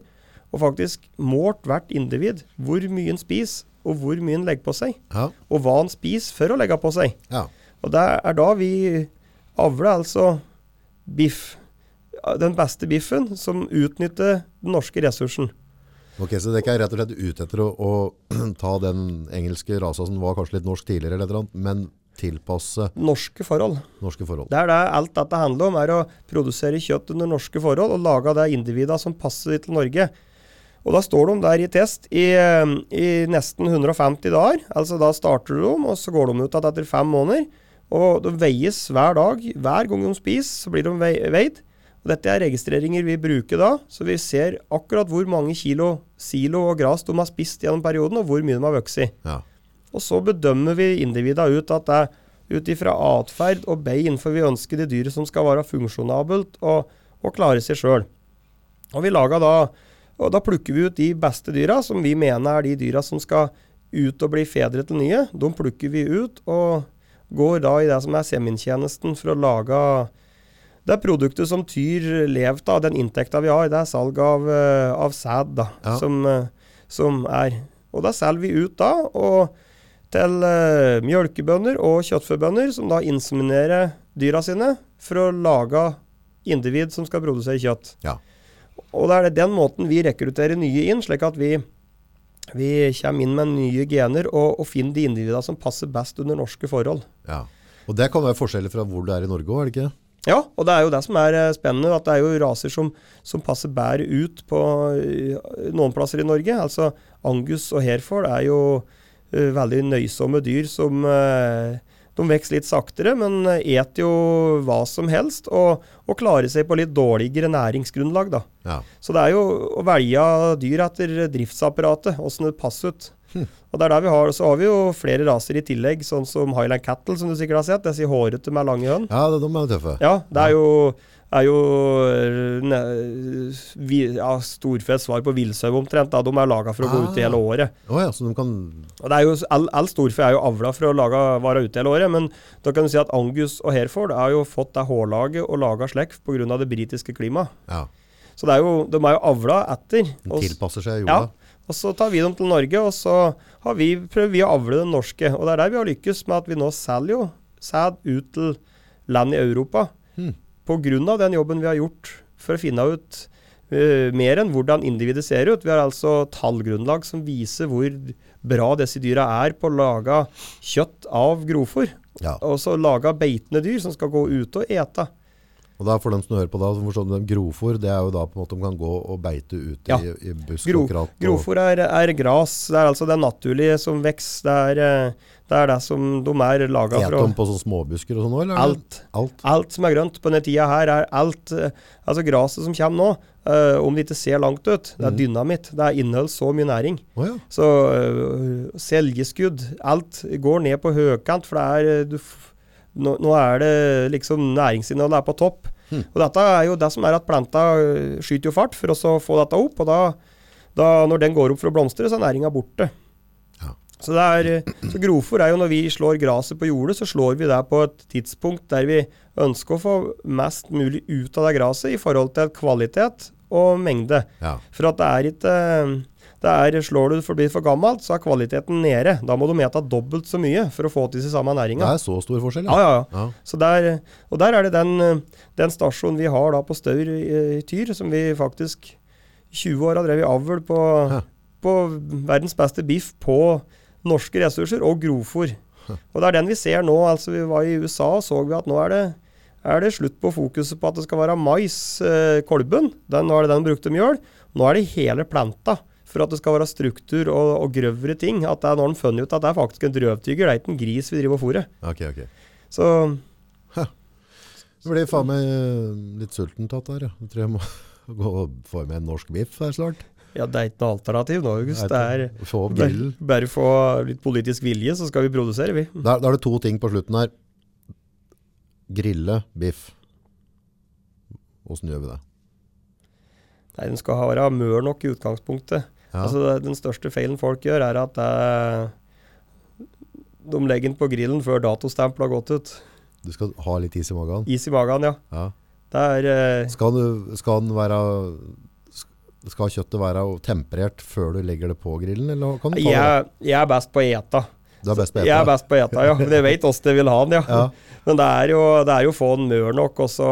Speaker 2: og faktisk målt hvert individ hvor mye en spiser, og hvor mye en legger på seg.
Speaker 1: Ja.
Speaker 2: og hva han spiser for å legge på seg.
Speaker 1: ja.
Speaker 2: Og det er da vi avler altså biff. Den beste biffen som utnytter den norske ressursen.
Speaker 1: Ok, så dere er rett og slett ute etter å, å ta den engelske rasa som var kanskje litt norsk tidligere, eller et eller annet, men tilpasse
Speaker 2: Norske forhold.
Speaker 1: norske forhold.
Speaker 2: Det er det alt dette handler om, er å produsere kjøtt under norske forhold og lage det individet som passer til Norge. Og da står de der i test i, eh, i nesten 150 dager. Altså da starter de, og så går de ut igjen etter fem måneder. Og de veies hver dag. Hver gang de spiser, så blir de vei- veid. Og dette er registreringer vi bruker da, så vi ser akkurat hvor mange kilo silo og gras de har spist gjennom perioden, og hvor mye de har vokst i.
Speaker 1: Ja.
Speaker 2: Og så bedømmer vi individa ut at det er ut ifra atferd og bein, for vi ønsker de dyret som skal være funksjonabelt og, og klare seg sjøl. Og vi lager da og da plukker vi ut de beste dyra, som vi mener er de dyra som skal ut og bli fedre til nye. De plukker vi ut og går da i det som er semintjenesten for å lage det produktet som tyr lever av, den inntekta vi har. Det er salg av, eh, av sæd, da,
Speaker 1: Ja.
Speaker 2: som, eh, som er. Og da selger vi ut da, og til eh, mjølkebønder og kjøttfebønder, som da inseminerer dyra sine for å lage individ som skal produsere kjøtt.
Speaker 1: Ja.
Speaker 2: Og det er det- den måten vi rekrutterer nye inn, slik at vi, vi kommer inn med nye gener og, og finner de individene som passer best under norske forhold.
Speaker 1: ja. Og det kan være forskjeller fra hvor du er i Norge også, er det ikke?
Speaker 2: Ja, og det er jo det som er eh, spennende, at det er jo raser som, som passer bedre ut på eh, noen plasser i Norge. Altså Angus og Herford er jo eh, veldig nøysomme dyr som eh, De vokser litt saktere, men eh, et jo hva som helst og, og klarer seg på litt dårligere næringsgrunnlag, da.
Speaker 1: Ja.
Speaker 2: Så det er jo å velge dyr etter driftsapparatet, åssen det passer ut. Og det er der vi har, Så har vi jo flere raser i tillegg, sånn som Highland Cattle, som du sikkert har sett. Disse hårete med lange høn.
Speaker 1: Ja, de er jo tøffe.
Speaker 2: Ja, det er jo, er jo eh, ne, vi, ja, storfett svar på villsau omtrent. Da. De er laga for å gå
Speaker 1: Ah.
Speaker 2: ute hele året.
Speaker 1: Åja, så de kan...
Speaker 2: Og det er jo, All, all storfe er jo avla for å lage, være ute hele året, men da kan du si at Angus og Hereford har jo fått det hårlaget og laga slekt pga. det britiske klimaet.
Speaker 1: Ja,
Speaker 2: Så det er jo, de er jo avla etter.
Speaker 1: de
Speaker 2: og s-
Speaker 1: tilpasser seg
Speaker 2: ja,
Speaker 1: jorda.
Speaker 2: og så tar vi dem til Norge, og så har vi, prøver vi å avle den norske. Og det er der vi har lykkes med at vi nå selger jo sæd ut til land i Europa.
Speaker 1: Hmm.
Speaker 2: På grunn av den jobben vi har gjort for å finne ut eh, mer enn hvordan individet ser ut. Vi har altså tallgrunnlag som viser hvor bra disse dyra er på å lage kjøtt av grovfôr.
Speaker 1: Ja.
Speaker 2: Og så lage beitende dyr som skal gå ut og ete.
Speaker 1: Og da for dem som hører på da, som forstår dem, grovfôr, det er jo da på en måte de kan gå og beite ute
Speaker 2: Ja.
Speaker 1: i, i busk
Speaker 2: Gro,
Speaker 1: og kratt. og-
Speaker 2: grovfôr er, er gras. Det er altså det naturlige som vokser. Det, er, eh, det er det som de er laga
Speaker 1: Et
Speaker 2: for. å-
Speaker 1: dem på sånne småbusker og sånn også, eller?
Speaker 2: Alt.
Speaker 1: Alt.
Speaker 2: Alt som er grønt på denne tida her, er alt eh, Altså, graset som kommer nå, eh, om det ikke ser langt ut, det er
Speaker 1: Mhm.
Speaker 2: dynamitt. Det er inneholder så mye næring.
Speaker 1: Å ja.
Speaker 2: Så eh, seljeskudd, alt går ned på høykant, for det er eh, du, f- nå, nå er det liksom næringsinnholdet er på topp.
Speaker 1: Mhm.
Speaker 2: Og dette er jo det som er at planta eh, skyter jo fart for å så få dette opp, og da, da når den går opp for å blomstre, så er næringa borte.
Speaker 1: Ja.
Speaker 2: Så, det er, eh, så grovfòr er jo når vi slår gresset på jordet, så slår vi det på et tidspunkt der vi ønsker å få mest mulig ut av det gresset i forhold til kvalitet og mengde.
Speaker 1: ja.
Speaker 2: For at det er ikke øh, det er, Slår du for blir for gammelt, så er kvaliteten nede. Da må du meta dobbelt så mye for å få til seg samme
Speaker 1: Det
Speaker 2: næringa.
Speaker 1: er så stor forskjell,
Speaker 2: Ja, ja, ja.
Speaker 1: Ja.
Speaker 2: Så der, og der er det den, eh, den stasjonen vi har da på Staur i i Tyr, som vi faktisk 20 år har drevet avl på,
Speaker 1: Hæ.
Speaker 2: på verdens beste biff på norske ressurser og grovfôr. Og det er den vi ser nå. altså Vi var i USA og så vi at nå er det, er det slutt på fokuset på at det skal være mais, eh, kolben. Den, nå er det den brukte mjøl. Nå er det hele planta. For at det skal være struktur og, og grøvere ting. At det er når en funnet ut at det er faktisk en drøvtyger, det er ikke en gris vi driver og fôrer.
Speaker 1: Ok, ok.
Speaker 2: Så
Speaker 1: Jeg blir faen meg eh, litt sulten tatt der, ja. Jeg tror jeg må gå og få meg en norsk biff her snart.
Speaker 2: Ja, det er ikke noe alternativ nå, August. Det er
Speaker 1: Få opp
Speaker 2: bare,
Speaker 1: grillen.
Speaker 2: bare få litt politisk vilje, så skal vi produsere, vi.
Speaker 1: Da, da er det to ting på slutten her. Grille, biff. Hvordan gjør vi det?
Speaker 2: Nei, Den skal være mør nok i utgangspunktet.
Speaker 1: Ja.
Speaker 2: Altså, det- Den største feilen folk gjør, er at eh, de legger den på grillen før datostempelet har gått ut.
Speaker 1: du skal ha litt is i magen.
Speaker 2: Is i magen, ja.
Speaker 1: Ja.
Speaker 2: Det er eh,
Speaker 1: Skal, du, skal, den være, skal kjøttet være temperert før du legger det på grillen? Eller kan du ta det?
Speaker 2: jeg, jeg er best på å ete.
Speaker 1: Du er best på
Speaker 2: Jeg er
Speaker 1: etter.
Speaker 2: best på å ete, ja. Men jeg vet åssen jeg vil ha den, ja.
Speaker 1: Ja.
Speaker 2: Men det er jo, det er jo å få den mør nok, og så,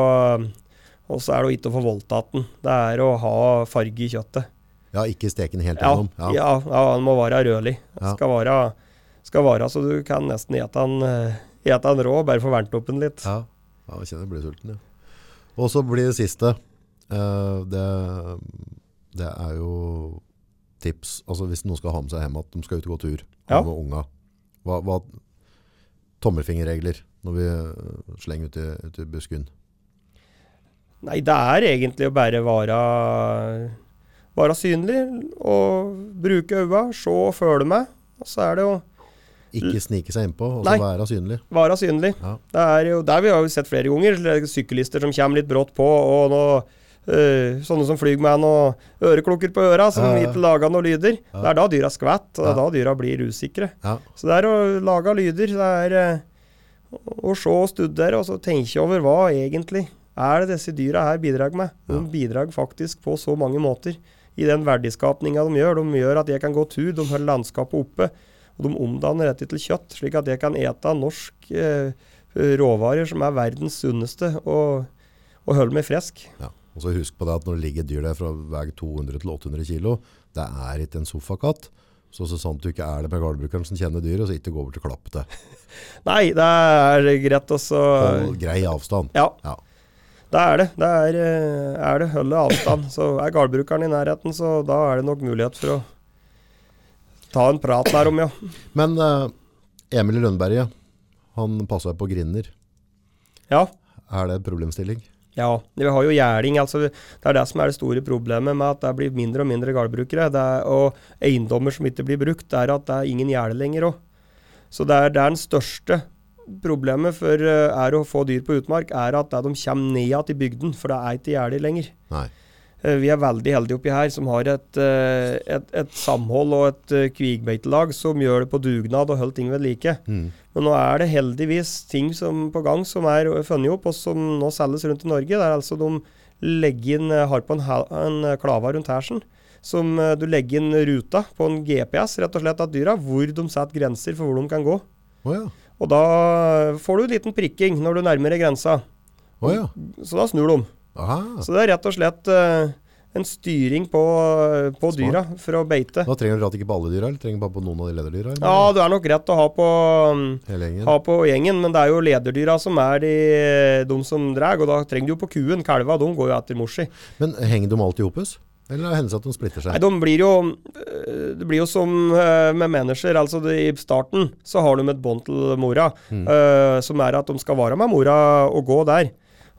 Speaker 2: og så er det å ikke å få voldtatt den. Det er å ha farge i kjøttet.
Speaker 1: ja, ikke steke den helt
Speaker 2: Ja,
Speaker 1: gjennom.
Speaker 2: ja. ja, han må være rødlig. Han
Speaker 1: Ja.
Speaker 2: Skal, være, skal være så du kan nesten ete han, eh, ete han rå, bare få vernet opp den litt.
Speaker 1: Ja, ja jeg kjenner jeg blir sulten, ja. Og så blir det siste. Eh, det, det er jo tips. Altså hvis noen skal ha med seg hjem at de skal ut og gå tur ha
Speaker 2: Ja.
Speaker 1: med unga. Hva, hva, tommelfingerregler når vi eh, slenger ut i, ut i busken.
Speaker 2: Nei, det er egentlig å bare være, være synlig og bruke øynene, se og føle med. Og så er det jo
Speaker 1: Ikke snike seg innpå, og så
Speaker 2: Nei.
Speaker 1: være synlig.
Speaker 2: være synlig.
Speaker 1: Ja.
Speaker 2: Det er jo der vi har jo sett flere ganger. Syklister som kommer litt brått på, og nå, øh, sånne som flyr med noen øreklokker på øra som
Speaker 1: Ja, ja.
Speaker 2: ikke lager noen lyder.
Speaker 1: Ja.
Speaker 2: Det er da dyra skvetter, og det er
Speaker 1: Ja.
Speaker 2: da dyra blir usikre.
Speaker 1: Ja.
Speaker 2: Så det er å lage lyder. Det er eh, å- å se og studere og så tenke over hva egentlig er det disse dyra her bidrar med. De
Speaker 1: Ja.
Speaker 2: bidrar faktisk på så mange måter i den verdiskapninga de gjør. De gjør at jeg kan gå tur, de holder landskapet oppe. Og de omdanner dette til kjøtt, slik at jeg kan ete norsk eh, råvarer som er verdens sunneste, og, og holde meg frisk.
Speaker 1: Ja. Og så husk på det at når det ligger et dyr der fra vei 200 til 800 kilo, det er ikke en sofakatt. Så, så sant du ikke er det med gardbrukeren som kjenner dyret, så ikke gå over til klappet det.
Speaker 2: Nei, det er greit også
Speaker 1: Hold grei avstand.
Speaker 2: Ja.
Speaker 1: Ja.
Speaker 2: Det er det. Det er, eh, er det holde avstand. Så er gardbrukeren i nærheten, så da er det nok mulighet for å ta en prat der om, ja.
Speaker 1: Men eh, Emil i Lønneberget, han passer på grinner.
Speaker 2: Ja.
Speaker 1: Er det en problemstilling?
Speaker 2: Ja, vi har jo gjerding. Altså, det er det som er det store problemet med at det blir mindre og mindre gardbrukere. Det er, og eiendommer som ikke blir brukt, det er at det er ingen gjerde lenger òg. Så det er, det er den største problemet for eh, er å få dyr på utmark, er at det de kommer ned igjen til bygden, for det er ikke gjerde lenger.
Speaker 1: Nei.
Speaker 2: Eh, Vi er veldig heldige oppi her som har et, eh, et, et samhold og et eh, kvigbeitelag som gjør det på dugnad og holder ting ved like.
Speaker 1: Mm.
Speaker 2: Men nå er det heldigvis ting som på gang som er funnet opp, og som nå selges rundt i Norge. Det er altså de legger inn, eh, har på en, hel- en eh, klava rundt hersen, som eh, du legger inn ruta på en GPS, rett og slett, av dyra, hvor de setter grenser for hvor de kan gå.
Speaker 1: Å ja.
Speaker 2: Og da eh, får du en liten prikking når du nærmer deg grensa,
Speaker 1: Å ja.
Speaker 2: så da snur de.
Speaker 1: Aha.
Speaker 2: Så det er rett og slett eh, en styring på, eh, på
Speaker 1: Smart.
Speaker 2: dyra for å beite.
Speaker 1: Da trenger du rett ikke på alle dyra, eller trenger du bare på noen av de lederdyra? eller?
Speaker 2: Ja, det er nok rett å ha på, mm,
Speaker 1: Hele gjengen?
Speaker 2: ha på gjengen, men det er jo lederdyra som er de, de som drar. Og da trenger du jo på kuen. Kalva de går jo etter mor si.
Speaker 1: Men henger de alltid i opus? Eller hender det seg at de splitter
Speaker 2: Nei,
Speaker 1: seg?
Speaker 2: de blir jo øh, Det blir jo som øh, med mennesker. Altså det, I starten så har de et bånd til mora, øh, som er at de skal være med mora og gå der.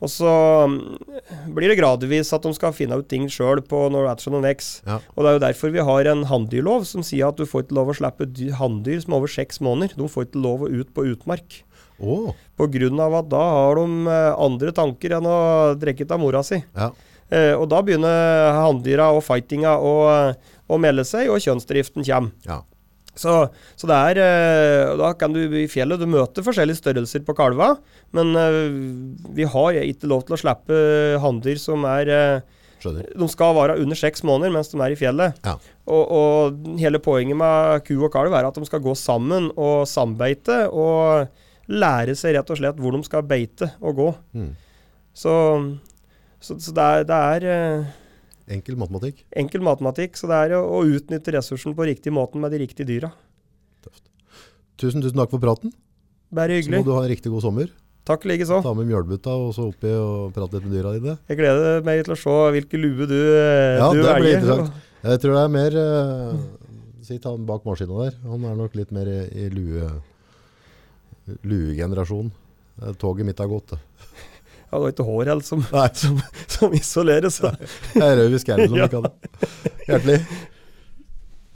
Speaker 2: Og så øh, blir det gradvis at de skal finne ut ting sjøl ettersom de vokser.
Speaker 1: Ja.
Speaker 2: Og det er jo derfor vi har en hanndyrlov som sier at du får ikke lov å slippe dy- hanndyr som er over seks måneder. De får ikke lov å ut på utmark.
Speaker 1: Åh,
Speaker 2: På grunn av at da har de øh, andre tanker enn å drikke av mora si.
Speaker 1: ja.
Speaker 2: Eh, og da begynner hanndyra og fightinga å, eh, å melde seg, og kjønnsdriften kommer.
Speaker 1: ja.
Speaker 2: Så, så det er eh, og Da kan du i fjellet du møter forskjellige størrelser på kalva, men eh, vi har ikke lov til å slippe hanndyr som er eh,
Speaker 1: Skjønner.
Speaker 2: De skal være under seks måneder mens de er i fjellet.
Speaker 1: Ja.
Speaker 2: Og, og hele poenget med ku og kalv er at de skal gå sammen og sambeite og lære seg rett og slett hvor de skal beite og gå.
Speaker 1: Mm.
Speaker 2: Så, så, så det er, det er eh,
Speaker 1: Enkel matematikk.
Speaker 2: Enkel matematikk, så det er å, å utnytte ressursen på riktig måten med de riktige dyra.
Speaker 1: Tusen, tusen takk for praten.
Speaker 2: Bare
Speaker 1: Så må
Speaker 2: hyggelig.
Speaker 1: du ha en riktig god sommer.
Speaker 2: Takk likeså.
Speaker 1: Ta med mjølbutta og så oppi og prate litt med dyra dine.
Speaker 2: Jeg gleder meg til å se hvilke lue du, eh,
Speaker 1: Ja,
Speaker 2: du
Speaker 1: det blir
Speaker 2: velger.
Speaker 1: interessant. Jeg tror det er mer eh, Si ta han bak maskina der. Han er nok litt mer i, i lue luegenerasjon. Eh, Toget mitt har gått. det.
Speaker 2: Ja, det var ikke hår helt som,
Speaker 1: Nei, så
Speaker 2: som isoleres. Da.
Speaker 1: jeg er rød i skallen om du
Speaker 2: Ja.
Speaker 1: kan det. Hjertelig.